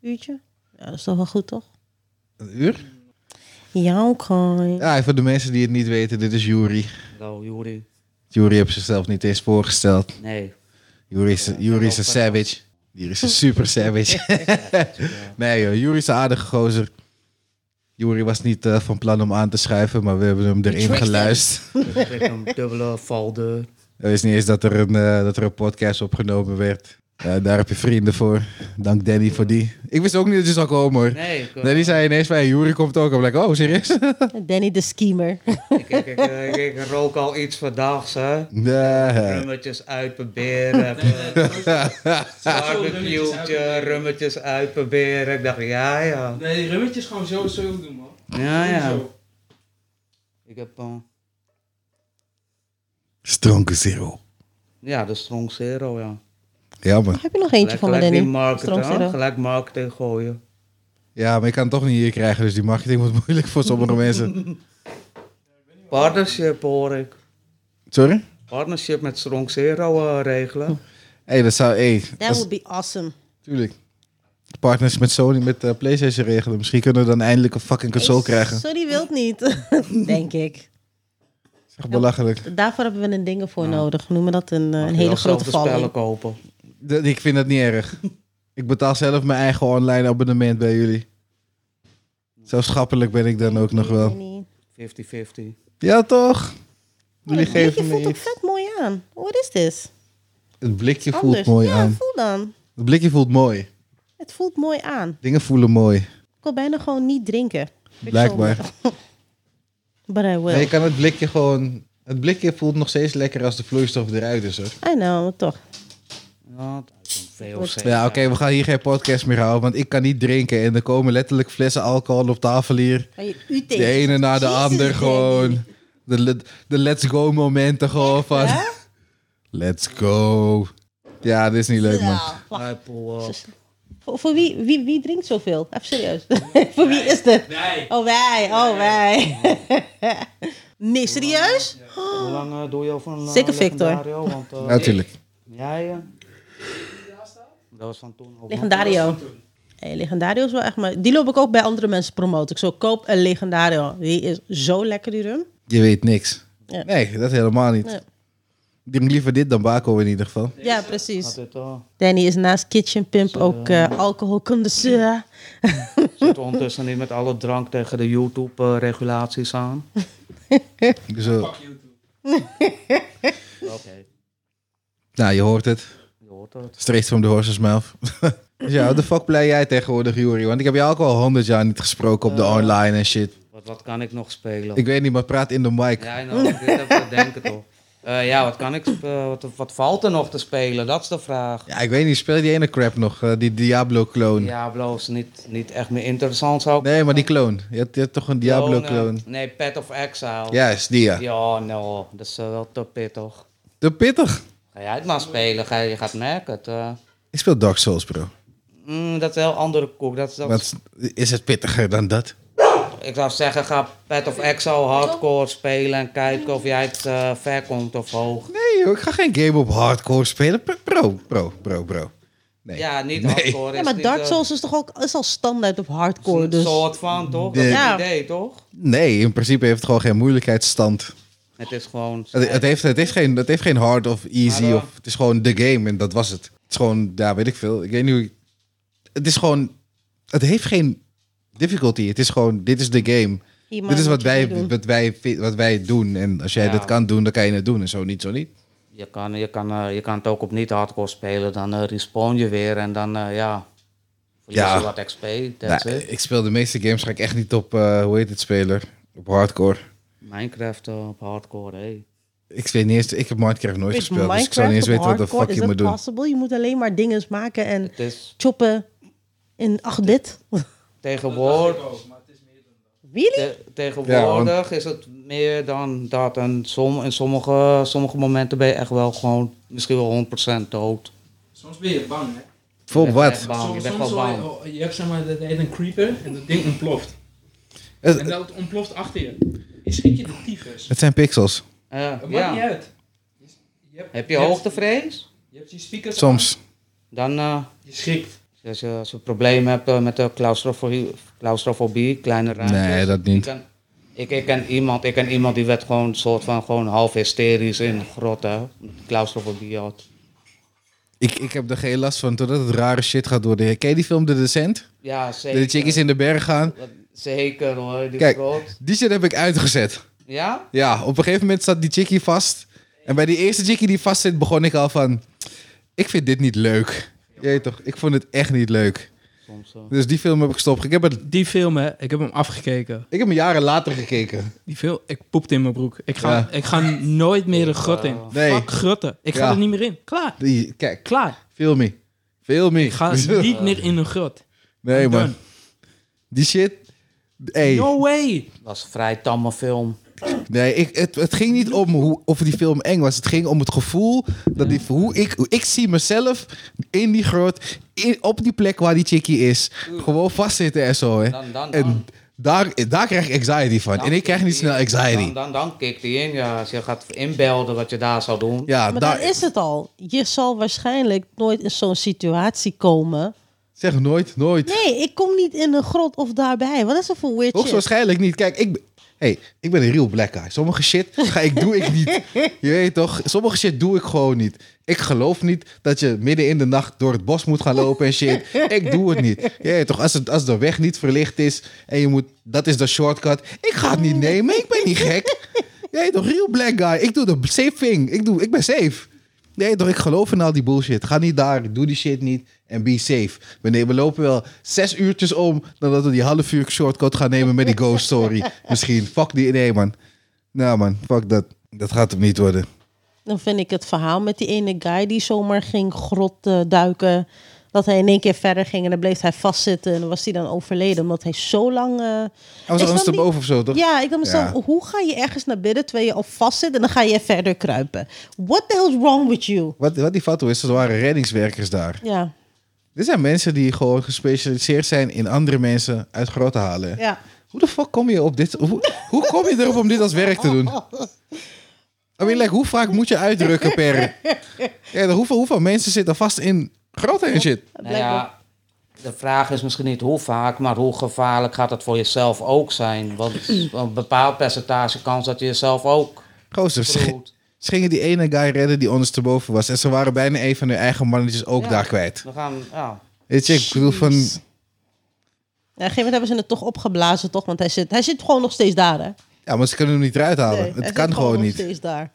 Speaker 2: Uurtje. Ja, dat is toch wel goed, toch?
Speaker 1: Een uur?
Speaker 2: Ja, oké.
Speaker 1: Ja, voor de mensen die het niet weten, dit is Yuri.
Speaker 4: hallo Juri.
Speaker 1: Yuri heeft zichzelf niet eens voorgesteld.
Speaker 4: Nee.
Speaker 1: Yuri is, Yuri is een savage. Yuri is een super savage. nee joh, Yuri is een aardige gozer. Yuri was niet eh, van plan om aan te schuiven, maar we hebben hem erin
Speaker 2: tricked him.
Speaker 1: geluisterd.
Speaker 4: Ik kreeg een dubbele valdeur.
Speaker 1: Er is niet eens dat er een, eh, dat er een podcast opgenomen werd. Ja, daar heb je vrienden voor. Dank Danny voor die. Ik wist ook niet dat je zou komen hoor.
Speaker 4: Nee, ik,
Speaker 1: Danny zei ineens bij Juri komt ook. Ik ben like, oh serieus? (laughs)
Speaker 2: Danny de schemer. (laughs)
Speaker 4: ik, ik, ik, ik- ik rook al iets vandaags, hè.
Speaker 1: Nee.
Speaker 4: Rummetjes uitproberen, barbecue, rummetjes uitproberen. Ik dacht, ja, ja.
Speaker 3: Nee, rummetjes gewoon zo, zo doen, man.
Speaker 4: Ja, ja. Ik heb, eh,
Speaker 1: Stronken zero.
Speaker 4: ja, de Strong Zero, ja.
Speaker 1: Ja man.
Speaker 2: Heb je nog eentje
Speaker 4: Gelijk-
Speaker 2: van me,
Speaker 4: gelijk
Speaker 2: Danny?
Speaker 4: die marketing,
Speaker 2: Strong Zero.
Speaker 4: hè? Gelijk marketing gooien.
Speaker 1: Ja, maar ik kan het toch niet hier krijgen. Dus die marketing wordt (laughs) moeilijk voor sommige mensen.
Speaker 4: Partnership hoor ik.
Speaker 1: Sorry?
Speaker 4: Partnership met Strong Zero eh, regelen.
Speaker 1: Hé, dat zou... Hey,
Speaker 2: That
Speaker 1: dat is-
Speaker 2: would be awesome.
Speaker 1: Tuurlijk. Partners met Sony, met eh, PlayStation regelen. Misschien kunnen we dan eindelijk een fucking console krijgen.
Speaker 2: Sorry, wilt niet. (laughs) Denk ik.
Speaker 1: Dat is echt belachelijk.
Speaker 2: Daarvoor hebben we een dingen voor nodig. Noemen dat een, eh, een hele grote
Speaker 4: spellen
Speaker 2: valling.
Speaker 4: kopen.
Speaker 1: Dat- ik vind dat niet (laughs) erg. ik betaal zelf mijn eigen online abonnement bij jullie. Zo schappelijk ben ik dan ook nog wel.
Speaker 2: Danny.
Speaker 4: 50-50.
Speaker 1: Ja, toch? Jullie
Speaker 2: Het blikje
Speaker 1: geven
Speaker 2: Oh, voelt
Speaker 1: me
Speaker 2: ook
Speaker 1: iets.
Speaker 2: vet mooi aan. What is this?
Speaker 1: Het blikje voelt
Speaker 2: Anders.
Speaker 1: mooi
Speaker 2: ja,
Speaker 1: aan.
Speaker 2: voel dan.
Speaker 1: Het blikje voelt mooi.
Speaker 2: Het voelt mooi aan.
Speaker 1: Dingen voelen mooi.
Speaker 2: Ik wil bijna gewoon niet drinken. Ik
Speaker 1: Blijkbaar.
Speaker 2: zal- (laughs) But I will.
Speaker 1: Maar je kan het blikje gewoon... Het blikje voelt nog steeds lekker als de vloeistof eruit is, hoor.
Speaker 2: I know, maar toch.
Speaker 4: Ja, dat is een VOC.
Speaker 1: Ja, oké, we gaan hier geen podcast meer houden, want ik kan niet drinken. En er komen letterlijk flessen alcohol op tafel hier.
Speaker 2: Maar je UT.
Speaker 1: De ene na de
Speaker 2: Jezus,
Speaker 1: ander
Speaker 2: Danny.
Speaker 1: gewoon. De, le- de let's go momenten gewoon van.
Speaker 2: hè?
Speaker 1: Let's go. Ja, dit is niet leuk man.
Speaker 2: Ja, wacht.
Speaker 4: Apple, eh,
Speaker 2: Voor, voor wie, wie, wie drinkt zoveel? Even serieus. (laughs) voor wie is dit? Oh, wij. Oh, wij. (laughs) nee, serieus?
Speaker 4: Hoe lang eh, doe je al van... eh,
Speaker 2: Zeker Victor.
Speaker 4: Legendario? Want, eh,
Speaker 1: Natuurlijk.
Speaker 4: jij, eh, Dat was van toen
Speaker 2: (gasps)
Speaker 4: ook.
Speaker 2: Legendario. Hey, legendario is wel echt maar. Die loop ik ook bij andere mensen promoten. Ik zo koop een legendario. Die is zo lekker die rum.
Speaker 1: Je weet niks.
Speaker 2: Ja.
Speaker 1: Nee, dat helemaal niet.
Speaker 2: Nee.
Speaker 1: Ik Drink liever dit dan Baco in ieder geval.
Speaker 2: Ja, precies.
Speaker 4: Dit, eh,
Speaker 2: Danny is naast Kitchen Pimp ook eh alcoholconduceur.
Speaker 4: zit ondertussen niet met alle drank tegen de YouTube-regulaties aan.
Speaker 1: Zo.
Speaker 4: Oké,
Speaker 1: Nou, je hoort het.
Speaker 4: je hoort het.
Speaker 1: Straight from the horse's mouth. (laughs) Dus ja, hoe de fuck blij jij tegenwoordig, Juri? Want ik heb jou ook al honderd jaar niet gesproken op de online en shit.
Speaker 4: Wat, wat kan ik nog spelen?
Speaker 1: Ik weet niet, maar praat in de mic.
Speaker 4: Ja, nou, dit heb ik te denken toch. Eh, ja, wat, kan ik, sp- eh, wat, wat valt er nog te spelen? Dat is de vraag.
Speaker 1: Ja, ik weet niet, speel die ene crap nog? eh, die Diablo-clone.
Speaker 4: Diablo is niet, niet echt meer interessant, zou ik
Speaker 1: Nee, maar die clone. Je hebt, je hebt toch een Diablo-clone?
Speaker 4: Clone, eh, Nee, Path of Exile.
Speaker 1: Juist, die ja.
Speaker 4: Ja, nou, dat is eh, wel te pittig.
Speaker 1: Te pittig.
Speaker 4: Ga jij het maar spelen, ga, je gaat merken. Het, eh,
Speaker 1: Ik speel Dark Souls, bro.
Speaker 4: mm, dat is een heel andere koek. Dat, is- dat,
Speaker 1: Wat, is het pittiger dan dat?
Speaker 4: Ik zou zeggen, ga Path of Exile hardcore spelen en kijken of jij het eh, ver komt of hoog.
Speaker 1: Nee, joh, ik ga geen game op hardcore spelen. Bro, bro, bro, bro. Nee.
Speaker 4: Ja, niet
Speaker 1: Nee.
Speaker 4: hardcore.
Speaker 2: Ja,
Speaker 4: is
Speaker 2: maar
Speaker 4: niet,
Speaker 2: Dark
Speaker 4: eh,
Speaker 2: Souls is toch ook is al standaard op hardcore.
Speaker 4: Een
Speaker 2: Dus.
Speaker 4: soort van, toch? Dat
Speaker 1: Nee.
Speaker 4: is
Speaker 2: Ja.
Speaker 4: het idee, toch?
Speaker 1: Nee, in principe heeft het gewoon geen moeilijkheidsstand.
Speaker 4: Het is gewoon...
Speaker 1: Het, het, heeft, het, heeft, geen, het heeft geen hard of easy.
Speaker 4: Maar, eh,
Speaker 1: of, het is gewoon de game en dat was het. Het is gewoon, ja, weet ik veel. Ik weet niet hoe... ik- Het is gewoon... Het heeft geen difficulty. Het is gewoon, dit is de game.
Speaker 2: Hier, maar
Speaker 1: Dit is
Speaker 2: moet
Speaker 1: wat
Speaker 2: je
Speaker 1: wij,
Speaker 2: niet doen.
Speaker 1: wat, wij, vi- wat wij doen. En als jij
Speaker 4: Ja.
Speaker 1: dat kan doen, dan kan je het doen. En zo niet, zo niet.
Speaker 4: Je kan, je, kan, eh, je kan het ook op niet-hardcore spelen. Dan eh, respawn je weer en dan, eh, ja... Verlies
Speaker 1: Ja.
Speaker 4: je wat XP, that's
Speaker 1: Nou,
Speaker 4: it.
Speaker 1: ik speel de meeste games ga ik echt niet op, eh, hoe heet het, speler? Op hardcore.
Speaker 4: Minecraft eh, op hardcore, hey.
Speaker 1: Ik weet niet eens, ik heb Minecraft nooit
Speaker 2: Weet je,
Speaker 1: gespeeld, dus ik zou niet eens
Speaker 2: op
Speaker 1: weten wat de
Speaker 2: hardcore,
Speaker 1: fuck
Speaker 2: is
Speaker 1: je
Speaker 2: dat
Speaker 1: moet doen.
Speaker 2: possible? Je moet alleen maar dingen maken en
Speaker 4: Het is
Speaker 2: choppen in 8-bit.
Speaker 4: tegenwoordig...
Speaker 2: really?
Speaker 4: te- tegenwoordig is het meer dan dat. En som, in sommige, sommige momenten ben je echt wel gewoon... Misschien wel 100% dood.
Speaker 3: Soms ben je bang, hè.
Speaker 1: Voor
Speaker 4: Je bent echt
Speaker 1: wat?
Speaker 4: bang, Ah, Je
Speaker 3: soms
Speaker 4: bent
Speaker 3: soms
Speaker 4: wel
Speaker 3: hoor
Speaker 4: bang.
Speaker 3: je, oh, je hebt zeg maar, dat heet een creeper en dat ding
Speaker 4: (laughs)
Speaker 3: ontploft. En
Speaker 1: Het,
Speaker 3: dat ontploft achter je. Je schiet je de tyfus.
Speaker 1: het zijn pixels,
Speaker 4: Eh,
Speaker 3: Het maakt niet
Speaker 4: ja.
Speaker 3: uit. Je hebt,
Speaker 4: Heb je hoogtevrees?
Speaker 3: Je hebt je speakers
Speaker 1: soms.
Speaker 4: Dan... eh,
Speaker 3: aan, Je schrikt.
Speaker 4: Als je, als je problemen hebt eh, met de claustrofobie, claustrofobie kleine ruimtes.
Speaker 1: Nee, dat
Speaker 4: Ik,
Speaker 1: niet.
Speaker 4: ken, ik, ik, ken iemand, ik ken iemand die werd gewoon soort van gewoon half hysterisch in grotten. Claustrofobie had.
Speaker 1: Ik, ik heb er geen last van, totdat het rare shit gaat worden. Ken je die film De Descent?
Speaker 4: Ja, zeker.
Speaker 1: De chickies in de berg gaan?
Speaker 4: Zeker hoor, die
Speaker 1: Kijk.
Speaker 4: grot.
Speaker 1: Die shit heb ik uitgezet.
Speaker 4: Ja?
Speaker 1: Ja, op een gegeven moment zat die chickie vast. En bij die eerste chickie die vast zit, begon ik al van... ik vind dit niet leuk. Jeet toch, ik vond het echt niet leuk.
Speaker 4: Soms, eh,
Speaker 1: Dus die film heb ik stopt. Ik heb, het,
Speaker 3: Die film, hè, ik heb hem afgekeken.
Speaker 1: ik heb hem jaren later gekeken.
Speaker 3: Die film, ik poepte in mijn broek. Ik ga,
Speaker 1: Ja.
Speaker 3: ik ga nooit meer de grot in.
Speaker 1: Nee.
Speaker 3: Fuck grotten. Ik ga
Speaker 1: Ja.
Speaker 3: er niet meer in. Klaar.
Speaker 1: Die, kijk,
Speaker 3: Klaar.
Speaker 1: film me. Film me.
Speaker 3: Ik
Speaker 1: (laughs)
Speaker 3: ga niet meer in een grot.
Speaker 1: nee, man.
Speaker 3: Done.
Speaker 1: Die shit. Hey,
Speaker 3: No way.
Speaker 4: was een vrij tamme film.
Speaker 1: nee, ik, het, het ging niet om hoe, of die film eng was. Het ging om het gevoel dat die, hoe ik, hoe ik zie mezelf in die grot, in, op die plek waar die chickie is. Gewoon vastzitten en zo, hè.
Speaker 4: Dan, dan, dan.
Speaker 1: En daar, daar krijg ik anxiety van.
Speaker 4: Dan
Speaker 1: En ik krijg niet
Speaker 4: kikt die
Speaker 1: snel
Speaker 4: in. Dan,
Speaker 1: anxiety.
Speaker 4: dan, dan kikt die in, ja. Als je gaat inbelden wat je daar zou doen.
Speaker 1: Ja,
Speaker 2: Maar
Speaker 1: daar,
Speaker 2: dan is het al. Je zal waarschijnlijk nooit in zo'n situatie komen.
Speaker 1: zeg nooit, nooit.
Speaker 2: Nee, ik kom niet in een grot of daarbij. Wat is dat voor weird shit?
Speaker 1: Hoogstwaarschijnlijk niet. Kijk, ik, ben- hey, ik ben een real black guy. Sommige shit ga ik, doe ik niet. Je weet toch? Sommige shit doe ik gewoon niet. Ik geloof niet dat je midden in de nacht door het bos moet gaan lopen en shit. Ik doe het niet. Je weet toch? Als, het, als de weg niet verlicht is en je moet... Dat is de shortcut. Ik ga het niet nemen. Ik ben niet gek. Je weet toch? Real black guy. Ik doe de safe thing. Ik, doe, ik ben safe. Nee, toch, ik geloof in al die bullshit. Ga niet daar, doe die shit niet en be safe. We, nemen, we lopen wel zes uurtjes om nadat we die half uur shortcut gaan nemen met die ghost
Speaker 2: (laughs)
Speaker 1: story. Misschien. Fuck die, nee man. Nou man, fuck dat. Dat gaat hem niet worden.
Speaker 2: Dan vind ik het verhaal met die ene guy die zomaar ging grot eh, duiken. Dat hij in één keer verder ging en dan bleef hij vastzitten. En dan was hij dan overleden omdat hij zo lang... eh,
Speaker 1: Hij
Speaker 2: ik
Speaker 1: was anders
Speaker 2: snap
Speaker 1: te
Speaker 2: niet-
Speaker 1: boven of zo, toch?
Speaker 2: Ja, ik dacht mezelf,
Speaker 1: Ja.
Speaker 2: hoe ga je ergens naar binnen terwijl je al vastzit en dan ga je verder kruipen? What the hell is wrong with you?
Speaker 1: Wat, wat die foto is, dat waren reddingswerkers daar.
Speaker 2: Ja,
Speaker 1: Dit zijn mensen die gewoon gespecialiseerd zijn in andere mensen uit grotten halen.
Speaker 2: ja.
Speaker 1: Hoe de fuck kom je op dit? Hoe, hoe kom je erop om dit als werk te doen?
Speaker 2: (laughs)
Speaker 1: I mean, like, hoe vaak moet je uitdrukken per... Ja, hoeveel, hoeveel mensen zitten vast in grotten en shit?
Speaker 4: Nou ja, de vraag is misschien niet hoe vaak, maar hoe gevaarlijk gaat het voor jezelf ook zijn? Want een bepaald percentage kans dat je jezelf ook
Speaker 1: Gozer, ze,
Speaker 4: groot.
Speaker 1: ze gingen die ene guy redden die ondersteboven was. En ze waren bijna een van hun eigen mannetjes ook
Speaker 4: Ja.
Speaker 1: daar kwijt.
Speaker 4: We gaan, ja.
Speaker 1: Weet je, ik bedoel van...
Speaker 2: Ja, op een gegeven moment hebben ze het toch opgeblazen, toch? Want hij zit, hij zit gewoon nog steeds daar, hè?
Speaker 1: Ja, maar ze kunnen hem niet eruit halen.
Speaker 2: Nee, hij
Speaker 1: het
Speaker 2: zit
Speaker 1: kan gewoon
Speaker 2: nog
Speaker 1: niet.
Speaker 2: steeds daar.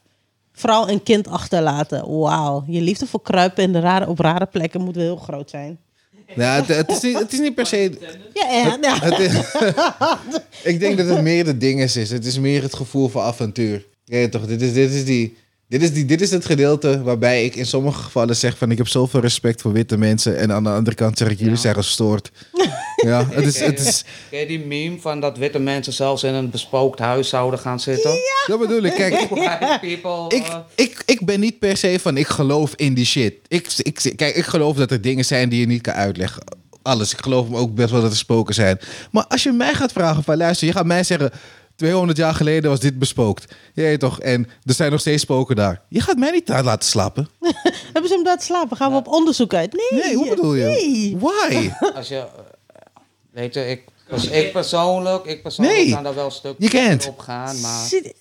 Speaker 2: Vrouw en kind achterlaten. Wauw. Je liefde voor kruipen in de rare, op rare plekken moet wel heel groot zijn.
Speaker 1: Ja, het, het is niet, het is niet per se...
Speaker 2: Ja, en, ja.
Speaker 1: Het is- ik denk dat het meer de dinges is. Het is meer het gevoel van avontuur. Ja, ja, toch? Dit is, dit, is die, dit, is die, dit is het gedeelte waarbij ik in sommige gevallen zeg van... ik heb zoveel respect voor witte mensen. En aan de andere kant zeg ik, jullie
Speaker 4: Ja.
Speaker 1: zijn gestoord. ja, het is... Het is
Speaker 4: Ken je die meme van dat witte mensen zelfs in een bespookt huis zouden gaan zitten?
Speaker 1: dat bedoel ik. Kijk,
Speaker 4: White people,
Speaker 1: ik,
Speaker 4: eh,
Speaker 1: ik, ik ben niet per se van ik geloof in die shit. Ik, ik, kijk, ik geloof dat er dingen zijn die je niet kan uitleggen. Alles. Ik geloof me ook best wel dat er spoken zijn. Maar als je mij gaat vragen van luister, je gaat mij zeggen... 200 jaar geleden was dit bespookt. Jij toch? En er zijn nog steeds spoken daar. Je gaat mij niet daar laten slapen.
Speaker 2: Hebben ze hem laten slapen? Gaan we op onderzoek uit? Nee.
Speaker 1: Nee, hoe bedoel je?
Speaker 2: Nee.
Speaker 1: Why?
Speaker 4: als je, eh, weet je, ik, dus ik persoonlijk, ik persoonlijk
Speaker 1: Nee,
Speaker 4: kan daar wel een stuk
Speaker 1: je kent.
Speaker 4: op gaan, maar
Speaker 2: Zit-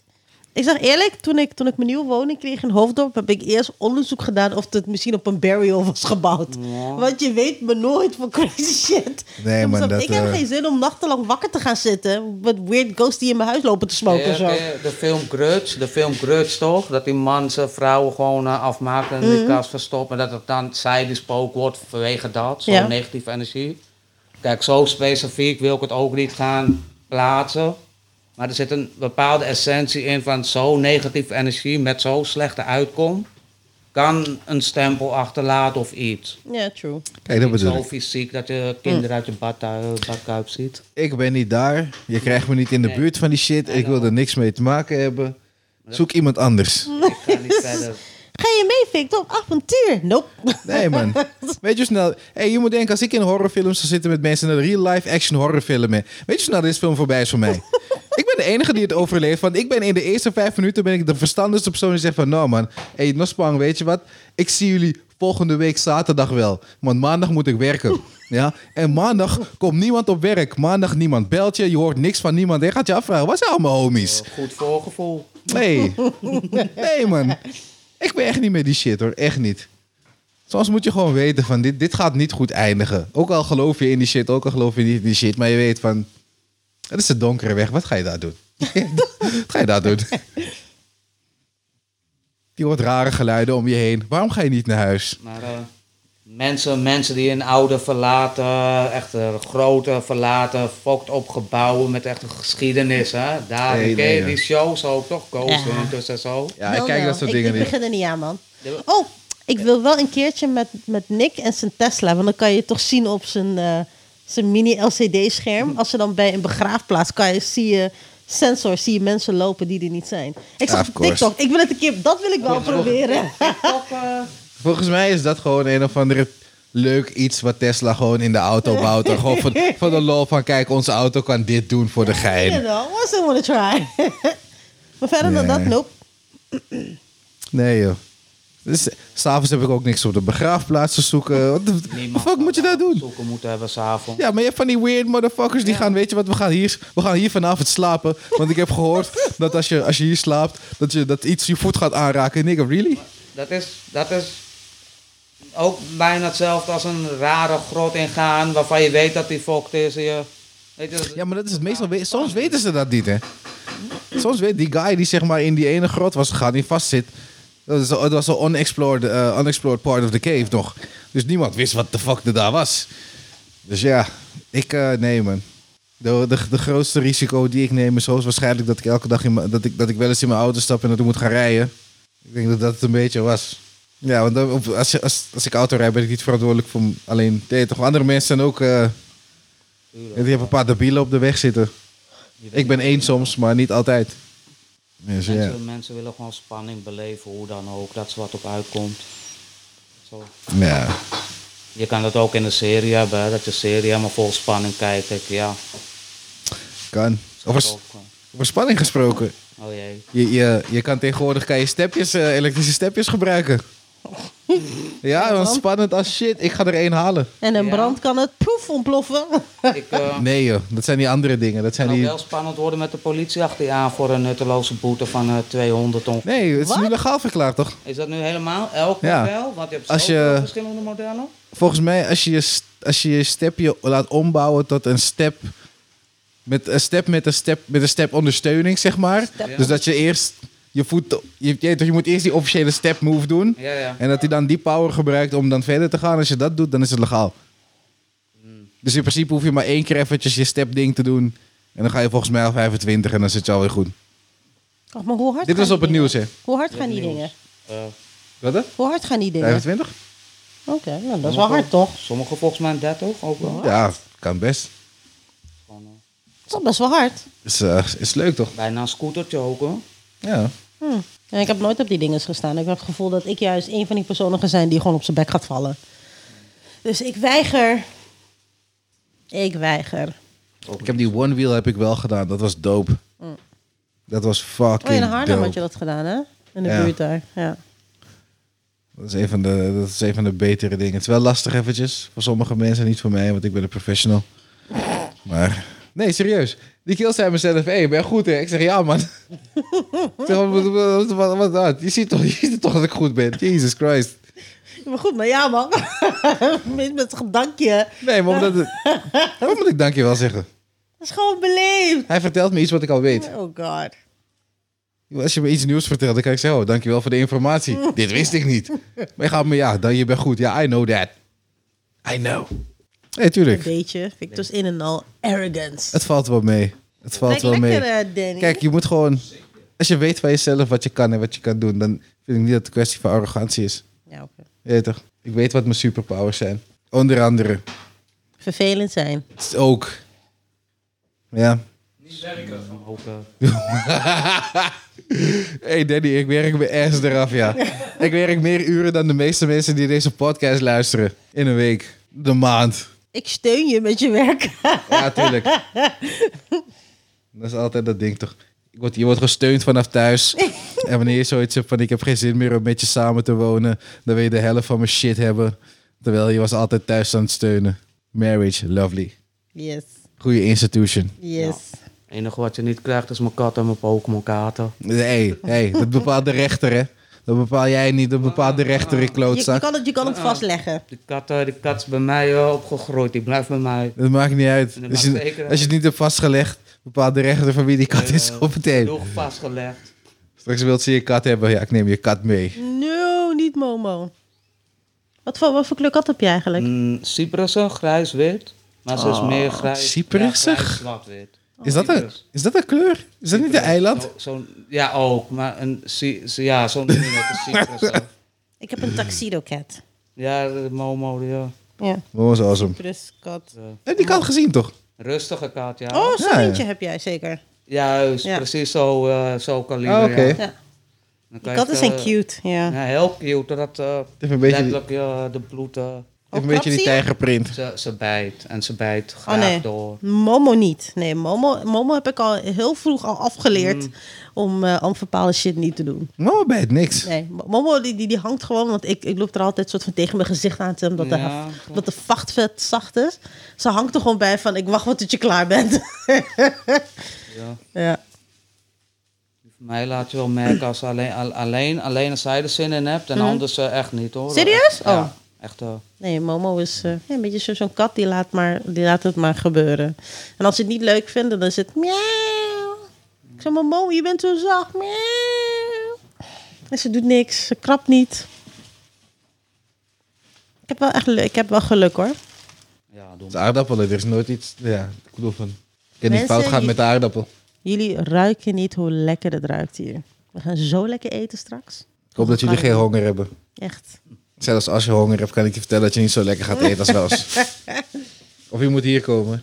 Speaker 2: Ik zeg eerlijk, toen ik, toen ik mijn nieuwe woning kreeg in Hoofddorp... heb ik eerst onderzoek gedaan of het misschien op een burial was gebouwd. Want je weet me nooit van crazy shit.
Speaker 1: Nee,
Speaker 2: Ik
Speaker 1: man,
Speaker 2: zeg,
Speaker 1: dat,
Speaker 2: ik heb
Speaker 1: eh,
Speaker 2: geen zin om nachtenlang wakker te gaan zitten... met weird ghosts die in mijn huis lopen te smoken
Speaker 4: Ja,
Speaker 2: zo.
Speaker 4: ken je de film Grudge, de film Grudge toch? Dat die man zijn vrouw gewoon eh, afmaakt en in
Speaker 2: Mhm.
Speaker 4: de kast verstopt. En dat het dan zij die spook wordt vanwege dat. Zo'n
Speaker 2: Ja.
Speaker 4: negatieve energie. Kijk, zo specifiek wil ik het ook niet gaan plaatsen. Maar er zit een bepaalde essentie in van zo'n negatieve energie met zo'n slechte uitkomst. Kan een stempel achterlaten of iets.
Speaker 2: Ja, true.
Speaker 1: Kijk, dat
Speaker 4: Niet
Speaker 1: bedoel
Speaker 4: zo
Speaker 1: ik.
Speaker 4: fysiek dat je
Speaker 2: Mhm.
Speaker 4: kinderen uit je bad, eh, badkuip ziet.
Speaker 1: Ik ben niet daar. Je krijgt me niet in de
Speaker 4: Nee.
Speaker 1: buurt van die shit. Ik wil er niks mee te maken hebben. Zoek iemand anders.
Speaker 4: Ik ga
Speaker 2: (laughs)
Speaker 4: niet verder.
Speaker 2: Ga je mee, Victor? Op avontuur? Nope.
Speaker 1: Nee, man. Weet je hoe snel... Hey, je moet denken, als ik in horrorfilms zou zitten met mensen... naar real-life action horrorfilmen... Weet je hoe snel deze film voorbij is voor mij? ik ben de enige die het overleeft. Want ik ben in de eerste vijf minuten... ben ik de verstandigste persoon die zegt van... Nou man, hey, Nospang, weet je wat? Ik zie jullie volgende week zaterdag wel. Want maandag moet ik werken. Ja? En maandag komt niemand op werk. Maandag niemand belt je. Je hoort niks van niemand. Je gaat je afvragen, wat zijn allemaal homies?
Speaker 4: Goed voorgevoel.
Speaker 1: Nee. Nee, man. Ik ben echt niet meer die shit, hoor. Echt niet. Soms moet je gewoon weten van, dit, dit gaat niet goed eindigen. Ook al geloof je in die shit, ook al geloof je niet in die shit. Maar je weet van, het is de (laughs) donkere weg. Wat ga je daar doen? Wat ga je daar doen? Die hoort rare geluiden om je heen. Waarom ga je niet naar huis?
Speaker 4: Maar eh, mensen, mensen die een oude verlaten, echt een grote verlaten, fokt op gebouwen met echt een geschiedenis. Hè? Daar
Speaker 1: Nee,
Speaker 4: ken
Speaker 1: nee,
Speaker 4: je
Speaker 1: ja.
Speaker 4: die shows ook toch? Ghost
Speaker 2: Ja.
Speaker 4: Hunters en zo.
Speaker 1: Ja,
Speaker 2: Wel,
Speaker 1: ik kijk
Speaker 2: wel.
Speaker 1: dat soort
Speaker 2: Ik-
Speaker 1: dingen
Speaker 2: Ik
Speaker 1: niet.
Speaker 2: begin er niet aan, man.
Speaker 4: Ja.
Speaker 2: Oh, ik wil wel een keertje met, met Nick en zijn Tesla. Want dan kan je toch zien op zijn, eh, zijn
Speaker 1: (laughs)
Speaker 2: mini-LCD-scherm. Als ze dan bij een begraafplaats kan je, zie je sensor, zie je mensen lopen die er niet zijn. Ik
Speaker 1: Ja,
Speaker 2: zag
Speaker 1: of
Speaker 2: op
Speaker 1: course.
Speaker 2: TikTok. Ik wil het een keer, dat wil ik wel
Speaker 4: Ja, maar-
Speaker 2: proberen.
Speaker 4: (laughs)
Speaker 2: (laughs)
Speaker 4: Toch, eh,
Speaker 1: Volgens mij is dat gewoon een of andere leuk iets wat Tesla gewoon in de auto bouwt. En gewoon van, van de lol van, kijk, onze auto kan dit doen voor de
Speaker 2: You
Speaker 1: gein.
Speaker 2: know, I still want to try. (laughs) maar verder dan
Speaker 1: Nee.
Speaker 2: dat, nope.
Speaker 1: Nee, joh. Dus s'avonds heb ik ook niks op de begraafplaats te zoeken. Wat de
Speaker 4: niemand
Speaker 1: fuck moet je
Speaker 4: zou
Speaker 1: daar doen?
Speaker 4: Zoeken moeten hebben s'avonds.
Speaker 1: Ja, maar je hebt van die weird motherfuckers die gaan, weet je wat, we gaan, hier, we gaan hier vanavond slapen. Want ik heb gehoord dat als je, als je hier slaapt, dat, je, dat iets je voet gaat aanraken. En ik denk, really?
Speaker 4: Dat is, dat is ook bijna hetzelfde als een rare grot ingaan waarvan je weet dat die fokt is. en Je, weet je, dat-
Speaker 1: Ja, maar dat is het meestal. we- Soms weten ze dat niet, hè? Soms weet die guy die zeg maar in die ene grot was gegaan, die vastzit. Dat is- dat was een unexplored, eh, unexplored part of the cave nog. Dus niemand wist wat de fuck er daar was. Dus ja, ik eh, nee, man. De, de, de grootste risico die ik neem is hoogstwaarschijnlijk dat ik elke dag in mijn- dat ik, dat ik wel eens in mijn auto stap en naartoe moet gaan rijden. Ik denk dat dat het een beetje was. Ja, want dan- op- als, je- als, als ik auto rijd ben ik niet verantwoordelijk voor m- alleen dit. Toch andere mensen zijn ook. eh,
Speaker 4: Tuurlijk.
Speaker 1: die hebben een paar debielen op de weg zitten. Ik ben één soms, maar niet altijd. Dus ja.
Speaker 4: mensen, mensen willen gewoon spanning beleven, hoe dan ook, dat ze wat op uitkomt. Zo.
Speaker 1: ja.
Speaker 4: Je kan dat ook in een serie hebben, hè, dat je serie helemaal vol spanning kijkt. Ik, ja,
Speaker 1: Kan.
Speaker 4: zou
Speaker 1: Over,
Speaker 4: ik
Speaker 1: s-
Speaker 4: ook, eh,
Speaker 1: over spanning gesproken.
Speaker 4: Oh jee.
Speaker 1: Je, je, je kan tegenwoordig kan je stepjes, eh, elektrische stepjes gebruiken. Ja, want spannend als shit. Ik ga er één halen.
Speaker 2: En een
Speaker 4: Ja.
Speaker 2: brand kan het proef ontploffen. (laughs)
Speaker 4: Ik eh
Speaker 1: Nee joh, dat zijn die andere dingen. Dat zijn
Speaker 4: kan ook
Speaker 1: die...
Speaker 4: wel spannend worden met de politie achter je aan voor een nutteloze boete van eh 200 ongeveer.
Speaker 1: Nee, het is nu
Speaker 2: Wat?
Speaker 1: legaal verklaard toch?
Speaker 4: Is dat nu helemaal elk
Speaker 1: Ja.
Speaker 4: model? Want je hebt
Speaker 1: Als
Speaker 4: zoveel
Speaker 1: je-
Speaker 4: verschillende modellen.
Speaker 1: Volgens mij, als je je, st- als je je stepje laat ombouwen tot een step. Met een step met een step met een step ondersteuning, zeg maar.
Speaker 2: Step.
Speaker 1: Dus dat je eerst je voet. Je, je, je moet eerst die officiële step move doen.
Speaker 4: Ja, ja.
Speaker 1: En dat hij dan die power gebruikt om dan verder te gaan. Als je dat doet, dan is het legaal. Dus in principe hoef je maar één keer eventjes je step ding te doen. En dan ga je volgens mij al 25 en dan zit je alweer goed.
Speaker 2: Ach, Oh, maar hoe hard
Speaker 1: Dit
Speaker 2: gaan
Speaker 1: was op
Speaker 2: die
Speaker 1: het
Speaker 2: dingen?
Speaker 1: nieuws, hè?
Speaker 2: Hoe hard gaan die
Speaker 4: nieuws.
Speaker 2: dingen?
Speaker 4: Eh,
Speaker 1: Wat hè?
Speaker 2: Hoe hard gaan die dingen?
Speaker 1: 25?
Speaker 2: Oké, nou, dat is wel hard toch?
Speaker 4: sommige volgens mij 30 ook wel.
Speaker 1: Ja, kan best.
Speaker 4: Gewoon, eh,
Speaker 2: Dat is wel best wel hard.
Speaker 1: Is, eh, is leuk toch?
Speaker 4: bijna een scootertje ook hoor.
Speaker 1: Ja.
Speaker 2: Hm. Ja, ik heb nooit op die dingen gestaan. Ik heb het gevoel dat ik juist een van die personen ga zijn die gewoon op zijn bek gaat vallen. Dus ik weiger. Ik weiger.
Speaker 1: Ik heb die one wheel heb ik wel gedaan. Dat was dope. Dat was fucking
Speaker 2: Oh, in Haarlem
Speaker 1: dope.
Speaker 2: had je dat gedaan, hè? In de
Speaker 1: Ja.
Speaker 2: buurt daar. Ja.
Speaker 1: Dat is, een van de, dat is een van de betere dingen. Het is wel lastig eventjes. Voor sommige mensen, niet voor mij, want ik ben een professional. Maar... Nee, serieus. Die kill zei mezelf, hé, hey, ben je goed hè? Ik zeg, ja man. (laughs) Ik zeg, wat, wat, wat, wat, wat- wat- je, ziet toch, (laughs) je ziet toch dat ik goed ben? Jesus Christ.
Speaker 2: Maar goed, maar ja, man. (laughs) Met het gedankje.
Speaker 1: Nee, maar omdat...
Speaker 2: (laughs)
Speaker 1: het- Wat moet ik dankjewel zeggen?
Speaker 2: Dat is gewoon beleefd.
Speaker 1: Hij vertelt me iets wat ik al weet.
Speaker 2: Oh god.
Speaker 1: Als je me iets nieuws vertelt, dan kan ik zeggen, oh, dankjewel voor de informatie. (laughs) Dit wist ik niet. Maar je gaat me, ja, dan je bent goed. Ja, I know that. I know. Nee,
Speaker 2: Een
Speaker 1: tuurlijk.
Speaker 2: beetje. Victor's in en al arrogance.
Speaker 1: Het valt wel mee. Het valt
Speaker 2: Lijkt
Speaker 1: wel
Speaker 2: lekker,
Speaker 1: mee.
Speaker 2: eh, Danny.
Speaker 1: Kijk, je moet gewoon... Als je weet van jezelf wat je kan en wat je kan doen, dan vind ik niet dat het een kwestie van arrogantie is.
Speaker 2: Ja, oké.
Speaker 1: Je weet toch? Ik weet wat mijn superpowers zijn. Onder andere.
Speaker 2: Vervelend zijn.
Speaker 1: Het is ook. Ja.
Speaker 4: Ook, eh,
Speaker 1: (laughs) hey Danny, ik werk mijn ass eraf, ja. ik werk meer uren dan de meeste mensen die deze podcast luisteren. In een week. De maand.
Speaker 2: Ik steun je met je werk. (laughs)
Speaker 1: Ja, tuurlijk. Dat is altijd dat ding toch. Je wordt, je wordt gesteund vanaf thuis. En wanneer je zoiets hebt van ik heb geen zin meer om met je samen te wonen, dan wil je de helft van mijn shit hebben. Terwijl je was altijd thuis aan het steunen. Marriage, lovely.
Speaker 2: Yes.
Speaker 1: Goede institution.
Speaker 2: Yes.
Speaker 4: Het enige wat je niet krijgt is mijn kat en mijn Pokémon kaarten.
Speaker 1: hey, hey, dat bepaalt de rechter, hè? Dat bepaal jij niet, dat bepaalt de rechter in
Speaker 2: Je, je
Speaker 1: klootzak.
Speaker 2: kan het, je kan het vastleggen.
Speaker 4: Die kat, eh, die kat is bij mij eh, opgegroeid, die blijft bij mij.
Speaker 1: Dat maakt niet uit.
Speaker 4: Dat
Speaker 1: Als
Speaker 4: maakt
Speaker 1: je,
Speaker 4: zeker uit.
Speaker 1: als je het niet hebt vastgelegd, bepaalt de rechter van wie die kat is
Speaker 4: eh, Eh,
Speaker 1: op meteen.
Speaker 4: Door vastgelegd.
Speaker 1: Straks wilt ze je kat hebben. Ja, ik neem je kat mee.
Speaker 2: No, niet Momo. Wat voor, wat voor kleur kat heb je eigenlijk?
Speaker 4: Mm, Cyprussen, grijs-wit. Maar ze is meer grijs.
Speaker 1: Cyprussen?
Speaker 4: Ja, grijs, zwart-wit.
Speaker 1: Ah,
Speaker 2: Oh,
Speaker 1: Is dat een,
Speaker 4: Cyprus. Oh.
Speaker 1: is dat een kleur? Is dat niet een eiland?
Speaker 4: Zo, zo'n- ja, ook. Maar een, Cy- Cy- ja, zo'n ding met een
Speaker 1: (laughs)
Speaker 4: Cyprussen.
Speaker 2: Ik heb een tuxedo cat.
Speaker 4: Ja, de Momo, ja.
Speaker 2: Ja,
Speaker 1: Oh, was awesome.
Speaker 2: Cyprus kat.
Speaker 1: Heb je die kat gezien, toch?
Speaker 4: Rustige kat, ja.
Speaker 2: Oh, zo'n
Speaker 1: Ja, ja.
Speaker 2: eentje heb jij zeker.
Speaker 4: Juist,
Speaker 2: Ja.
Speaker 4: precies zo, eh zo kaliber.
Speaker 1: Ah, oké.
Speaker 4: ja.
Speaker 2: Ja.
Speaker 4: Dan kan
Speaker 2: Die
Speaker 4: je
Speaker 2: katten
Speaker 4: het,
Speaker 2: zijn
Speaker 4: eh,
Speaker 2: dus cute, ja.
Speaker 4: Ja, heel cute. Dat eh
Speaker 1: Even een beetje die,
Speaker 4: letterlijk eh, de bloed, eh,
Speaker 1: even een beetje die
Speaker 2: knap zie je?
Speaker 1: tijgerprint.
Speaker 4: ze, ze bijt. En ze bijt graag
Speaker 2: Oh nee,
Speaker 4: door.
Speaker 2: Momo niet. Nee, Momo, Momo heb ik al heel vroeg al afgeleerd
Speaker 4: Mm.
Speaker 2: om eh om bepaalde shit niet te doen.
Speaker 1: Mama bijt Nou, niks.
Speaker 2: Nee, Mo- Momo die, die, die hangt gewoon, want ik, ik loop er altijd soort van tegen mijn gezicht aan te hebben, omdat, de,
Speaker 4: Ja,
Speaker 2: haar- omdat de vacht vet zacht is. Ze hangt er gewoon bij van, ik wacht wel tot je klaar bent. (laughs)
Speaker 4: Ja.
Speaker 2: ja.
Speaker 4: Voor mij laat je wel merken als ze alleen, al- alleen, alleen als zij er zin in hebt. En anders eh, echt niet hoor.
Speaker 2: Mhm. Serieus?
Speaker 4: Echt, ja,
Speaker 2: Oh.
Speaker 4: echt eh,
Speaker 2: Nee, Momo is eh, ja, een beetje zo- zo'n kat, die laat, maar, die laat het maar gebeuren. En als ze het niet leuk vinden, dan is het miauw. Ik zeg, Momo, je bent zo zacht, miauw. En ze doet niks, ze krabt niet. Ik heb wel echt le- ik heb wel geluk hoor.
Speaker 4: ja, doe
Speaker 1: Het is aardappelen, er is nooit iets... Ja, ik bedoel van... Ik kan
Speaker 2: Mensen,
Speaker 1: niet fout gaan
Speaker 2: je-
Speaker 1: met de aardappel.
Speaker 2: Jullie ruiken niet hoe lekker het ruikt hier. We gaan zo lekker eten straks.
Speaker 1: Ik hoop dat jullie geen honger hebben.
Speaker 2: Echt.
Speaker 1: Zelfs als je honger hebt, kan ik je vertellen dat je niet zo lekker gaat eten als wel (laughs) eens. Of je moet hier komen.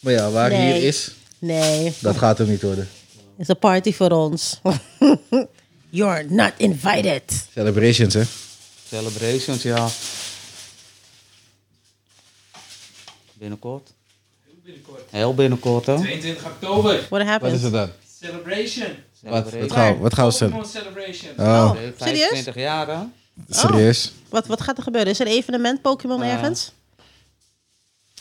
Speaker 1: Maar ja, waar
Speaker 2: Nee.
Speaker 1: hier is,
Speaker 2: Nee,
Speaker 1: dat gaat hem niet worden.
Speaker 2: het is een party voor ons. (laughs) You're not invited.
Speaker 1: Celebrations, hè?
Speaker 4: celebrations, ja. Binnenkort. Heel binnenkort. Heel binnenkort, hè?
Speaker 5: 22 oktober.
Speaker 2: What
Speaker 1: Wat is
Speaker 2: happened?
Speaker 1: het dan?
Speaker 5: Celebration.
Speaker 1: Wat, wat,
Speaker 4: Celebration.
Speaker 1: gaan, we- wat gaan we cele-
Speaker 5: Pokémon Celebration.
Speaker 1: Oh,
Speaker 2: Oh, serieus?
Speaker 4: 25 jaar, hè?
Speaker 1: serieus?
Speaker 2: Wat, wat gaat er gebeuren? Is er een evenement Pokémon
Speaker 4: Ja.
Speaker 2: ergens?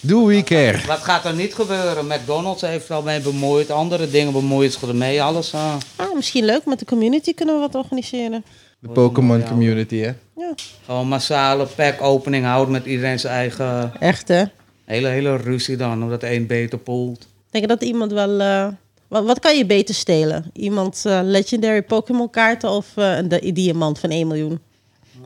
Speaker 1: Do we care?
Speaker 4: Wat gaat er niet gebeuren? McDonald's heeft er al mee bemoeid. Andere dingen bemoeien zich ermee. Alles. eh.
Speaker 2: Ah, misschien leuk. Met de community kunnen we wat organiseren.
Speaker 1: De Pokémon community, hè?
Speaker 2: Ja.
Speaker 4: Gewoon massale pack-opening houden met iedereen zijn eigen.
Speaker 2: Echt, hè?
Speaker 4: Hele, hele ruzie dan, omdat één beter poelt.
Speaker 2: Denk je dat iemand wel... eh, wat, wat kan je beter stelen? Iemand eh, legendary Pokémon kaarten of eh, een di- diamant van 1 miljoen?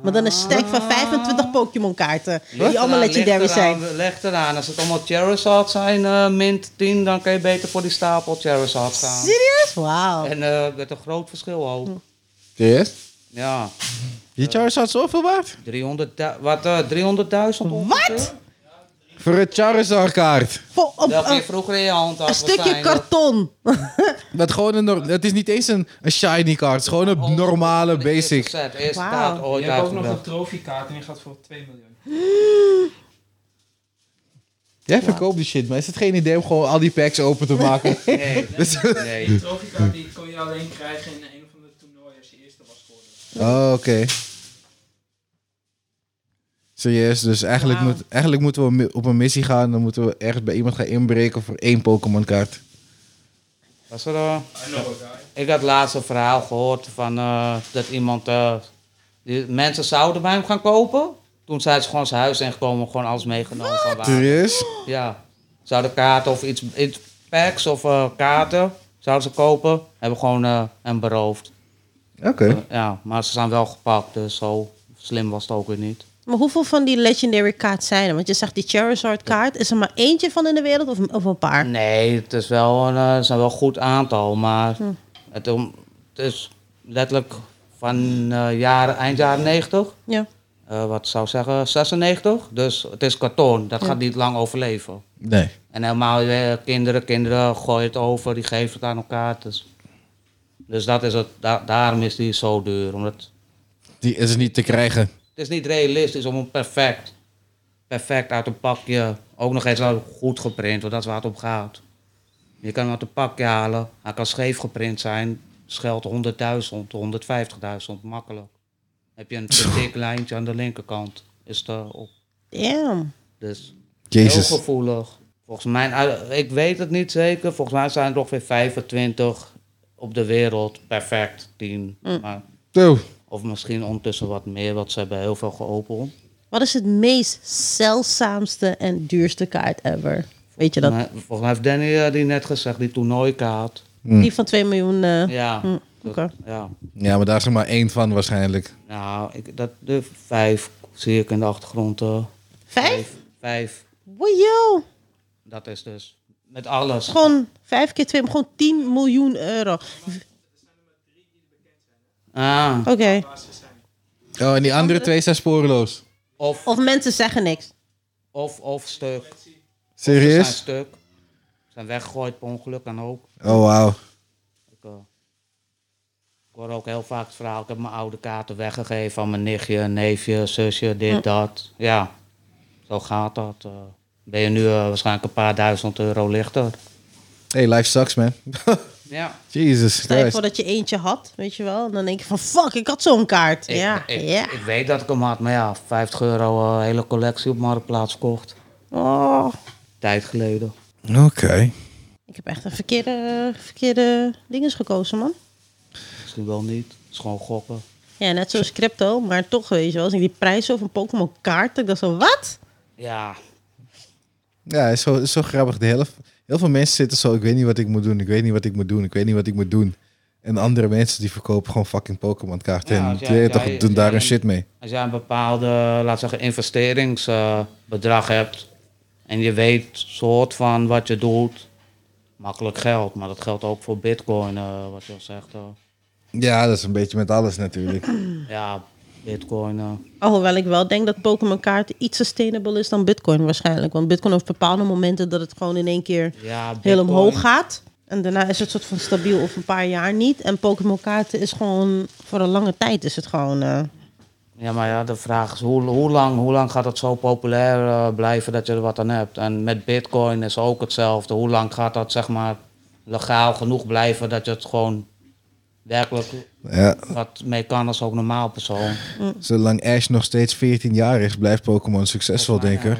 Speaker 2: Maar dan een stack van 25 Pokémon kaarten. Die allemaal legendary zijn.
Speaker 4: Leg eraan, als het allemaal Charizard zijn, eh, mint 10, dan kan je beter voor die stapel Charizard gaan.
Speaker 2: Serieus? Wauw.
Speaker 4: En eh, met een groot verschil ook.
Speaker 1: Serieus?
Speaker 4: Ja,
Speaker 1: Die Charizard zoveel waard?
Speaker 4: 300, wat, eh 300.000 ongeveer.
Speaker 2: Wat?
Speaker 1: Voor een Charizard kaart.
Speaker 2: Voor- op-
Speaker 4: Dat je
Speaker 2: Een
Speaker 4: vroeger in je hand had.
Speaker 2: een stukje
Speaker 4: waarschijnlijk.
Speaker 2: karton. (laughs)
Speaker 1: Dat gewoon een, nor- het is niet eens een, een shiny kaart. Het is gewoon een normale,
Speaker 4: De eerste
Speaker 1: basic.
Speaker 4: set, eerste oh
Speaker 2: Wauw.
Speaker 4: kaart ooit
Speaker 5: Je hebt ook nog een
Speaker 4: uitgebracht.
Speaker 5: trofeekaart en die gaat voor 2 miljoen.
Speaker 1: Jij verkoopt die shit, maar is het geen idee om gewoon al die packs (laughs) open te maken? Dus-
Speaker 4: Nee, nee.
Speaker 5: Die trofeekaart die kon je alleen krijgen in een van de toernooien als je eerste was geworden.
Speaker 1: Oh, oké. Serieus, dus eigenlijk,
Speaker 2: Wauw.
Speaker 1: moet, eigenlijk moeten we mi- op een missie gaan. Dan moeten we ergens bij iemand gaan inbreken voor één Pokémon-kaart.
Speaker 4: Was er, eh,
Speaker 5: I know a guy.
Speaker 4: Ik had laatst een verhaal gehoord van eh, dat iemand. eh, die, mensen zouden bij hem gaan kopen. Toen zijn ze gewoon zijn huis ingekomen, gewoon alles meegenomen. Van waar.
Speaker 1: Serieus?
Speaker 4: Ja. Zouden kaarten of iets, iets packs of eh, kaarten zouden ze kopen. Hebben gewoon eh hem beroofd. Eh,
Speaker 1: Oké.
Speaker 4: Ja, maar ze zijn wel gepakt, dus zo slim was het ook weer niet.
Speaker 2: Maar hoeveel van die legendary kaart zijn er? Want je zegt die Charizard kaart. Is er maar eentje van in de wereld of, of een paar?
Speaker 4: Nee, het is wel een, eh, het is een wel goed aantal, maar het, om- het is letterlijk van eh, jaren, eind jaren 90.
Speaker 2: Ja.
Speaker 4: eh, wat zou ik zeggen, 96. Dus het is karton, dat gaat niet lang overleven.
Speaker 1: Nee.
Speaker 4: En helemaal eh, kinderen, kinderen gooien het over, die geven het aan elkaar. Dus, dus dat is het, da- daarom is die zo duur. Omdat het
Speaker 1: Die is niet te krijgen.
Speaker 4: is niet realistisch om een perfect, perfect uit een pakje, ook nog eens wel goed geprint, want dat is waar het om gaat. Je kan hem uit een pakje halen, hij kan scheef geprint zijn, scheldt 100.000, 150.000, makkelijk. Heb je een te dik lijntje aan de linkerkant, is het eh, op.
Speaker 2: Damn.
Speaker 4: Dus
Speaker 1: Jezus.
Speaker 4: heel gevoelig. Volgens mij, nou, ik weet het niet zeker, volgens mij zijn er ongeveer 25 op de wereld. Perfect, 10.
Speaker 2: Mm.
Speaker 4: Maar,
Speaker 1: Zo.
Speaker 4: of misschien ondertussen wat meer, want ze hebben heel veel geopend.
Speaker 2: Wat is het meest zeldzaamste en duurste kaart ever? Weet je dat?
Speaker 4: Maar volgens mij heeft Danny eh, die net gezegd, die toernooikaart.
Speaker 2: Die van 2 miljoen. eh,
Speaker 4: Ja,
Speaker 2: Oké.
Speaker 4: Ja.
Speaker 1: Ja, maar daar is er maar één van waarschijnlijk.
Speaker 4: Nou, ik, dat, de vijf zie ik in de achtergrond. eh.
Speaker 2: Vijf?
Speaker 4: Vijf.
Speaker 2: Wojo!
Speaker 4: Dat is dus met alles.
Speaker 2: Gewoon vijf keer twee, maar gewoon 10 miljoen euro.
Speaker 4: Ah,
Speaker 2: Oké.
Speaker 1: Oh, en die andere twee zijn spoorloos.
Speaker 4: of,
Speaker 2: Of mensen zeggen niks.
Speaker 4: of, of stuk. Ze zijn
Speaker 1: Serieus?
Speaker 4: stuk. Ze zijn weggegooid per ongeluk en ook.
Speaker 1: Oh, wauw.
Speaker 4: Ik, eh, ik hoor ook heel vaak het verhaal. Ik heb mijn oude kaarten weggegeven aan mijn nichtje, neefje, zusje, dit, dat. Ja, zo gaat dat. eh. ben je nu eh, waarschijnlijk een paar duizend euro lichter.
Speaker 1: Hey, life sucks, man. (laughs)
Speaker 4: Ja.
Speaker 1: Jesus
Speaker 2: Stel je
Speaker 1: Christ.
Speaker 2: voor dat je eentje had, weet je wel. En dan denk je van, fuck, ik had zo'n kaart.
Speaker 4: Ik,
Speaker 2: ja,
Speaker 4: ik,
Speaker 2: ja.
Speaker 4: ik weet dat ik hem had, maar ja, 50 euro eh, hele collectie op Marktplaats kocht.
Speaker 2: Oh.
Speaker 4: Tijd geleden.
Speaker 1: Oké.
Speaker 2: Ik heb echt een verkeerde, verkeerde dinges gekozen, man.
Speaker 4: Misschien wel niet. Het is gewoon gokken.
Speaker 2: Ja, net zoals crypto, maar toch, weet je wel. Als ik die prijs zo van Pokémon kaart, ik dacht zo, wat?
Speaker 4: Ja,
Speaker 1: Ja, is zo, is zo grappig. De hele, heel veel mensen zitten zo, ik weet niet wat ik moet doen, ik weet niet wat ik moet doen, ik weet niet wat ik moet doen. En andere mensen die verkopen gewoon fucking Pokémon kaarten.
Speaker 4: Ja,
Speaker 1: en
Speaker 4: als jij-
Speaker 1: die
Speaker 4: als
Speaker 1: toch,
Speaker 4: jij-
Speaker 1: doen
Speaker 4: als
Speaker 1: daar
Speaker 4: jij-
Speaker 1: een shit mee.
Speaker 4: als jij een bepaalde, laat ik zeggen, investeringsbedrag hebt en je weet soort van wat je doet, makkelijk geld. Maar dat geldt ook voor bitcoin, eh, wat je al zegt. eh.
Speaker 1: Ja, dat is een beetje met alles natuurlijk.
Speaker 4: (laughs) ja, bitcoin. eh.
Speaker 2: Alhoewel ik wel denk dat Pokémon kaart iets sustainable is dan Bitcoin waarschijnlijk. Want Bitcoin heeft bepaalde momenten dat het gewoon in één keer
Speaker 4: ja,
Speaker 2: heel
Speaker 4: Bitcoin.
Speaker 2: omhoog gaat. En daarna is het soort van stabiel of een paar jaar niet. En Pokémon kaarten is gewoon, voor een lange tijd is het gewoon... eh,
Speaker 4: Ja, maar ja, de vraag is hoe, hoe, lang, hoe lang gaat het zo populair eh, blijven dat je er wat aan hebt? En met bitcoin is ook hetzelfde. Hoe lang gaat dat zeg maar legaal genoeg blijven dat je het gewoon werkelijk
Speaker 1: ja,
Speaker 4: wat mee kan als ook normaal persoon?
Speaker 1: zolang Ash nog steeds 14 jaar is, blijft Pokémon succesvol, denk ik.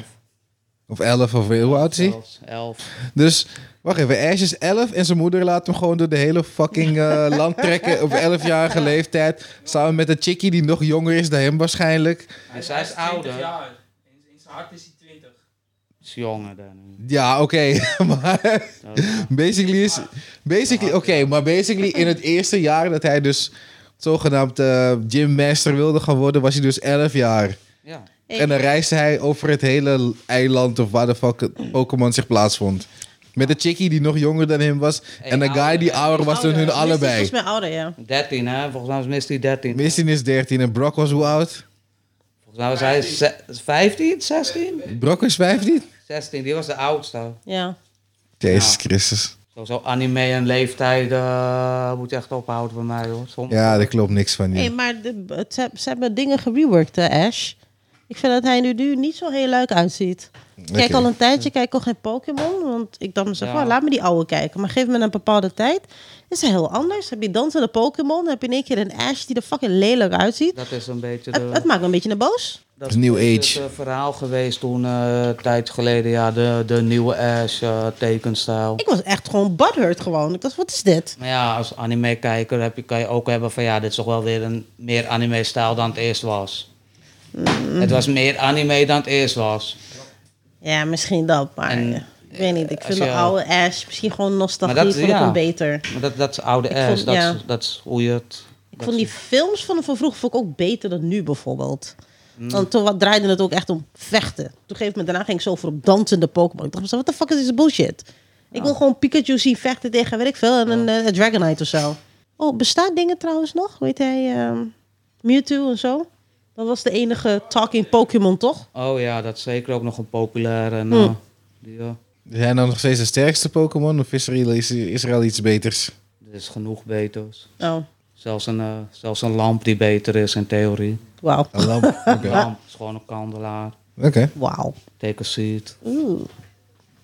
Speaker 1: Of 11 of hoe oud is hij?
Speaker 4: Zelfs elf.
Speaker 1: Dus wacht even, Ash is 11 en zijn moeder laat hem gewoon door de hele fucking
Speaker 4: (laughs)
Speaker 1: eh, land trekken op 11-jarige leeftijd. Samen met een chickie die nog jonger is dan hem waarschijnlijk.
Speaker 4: En zij is
Speaker 5: 20
Speaker 4: ouder.
Speaker 5: jaar. In, in zijn hart is hij 20.
Speaker 4: Is jonger dan.
Speaker 1: Ja, oké, (laughs) maar
Speaker 4: Dat is-
Speaker 1: basically is... Basically, oké, maar basically in het eerste jaar dat hij dus zogenaamd eh, gymmaster wilde gaan worden, was hij dus 11 jaar.
Speaker 4: Ja.
Speaker 2: Hey.
Speaker 1: En dan reisde hij over het hele eiland of waar de fuck het Pokémon zich plaatsvond. Met een chickie die nog jonger dan hem was. en een guy die ouder was dan
Speaker 2: ouder. Oh,
Speaker 1: hun
Speaker 2: Misty dus is
Speaker 1: allebei.
Speaker 2: Volgens mij ouder, ja.
Speaker 4: 13 hè, volgens mij is Misty 13.
Speaker 1: Misty is 13 en Brock was hoe oud?
Speaker 4: Volgens mij was hij ze- 15, 16?
Speaker 1: Brock is 15?
Speaker 4: 16, die was de oudste.
Speaker 2: ja.
Speaker 1: Jezus
Speaker 4: Ja.
Speaker 1: Christus.
Speaker 4: Sowieso anime en leeftijd eh, moet je echt ophouden bij mij hoor. Soms.
Speaker 1: Ja, daar klopt niks van.
Speaker 2: Hey,
Speaker 1: je.
Speaker 2: maar de, het- ze, ze hebben dingen gereworked, hè, Ash. Ik vind dat hij nu, nu niet zo heel leuk uitziet. Ik Kijk
Speaker 1: Oké.
Speaker 2: al een tijdje, kijk al geen Pokémon. Want ik dacht mezelf,
Speaker 4: Ja.
Speaker 2: oh, laat me die oude kijken. Maar geef me een bepaalde tijd. Is hij heel anders. Heb je dansende Pokémon, dan heb je in één keer een Ash die er fucking lelijk uitziet.
Speaker 4: Dat is een beetje de,
Speaker 2: Het, het maakt me een beetje naar boos.
Speaker 4: dat
Speaker 1: is New
Speaker 4: is het
Speaker 1: Age.
Speaker 4: eh, verhaal geweest toen, eh, een tijd geleden, ja, de, de nieuwe Ash eh, tekenstijl.
Speaker 2: Ik was echt gewoon butthurt gewoon. Ik dacht, wat is dit?
Speaker 4: Maar ja, als anime-kijker heb je, kan je ook hebben van ja, dit is toch wel weer een meer anime-stijl dan het eerst was. Het was meer anime dan het eerst was.
Speaker 2: Ja, misschien dat, maar
Speaker 4: En,
Speaker 2: eh, ik weet niet. Ik
Speaker 4: als
Speaker 2: vind
Speaker 4: je-
Speaker 2: de oude Ash misschien gewoon nostalgie.
Speaker 4: Maar dat-
Speaker 2: vond ik
Speaker 4: ja.
Speaker 2: hem beter.
Speaker 4: Maar dat, dat is oude
Speaker 2: Ik
Speaker 4: Ash,
Speaker 2: vond-
Speaker 4: dat,
Speaker 2: ja.
Speaker 4: is, dat is hoe je het...
Speaker 2: Ik vond die films van, van vroeger vond ik ook beter dan nu bijvoorbeeld. Want toen wat draaide het ook echt om vechten. Toen gegeven moment daarna ging ik zo voor op dansende Pokémon. Ik dacht mezelf, wat de fuck is deze bullshit? Ik wil gewoon Pikachu zien vechten tegen, weet ik veel, en een eh, Dragonite of zo. Oh, bestaan dingen trouwens nog? Weet hij ehm, Mewtwo en zo? Dat was de enige talking Pokémon, toch?
Speaker 4: Oh ja, dat is zeker ook nog een populair en...
Speaker 2: Hmm.
Speaker 4: eh, die, eh,
Speaker 1: Zijn dan nog steeds de sterkste Pokémon of is er, is, is er al iets beters?
Speaker 4: er is genoeg beters.
Speaker 2: Oh,
Speaker 4: Zelfs een, eh, zelfs een lamp die beter is in
Speaker 2: (laughs)
Speaker 4: theorie.
Speaker 2: wauw.
Speaker 1: Een lamp? Oké.
Speaker 4: Een lamp is gewoon een kandelaar.
Speaker 1: Oké.
Speaker 2: Wauw.
Speaker 4: Take a seat.
Speaker 2: Oeh.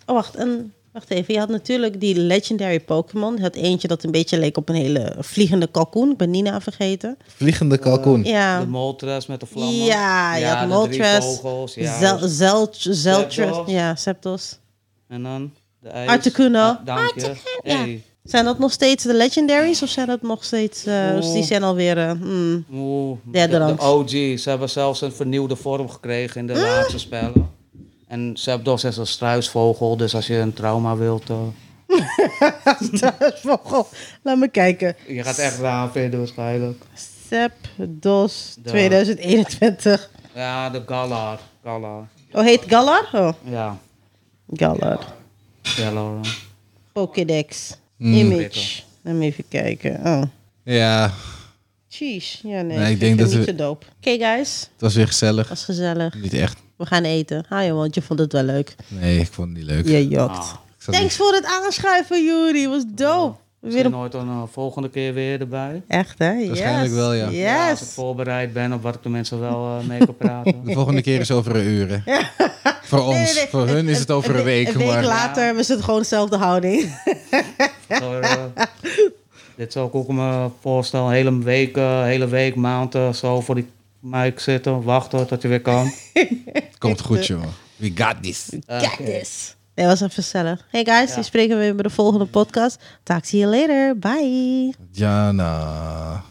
Speaker 2: Oh, wacht. En, wacht even. Je had natuurlijk die legendary Pokémon. Je had eentje dat een beetje leek op een hele vliegende kalkoen. Ik ben Nina vergeten.
Speaker 1: Vliegende kalkoen.
Speaker 4: De
Speaker 2: Ja.
Speaker 4: Moltres met de vlammen.
Speaker 2: Ja, je had
Speaker 4: de drie
Speaker 2: Moltres.
Speaker 4: vogels, ja.
Speaker 2: Zel- Zelt- Zeltras.
Speaker 4: Zapdos.
Speaker 2: Ja, Septos.
Speaker 4: En dan de ijs.
Speaker 2: Articuno.
Speaker 4: Ja, dank je.
Speaker 2: ja.
Speaker 4: Hey.
Speaker 2: Zijn dat nog steeds de legendaries? Of zijn dat nog steeds... eh,
Speaker 4: Oeh.
Speaker 2: die zijn alweer... eh, hmm.
Speaker 4: Oeh,
Speaker 2: Derde
Speaker 4: de, de
Speaker 2: rangs.
Speaker 4: OG. Ze hebben zelfs een vernieuwde vorm gekregen in de laatste spellen. En Zapdos is een struisvogel, dus als je een trauma wilt, eh,
Speaker 2: Vogel. Laat me kijken.
Speaker 4: Je gaat echt raar vinden waarschijnlijk.
Speaker 2: Sep Dos
Speaker 4: Da.
Speaker 2: 2021.
Speaker 4: Ja, de Galar. Galar.
Speaker 2: Oh, heet Galar? Oh,
Speaker 4: Ja,
Speaker 2: Galar.
Speaker 4: Galar.
Speaker 2: Pokédex.
Speaker 1: Mm.
Speaker 2: Image. Laat me even kijken. Oh.
Speaker 1: Ja,
Speaker 2: Cheese. Ja, nee.
Speaker 1: Nee,
Speaker 2: ik denk dat niet
Speaker 1: we-
Speaker 2: zo dope. Oké, guys.
Speaker 1: het was weer gezellig.
Speaker 2: Was gezellig.
Speaker 1: Niet echt.
Speaker 2: We gaan eten. Ha, joh, want je vond het wel leuk.
Speaker 1: Nee, ik vond het niet leuk.
Speaker 2: Je jokt.
Speaker 4: Ah,
Speaker 1: Ik zat
Speaker 2: Thanks voor het aanschuiven, Juri. Was
Speaker 4: Oh.
Speaker 2: dope. Weer
Speaker 4: Misschien
Speaker 2: een...
Speaker 4: nooit een eh, volgende keer weer erbij.
Speaker 2: Echt, hè?
Speaker 1: Waarschijnlijk
Speaker 2: Yes.
Speaker 1: wel, ja.
Speaker 4: Ja, als ik
Speaker 2: Yes.
Speaker 4: voorbereid ben op wat ik de mensen wel eh, mee kan
Speaker 2: (laughs)
Speaker 4: praten.
Speaker 1: De volgende keer is over een uur. hè. Voor ons.
Speaker 2: Nee, nee,
Speaker 1: Voor hun is het over een, week.
Speaker 2: Een week
Speaker 1: maar
Speaker 2: later was het gewoon dezelfde
Speaker 4: (laughs)
Speaker 2: houding.
Speaker 4: Door, eh, dit zou ik ook me voorstellen. Een hele week, eh, hele week, maand eh, zo voor die mic zitten. Wachten tot je weer kan.
Speaker 1: het komt goed, jongen. We got this.
Speaker 2: Kijk this. Nee, was even gezellig. Hey guys,
Speaker 4: Ah, Ja.
Speaker 2: die spreken we weer bij de volgende podcast. Talk to you later. Bye.
Speaker 1: Jana.